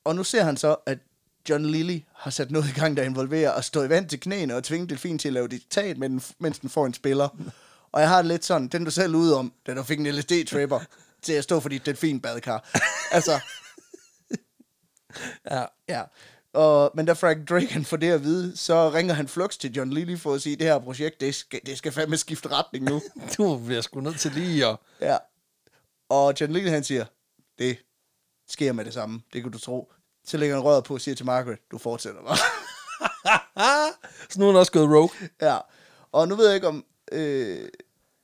Og nu ser han så, at John Lilly har sat noget i gang, der involverer at stå i vand til knæene og tvinge delfin til at lave diktat, men- mens den får en spiller. Og jeg har det lidt sådan, den du selv er ude om, da du fik en LSD-tripper til at stå for dit delfinbadkar. altså, Ja. ja. Og, men da Frank Drake han får det at vide, så ringer han flux til John Lilly for at sige, det her projekt, det skal, det skal fandme skifte retning nu. (laughs) Du bliver sgu nødt til lige at... Ja. Og John Lennon, han siger, det sker med det samme. Det kan du tro. Så lægger han røret på og siger til Margaret, du fortsætter bare. (laughs) Ah! så nu er han også gået rogue. (laughs) ja. Og nu ved jeg ikke, om... Øh,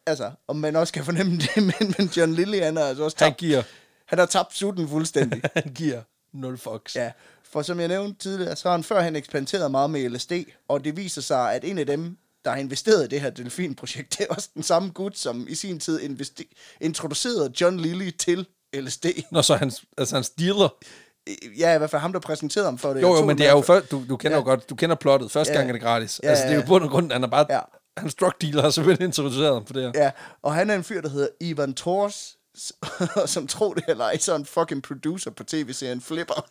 altså, om man også kan fornemme det, (laughs) men, men John Lilly, han har altså også Han tabt... giver. Han har tabt (laughs) sutten fuldstændig. Han giver nul fucks. Ja, for som jeg nævnte tidligere, så har han førhen eksperimenteret meget med LSD, og det viser sig, at en af dem, der har investeret i det her delfinprojekt, (laughs) det er også den samme gut, som i sin tid investe- introducerede John Lilly til LSD. Når så hans, altså hans dealer. Øh, Ja, i hvert fald ham, der præsenterede ham for det. Jo, Jeg jo, tog men den det er her jo før. før, du, du kender Ja. jo godt, du kender plottet. Første Ja. gang er det gratis. Ja, altså, det er ja. jo bund og grund, han er bare, Ja. hans drug dealer har simpelthen introduceret ham for det her. Ja, og han er en fyr, der hedder Ivan Tors, (laughs) som tror det eller ej, så er en fucking producer på tv-serien Flipper.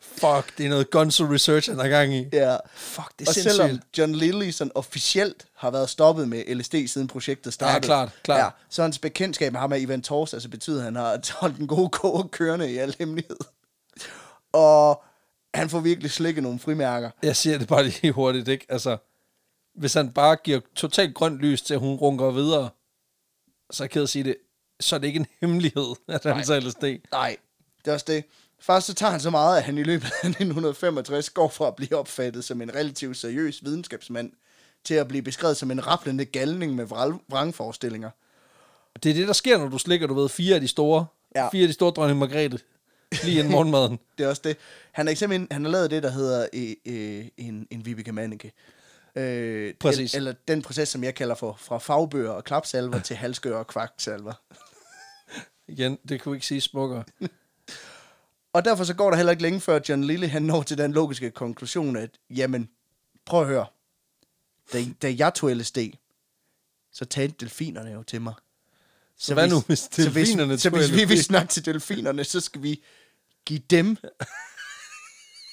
Fuck, det er noget gonzo research, han er gang i. Ja. Fuck, det er Og sindssygt. selvom John Lilly sådan officielt har været stoppet med LSD siden projektet startede, klart, klart. så hans bekendtskab med ham af Ivan Tors, altså betyder, at han har (laughs) holdt en god kog kørende i al hemmelighed. Og han får virkelig slikket nogle frimærker. Jeg siger det bare lige (laughs) hurtigt, ikke? Altså, hvis han bare giver totalt grønt lys til, at hun runker videre, så er jeg ked af at sige det, så er det ikke en hemmelighed, (laughs) at han tager LSD. Nej, det er også det. Først så tager han så meget, at han i løbet af (laughs) 1965 går fra at blive opfattet som en relativt seriøs videnskabsmand, til at blive beskrevet som en rapplende galning med vral- vrangforestillinger. Det er det, der sker, når du slikker, du ved, fire af de store. Ja. Ja. Fire af de store dronning Margrethe. Lige inden morgenmaden. (laughs) Det er også det. Han har simpelthen han har lavet det, der hedder øh, øh, en, en Vibeke Manneke. Øh, Præcis. El, eller den proces, som jeg kalder for fra fagbøger og klapsalver til halskører og kvaksalver. Igen, det kunne vi ikke sige smukkere. Og derfor så går der heller ikke længe før, at John Lille han når til den logiske konklusion, at jamen, prøv at høre, da, da jeg tog LSD, så talte delfinerne jo til mig. Så, hvad nu, hvis delfinerne så tog hvis, så hvis vi LSD? vil snakke til delfinerne, så skal vi give (laughs) dem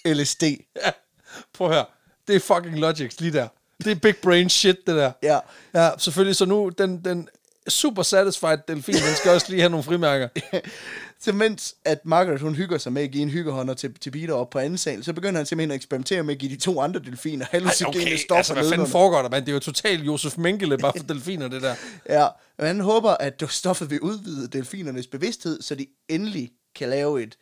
LSD. Ja. Prøv at høre. Det er fucking logics lige der. Det er big brain shit, det der. Ja. Ja, selvfølgelig. Så nu, den, den super satisfied delfin, den skal også lige have nogle frimærker. Så mens at Margaret hun hygger sig med at give en hyggehånder til, til Peter op på anden sal, så begynder han simpelthen at eksperimentere med at give de to andre delfiner Ej, hallucinogene okay, stoffer altså, hvad fanden nedenunder. foregår der, mand? Det er jo totalt Josef Mengele, bare (laughs) for delfiner, det der. Ja, og han håber, at stoffet vil udvide delfinernes bevidsthed, så de endelig kan lave et,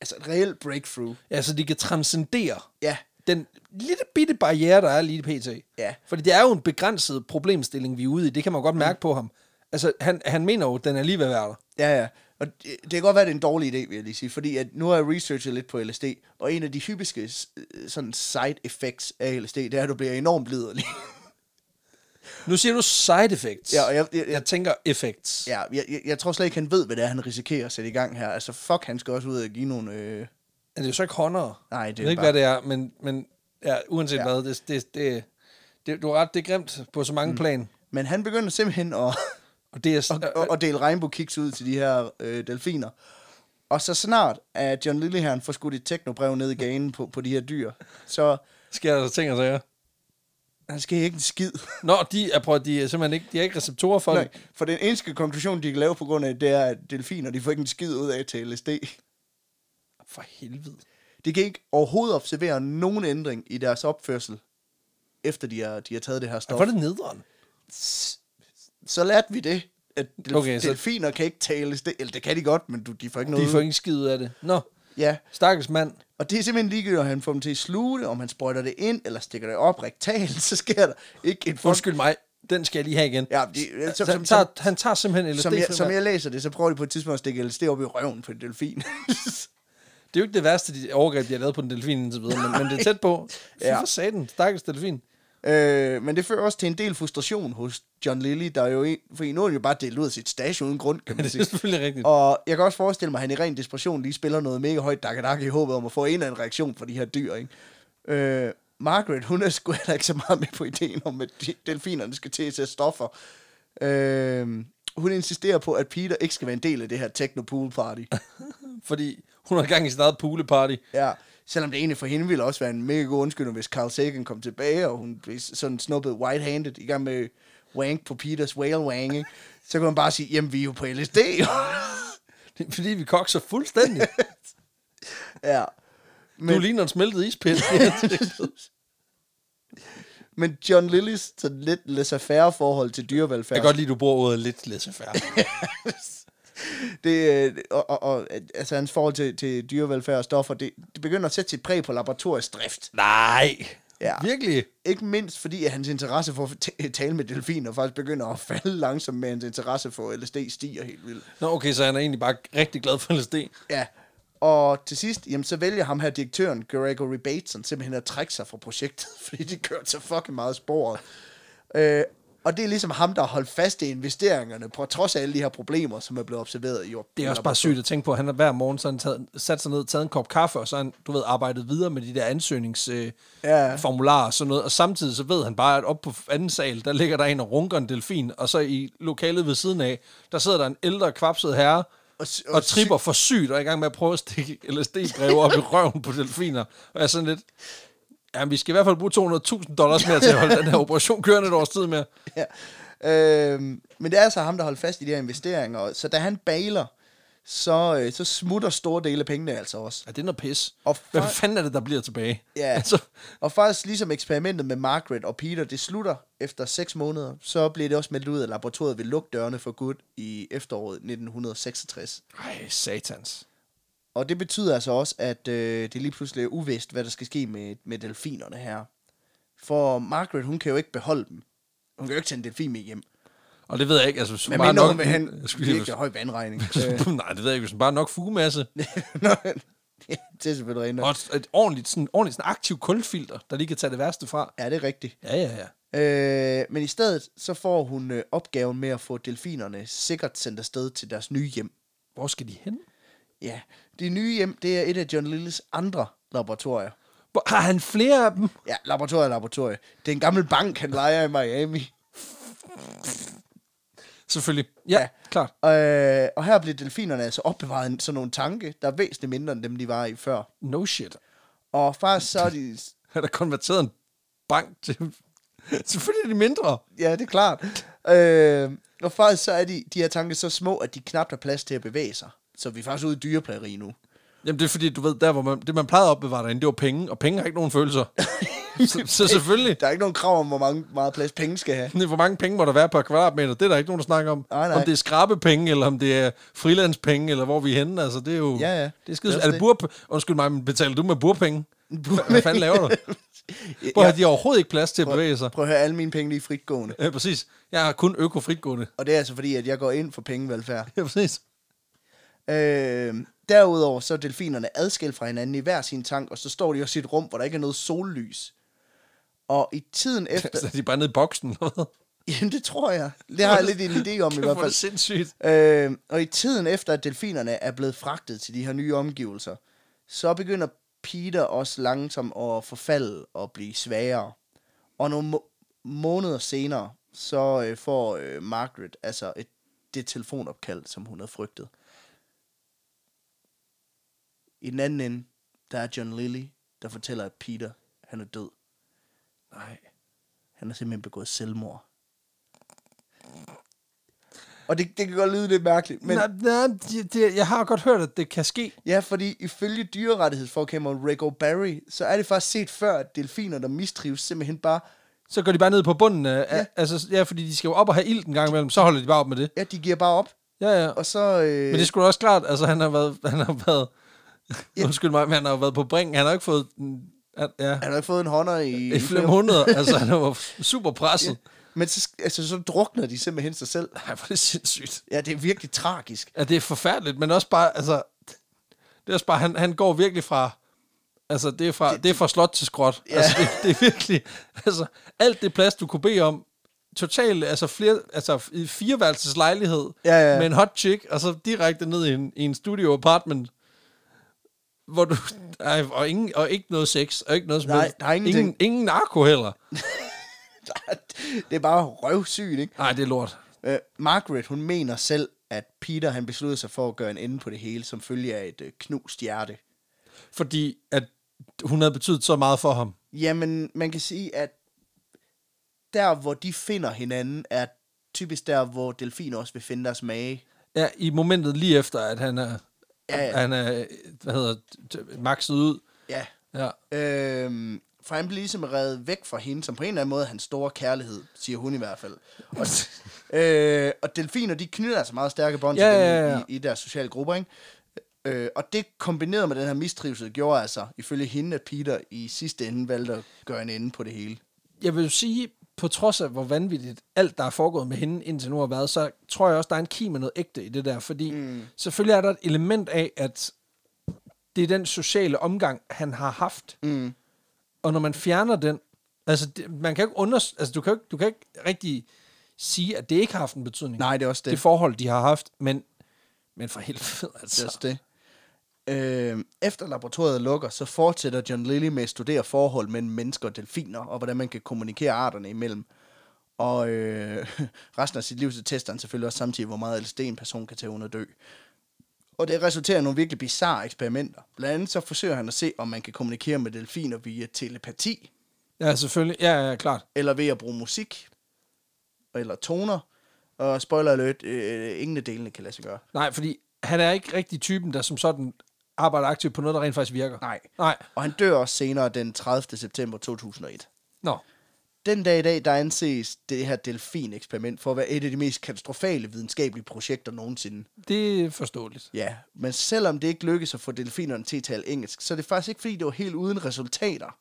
altså et reelt breakthrough. Altså, de kan transcendere Ja, den lille bitte barriere, der er lige pt. Ja. Mm. Fordi det er jo en begrænset problemstilling, vi er ude i. Det kan man godt mærke på ham. Altså, han, han mener jo, at den er lige ved at være der. ja, ja. Og det, det kan godt være, det er en dårlig idé, vil jeg lige sige, fordi at nu har jeg researchet lidt på LSD, og en af de hyppiske øh, sådan side effects af LSD, det er, at du bliver enormt liderlig. Nu siger du side effects. Ja, og jeg- jeg- jeg, jeg tænker effects. Ja, jeg, jeg, jeg tror slet ikke, han ved, hvad det er, han risikerer at sætte i gang her. Altså, fuck, han skal også ud og give nogle... Øh... Er det jo så ikke håndere? Nej, det er jeg ved ikke, bare- hvad det er, men, men ja, uanset Ja. ja. hvad, det, det, det, det, du har ret, det er grimt på så mange mm. plan. Men han begynder simpelthen at, Og det er, øh, at, at dele regnbogkiks ud til de her øh, delfiner. Og så snart, at John Lilleherren får skudt et teknobrev ned i ganen på, på de her dyr, så sker der ting og sager. han sker ikke en skid. Nå, de er, prøv, at- de er simpelthen ikke, de er ikke receptorer for Nej, det. for den eneste konklusion, de kan lave på grund af, det er, at delfiner, de får ikke en skid ud af til LSD. For helvede. De kan ikke overhovedet observere nogen ændring i deres opførsel, efter de har, de har taget det her stof. Hvor er det nederen? så lærte vi det, at delf- okay, Okay, så- delfiner kan ikke tales. Det, eller det kan de godt, men du, de får ikke noget. De får ikke skid ud af det. Nå, Ja, stakkels mand. og det er simpelthen ligegyldigt, om han får dem til at sluge det, om han sprøjter det ind, eller stikker det op rektalt, (laughs) så sker der ikke en fuck. Undskyld mig, den skal jeg lige have igen. Ja, de, Så, som, han, som, tager, som, han tager simpelthen LSD. som, jeg, som jeg, jeg læser det, så prøver de på et tidspunkt at stikke LSD op i røven på en delfin. (laughs) det er jo ikke det værste de overgreb, de har lavet på den delfin indtil videre, men, men det er tæt på. Fy (laughs) Ja. ja. for satan, stakkels delfin. øh, men det fører også til en del frustration hos John Lilly, der jo en, for nu har han jo bare delt ud af sit stage uden grund, kan man (laughs) Det sige. er selvfølgelig rigtigt. Og jeg kan også forestille mig, at han i ren desperation lige spiller noget mega højt dakadak i håbet om at få en eller anden reaktion fra de her dyr, ikke? Øh, Margaret, hun er sgu heller ikke så meget med på ideen om, at de- delfinerne skal til at tage stoffer. Øh, hun insisterer på, at Peter ikke skal være en del af det her techno pool party. Fordi hun har gang i sin eget pooleparty. Ja, selvom det egentlig for hende ville også være en mega god undskyldning, hvis Carl Sagan kom tilbage, og hun blev sådan snuppet white-handed i gang med wank på Peters whale wang, ikke? så kunne man bare sige, jamen vi er jo på LSD. Det er, fordi vi kokser fuldstændig. (laughs) ja. Men... Du ligner en smeltet ispind. (laughs) jeg Men John Lillys så lidt laissez-faire forhold til dyrevelfærd. kan godt lide, at du bruger ordet lidt (laughs) laissez-faire. det, øh, og, og, og, altså hans forhold til, til dyrevelfærd og stoffer, det, det begynder at sætte sit præg på laboratorisk drift. Nej. Ja. Virkelig. Ikke mindst fordi, at hans interesse for at t- tale med delfiner faktisk begynder at falde langsomt, med hans interesse for LSD stiger helt vildt. Nå, okay, så han er egentlig bare rigtig glad for LSD. Ja, og til sidst, jamen, så vælger ham her direktøren, Gregory Bateson, simpelthen at trække sig fra projektet, (laughs) fordi det kørte så fucking meget af sporet. Øh, og det er ligesom ham, der har holdt fast i investeringerne, på trods af alle de her problemer, som er blevet observeret i år. Det er også bare sygt at tænke på, at han har hver morgen sådan taget, sat sig ned, taget en kop kaffe, og så har han, du ved, arbejdet videre med de der Ja. ansøgningsformularer øh, ja. og sådan noget. Og samtidig så ved han bare, at oppe på anden sal, der ligger der en og runker en delfin, og så i lokalet ved siden af, der sidder der en ældre, kvapset herre, Og og, s- og og, og tripper for sygt, og er i gang med at prøve at stikke (laughs) LSD-breve op i røven på delfiner. Og jeg er sådan lidt, jamen vi skal i hvert fald bruge 200.000 dollars mere til at holde den her operation kørende et års tid mere. (laughs) Ja. Øhm, men det er altså ham, der holdt fast i de her investeringer, og- så da han baler, så, øh, så smutter store dele af pengene altså også. Ja, det er noget pis. Og Og fa- Hvad fanden er det, der bliver tilbage? Ja. (laughs) Altså, Og faktisk ligesom eksperimentet med Margaret og Peter, det slutter efter 6 måneder, så bliver det også meldt ud, at laboratoriet vil lukke dørene for Gud i efteråret 1966. ej, satans. Og det betyder altså også, at øh, det lige pludselig er uvist, hvad der skal ske med, med delfinerne her. For Margaret, hun kan jo ikke beholde dem. Hun kan jo ikke tage en delfin med hjem. Og det ved jeg ikke, altså hvis hun Men bare mindre hun nok... vil hen, (laughs) Jeg skulle lige- virkelig høj vandregning. øh, hvis- (laughs) Nej, det ved jeg ikke, hvis hun bare nok fugemasse. (laughs) nå, ja, det er selvfølgelig rent. Og nok. et, et ordentligt, sådan, ordentligt sådan aktiv kulfilter, der lige kan tage det værste fra. Ja, det er rigtigt. Ja, ja, ja. Øh, men i stedet, så får hun øh, opgaven med at få delfinerne sikkert sendt afsted til deres nye hjem. Hvor skal de hen? Ja, det nye hjem, det er et af John Lilles andre laboratorier. Hvor, har han flere af dem? Ja, laboratorie er laboratorie. Det er en gammel bank, han leger i Miami. Selvfølgelig. Ja, Ja. ja. klart. Øh, og her bliver delfinerne altså opbevaret i sådan nogle tanke, der er væsentligt mindre end dem, de var i før. No shit. Og faktisk så er de... Han har konverteret en bank til... (laughs) Selvfølgelig er de mindre. Ja, det er klart. Øh, og faktisk så er de, de her tanke så små, at de knap har plads til at bevæge sig. Så vi er faktisk ude i dyreplageri nu. Jamen det er fordi, du ved, der hvor man, det man plejede at opbevare derinde, det var penge, og penge har ikke nogen (laughs) følelser. så, så selvfølgelig. Der er ikke nogen krav om, hvor mange, meget plads penge skal have. Hvor mange penge må der være per kvadratmeter? Det er der ikke nogen, der snakker om. Nej, nej. Om det er skrabepenge, eller om det er frilandspenge, eller hvor vi er henne. Altså, det er jo... Ja, ja. Det er Det er skide... også Er det burp... Undskyld mig, men betaler du med (laughs) burpenge? Burpenge. Hvad fanden laver (laughs) du? Prøv at Ja. have, de har overhovedet ikke plads til at bevæge sig. Prøv at høre, alle mine penge de er fritgående. Ja, præcis. Jeg har kun øko-fritgående. Og det er altså fordi, at jeg går ind for pengevelfærd. (laughs) Ja, præcis. Øh, derudover så er delfinerne adskilt fra hinanden i hver sin tank, og så står de også i et rum, hvor der ikke er noget sollys. Og i (laughs) tiden Så efter... er de bare nede i boksen. Eller hvad? Jamen, det tror jeg. Det har jeg lidt en idé (laughs) om i Kæft, hvert hvor er det fald. sindssygt. Øh, og i tiden efter, at delfinerne er blevet fragtet til de her nye omgivelser, så begynder Peter også langsomt at forfalde og blive svagere. Og nogle må- måneder senere, så øh, får øh, Margaret altså et, det telefonopkald, som hun havde frygtet. I den anden ende, der er John Lilly, der fortæller, at Peter, han er død. Nej. Han har simpelthen begået selvmord. Og det, det kan godt lyde lidt mærkeligt, men... Men... Nej, nej det, det, jeg har godt hørt, at det kan ske. Ja, fordi ifølge dyrerettighedsforkæmper Rick Barry, så er det faktisk set før, at delfiner, der mistrives, simpelthen bare, Så går de bare ned på bunden. Af, ja. Altså, ja, fordi de skal jo op og have ild en gang imellem. Så holder de bare op med det. ja, de giver bare op. Ja, ja. Og så, øh, Men det skulle også klart, altså han har været, han har været, Ja. ja. undskyld mig, men han har jo været på brink, han har jo ikke fået, den- at- ja, han har ikke fået en hånder i, i flere måneder, altså han var super presset. Men så, sk- altså, så drukner de simpelthen sig selv. Nej, hvor er det sindssygt. Ja, det er virkelig tragisk. (laughs) Ja, det er forfærdeligt, men også bare, altså, det er også bare, han, han går virkelig fra, altså det er fra, det, det er fra slot til skråt. Ja. Altså det, det er virkelig, altså alt det plads, du kunne bede om, totalt, altså, flere, altså i fireværelses lejlighed, Ja, ja, ja. med en hot chick, og så direkte ned i en, i en studio apartment, hvor du, ej, og, ingen, og ikke noget sex, og ikke noget som Nej, helst. der er ingenting. ingen, ingen narko heller. Det er bare røvsygt, ikke? Nej, det er lort. Øh, Margaret, hun mener selv, at Peter han besluttede sig for at gøre en ende på det hele, som følge af et øh, knust hjerte. Fordi at hun havde betydet så meget for ham. Jamen, man kan sige, at der, hvor de finder hinanden, er typisk der, hvor delfiner også vil finde deres mage. Ja, i momentet lige efter, at han er, Ja, ja, ja. ja. Han er hvad hedder, t- t- maxet ud. Ja. Ja. Øhm, for han blev ligesom reddet væk fra hende, som på en eller anden måde er hans store kærlighed, siger hun i hvert fald. (laughs) Og, øh, og delfiner, de knytter altså meget stærke bånd til Ja, dem ja, ja. I, i deres sociale grupper, ikke? Øh, og det kombineret med den her mistrivsel gjorde altså, ifølge hende, at Peter i sidste ende valgte at gøre en ende på det hele. Jeg vil jo sige, på trods af hvor vanvittigt alt, der er foregået med hende indtil nu har været, så tror jeg også, der er en kim af noget ægte i det der. Fordi mm. selvfølgelig er der et element af, at det er den sociale omgang, han har haft. Mm. Og når man fjerner den, altså, det, man kan jo ikke under, altså du, kan jo ikke, du kan ikke rigtig sige, at det ikke har haft en betydning. Nej, det er også det. det forhold, de har haft, men, men for helvede, Det er altså. også det. Øh, efter laboratoriet lukker, så fortsætter John Lilly med at studere forhold mellem mennesker og delfiner, og hvordan man kan kommunikere arterne imellem. Og øh, (laughs) resten af sit liv, så tester han selvfølgelig også samtidig, hvor meget LSD en person kan tage under dø. Og det resulterer i nogle virkelig bizarre eksperimenter. Blandt andet så forsøger han at se, om man kan kommunikere med delfiner via telepati, Ja, selvfølgelig. Ja, ja, klart. eller ved at bruge musik, eller toner. Og spoiler alert, øh, ingen af delene kan lade sig gøre. Nej, fordi han er ikke rigtig typen, der som sådan arbejder aktivt på noget, der rent faktisk virker. Nej. Nej. Og han dør også senere den 30. september 2001. Nå. Den dag i dag, der anses det her delfin-eksperiment for at være et af de mest katastrofale videnskabelige projekter nogensinde. Det er forståeligt. Ja, men selvom det ikke lykkedes at få delfinerne til at tale engelsk, så er det faktisk ikke, fordi det var helt uden resultater.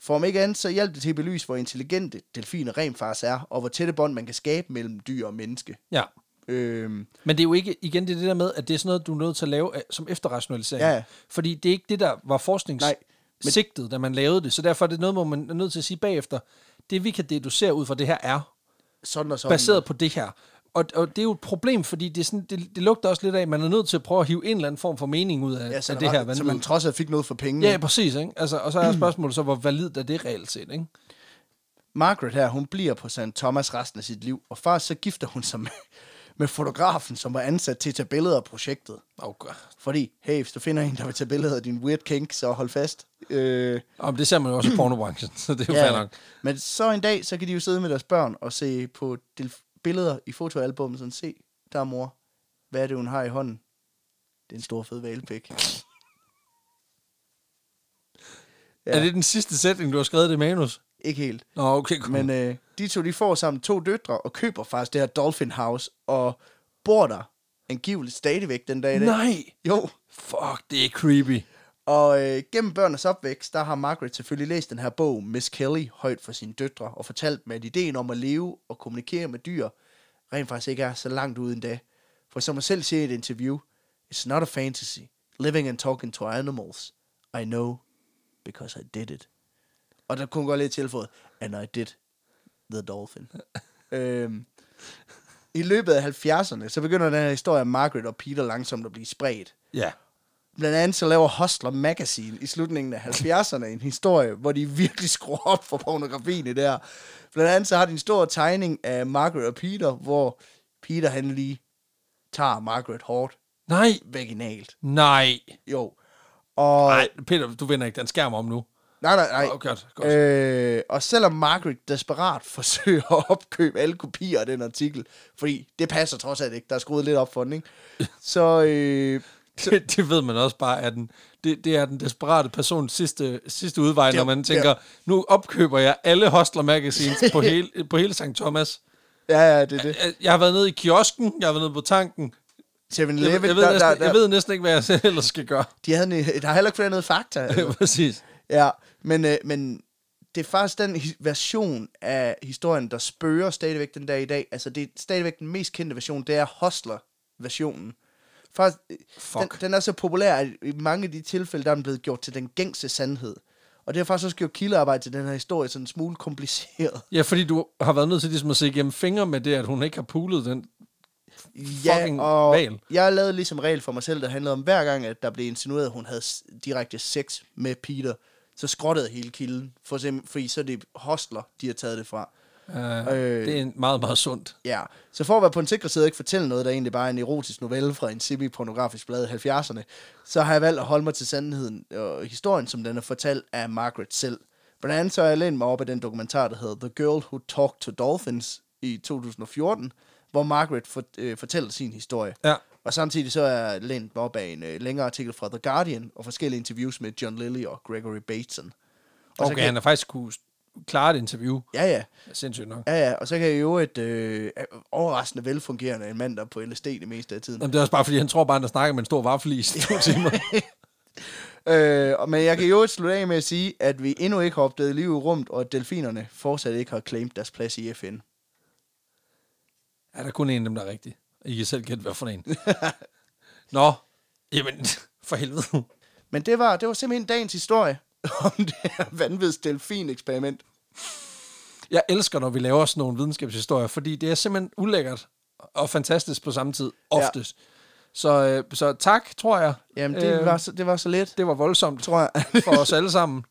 For om ikke andet, så hjalp det til at belyse, hvor intelligente delfiner rent faktisk er, og hvor tætte bånd man kan skabe mellem dyr og menneske. Ja. Øhm, Men det er jo ikke, igen, det er det der med, at det er sådan noget, du er nødt til at lave af, som efterrationalisering. Ja, ja. Fordi det er ikke det, der var Nej, forskningssigtet, da man lavede det. Så derfor er det noget, hvor man er nødt til at sige bagefter, det vi kan deducere ud fra det her er, sådan og sådan. baseret på det her. Og, og det er jo et problem, fordi det, er sådan, det, det lugter også lidt af, at man er nødt til at prøve at hive en eller anden form for mening ud af, ja, ja, så, af det her. så vanvid. man trods alt fik noget for pengene. Ja, præcis. Ikke? Altså, og så Mm. er spørgsmålet så, hvor validt er det reelt set? Ikke? Margaret her, hun bliver på St. Thomas resten af sit liv, og først så gifter hun sig med, med fotografen, som var ansat til at tage billeder af projektet. Okay. Fordi, hey, hvis du finder en, der vil tage billeder af din weird kink, så hold fast. Øh, Og det ser man jo også i pornobranchen, (laughs) så det er jo ja. fair nok. Men så en dag, så kan de jo sidde med deres børn og se på delf- billeder i fotoalbummet, sådan, se, der er mor. Hvad er det, hun har i hånden? Det er en stor fed valpik. Ja. Ja. Er det den sidste sætning, du har skrevet i det manus? Ikke helt. Nå, okay, kom. Men øh, de to, de får sammen to døtre og køber faktisk det her Dolphin House og bor der angiveligt stadigvæk den dag i dag. Nej! Jo, Fuck, det er creepy. og øh, gennem børnenes opvækst, der har Margaret selvfølgelig læst den her bog, Miss Kelly, højt for sine døtre, og fortalt dem, at ideen om at leve og kommunikere med dyr, rent faktisk ikke er så langt uden da. For som jeg selv siger i et interview, It's not a fantasy. Living and talking to animals. I know, because I did it. Og der kunne godt lidt tilføjet, and I did the dolphin. øhm, I løbet af 70'erne, så begynder den her historie af Margaret og Peter langsomt at blive spredt. Ja. Blandt andet så laver Hustler Magazine i slutningen af 70'erne en historie, hvor de virkelig skruer op for pornografien i det her. Blandt andet så har de en stor tegning af Margaret og Peter, hvor Peter han lige tager Margaret hårdt Nej! vaginalt. Nej! Jo. Og, Nej, Peter, du vender ikke den skærm om nu. nej, nej, nej. Oh, godt, godt. Øh, og selvom Margaret desperat forsøger at opkøbe alle kopier af den artikel, fordi det passer trods alt ikke, der er skruet lidt op for den, ikke? Så, øh, (laughs) Det, det ved man også bare, at den, det, det er den desperate persons sidste, sidste udvej, Ja, når man ja. tænker, nu opkøber jeg alle Hostler Magazines (laughs) på hele, på hele St. Thomas. ja, ja, det er det. Jeg- Jeg har været nede i kiosken, jeg har været nede på tanken, 7-Eleven, Jeg, ved- jeg, ved der- næsten, der- der- jeg ved næsten ikke, hvad jeg (laughs) selv ellers skal gøre. De havde en, (laughs) der har heller ikke flere noget fakta. Altså. Præcis. ja, men, øh, men det er faktisk den hi- version af historien, der spørger stadigvæk den dag i dag. Altså, det er stadigvæk den mest kendte version, det er Hustler-versionen. Faktisk, øh, den, Fuck. den er så populær, at i mange af de tilfælde, der er den blevet gjort til den gængse sandhed. Og det har faktisk også gjort kildearbejde til den her historie sådan en smule kompliceret. Ja, fordi du har været nødt til ligesom at se igennem fingre med det, at hun ikke har pulet den. Fucking hval. jeg lavede ligesom regel for mig selv, der handlede om hver gang, at der blev insinueret, at hun havde s- direkte sex med Peter, så skrottede hele kilden, for eksempel, fordi så er det hostler, de har taget det fra. Uh, øh, det er en meget, meget sundt. Ja, så for at være på en sikker side og ikke fortælle noget, der egentlig bare er en erotisk novelle fra en semi-pornografisk blad i 70'erne, så har jeg valgt at holde mig til sandheden og historien, som den er fortalt af Margaret selv. Blandt andet så har jeg lænet mig op af den dokumentar, der hedder The Girl Who Talked to Dolphins i 2014, hvor Margaret for, øh, fortæller sin historie. Ja. Og samtidig så er jeg lænet mig op af en øh, længere artikel fra The Guardian og forskellige interviews med John Lilly og Gregory Bateson. Og så Okay, kan han har faktisk kunne klare et interview. Ja, ja. Sindssygt nok. Ja, ja, og så kan jeg jo et øh, overraskende velfungerende en mand, der er på LSD det meste af tiden. Jamen, det er også bare, fordi han tror bare, han har snakket med en stor vaffel i to timer. (laughs) Øh, og- men jeg kan jo et slutte af med at sige, at vi endnu ikke har opdaget liv i rummet, og at delfinerne fortsat ikke har claimed deres plads i FN. Er der kun en af dem, der er rigtig? I kan selv gætte, hvad for (laughs) en. Nå, jamen, (laughs) for helvede. Men det var, det var simpelthen dagens historie (laughs) om det her vanvittige delfin-eksperiment. Jeg elsker, når vi laver sådan nogle videnskabshistorier, fordi det er simpelthen ulækkert og fantastisk på samme tid, oftest. Ja. Så, øh, så tak, tror jeg. Jamen, det, øh, var, så, det var så lidt, det var voldsomt tror jeg. (laughs) for os alle sammen.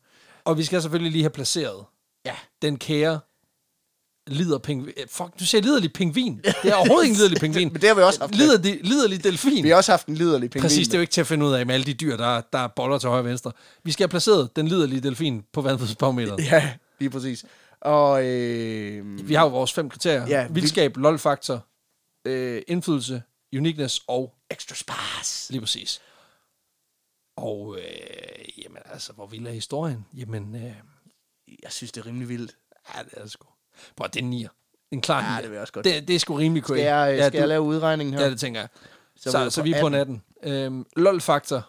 Og vi skal selvfølgelig lige have placeret ja. den kære lider pingvin. Fuck, du siger liderlig pingvin. Det er overhovedet ikke en liderlig pingvin. (laughs) Men det har vi også haft. Liderlig, liderlig delfin. Vi har også haft en liderlig pingvin. Præcis, det er jo ikke til at finde ud af med alle de dyr, der, der er boller til højre og venstre. Vi skal have placeret den liderlige delfin på vandvidsbarometeret. Ja, lige præcis. Og øh, Vi har jo vores fem kriterier. Ja, Ja, vi- Vildskab, lol-faktor, øh, indflydelse, uniqueness og extra spas. lige præcis. Og øh, jamen altså, hvor vild er historien? Jamen, øh, Jeg synes, det er rimelig vildt. ja, det er det sgu. Bro, det er en nier. En klar Ja, nier. det vil jeg også godt. Det, det er sgu rimelig Skal korrekt. jeg, ja, skal du- jeg lave udregningen her? Ja, det tænker jeg. Så, Så så, er vi vi, jo så på vi er på en 18. Øhm, LOL-faktor.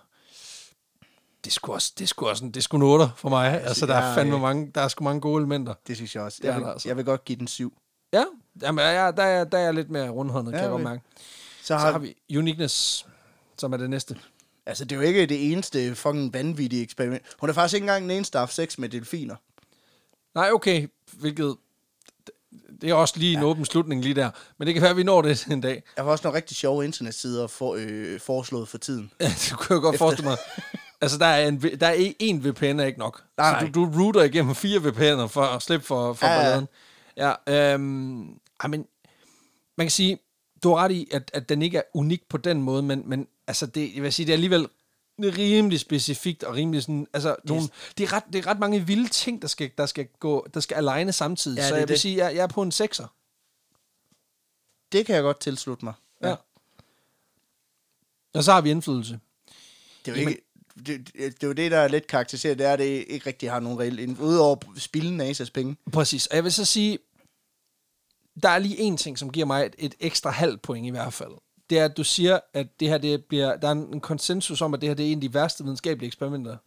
Det skulle også, det skulle også en, det skulle noter for mig. altså, der er jeg- fandme mange, der er sgu mange gode elementer. Det synes jeg også. Det er Jeg vil, der altså. jeg vil godt give den syv. Ja, jamen, jeg, der, er, der er jeg lidt mere rundhåndet, ja, Ja, kan jeg godt vi- mærke. Så Så har vi Uniqueness, som er det næste. Altså, det er jo ikke det eneste fucking vanvittige eksperiment. Hun er faktisk ikke engang den eneste, der har haft sex med delfiner. Nej, okay, hvilket... Det er også lige en åben slutning lige der. Men det kan være, at vi når det en dag. Jeg har også nogle rigtig sjove internetsider for, øh, foreslået for tiden. Ja, det kunne jeg godt forestille mig. Altså, der er, en, der er en- en VPN er ikke nok. Nej, så nej. du, du router igennem fire VPN'er for at slippe for, for ja, Ja, ja. balladen. Ja, øhm, ej, men man kan sige, du har ret i, at, at den ikke er unik på den måde, men, men altså, det, jeg vil sige, det er alligevel rimelig specifikt og rimelig sådan, altså, nogle, det, er ret, det er ret mange vilde ting, der skal, der skal gå, der skal aligne samtidig. Ja, Ja, så det er jeg vil det. sige, jeg, jeg er på en sekser. Det kan jeg godt tilslutte mig. Ja. ja. Og så har vi indflydelse. Det er jo ikke... Det, det, det er jo det, der er lidt karakteriseret, det er, at det ikke rigtig har nogen reelt ind. Udover spilden af Asas penge. Præcis, og jeg vil så sige, der er lige en ting, som giver mig et, et ekstra halvt point i hvert fald. Det er, at du siger, at det her det bliver, der er en en konsensus om, at det her det er en af de værste videnskabelige eksperimenter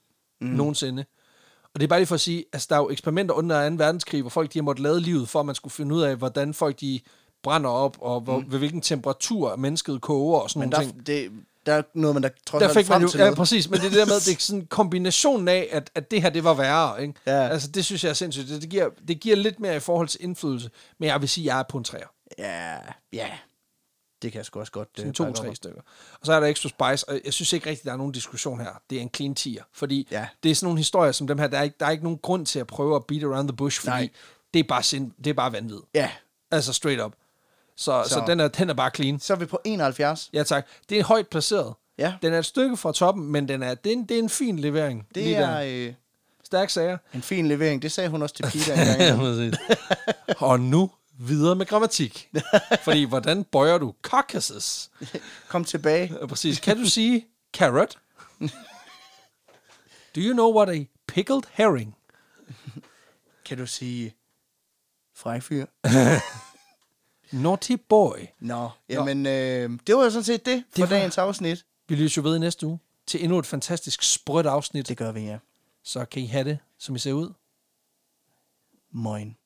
mm. Mhm. nogensinde. Og det er bare lige for at sige, at altså, der er jo eksperimenter under 2. verdenskrig, hvor folk de har måttet lade livet for, at man skulle finde ud af, hvordan folk de brænder op, og hvor, mm. ved hvilken temperatur mennesket koger og sådan Mhm. Men nogle ting der, det, der er noget, man der trods der alt fik frem man jo, til ja, noget. præcis, men det er det der med, det er sådan en kombination af, at, at det her, det var værre, ikke? Ja. Altså, det synes jeg er sindssygt. Det, det, giver, det giver lidt mere i forhold til indflydelse, men jeg vil sige, at jeg er på en træer. Ja, ja. Det kan jeg sgu også godt... Sådan øh, to, bakke op tre om. stykker. Og så er der Extra Spice, og jeg synes ikke rigtigt, der er nogen diskussion her. Det er en clean tier, fordi Ja. det er sådan nogle historier som dem her, der er, ikke, der er ikke nogen grund til at prøve at beat around the bush, fordi Nej. det er bare, sind, det er bare vanvid. Ja, Altså, straight up. Så, så. så Så- den, er, den er bare clean. så er vi på 71. Ja, tak. Det er højt placeret. Ja. Den er et stykke fra toppen, men den er, det, er en, det er en fin levering. Det lige der. er øh, Stærk sager. en fin levering. Det sagde hun også til Peter (laughs) (laughs) engang. præcis. og nu videre med grammatik. Fordi hvordan bøjer du carcasses? Kom tilbage. Ja, Præcis. Kan du sige carrot? Do you know what a pickled herring? Kan du sige frækfyr? Naughty boy. Nå, jamen øh, det var jo sådan set det for Det var- det dagens afsnit. Vi lyser jo ved i næste uge til endnu et fantastisk sprødt afsnit. Det gør vi, ja. Så kan I have det, som I ser ud. Moin.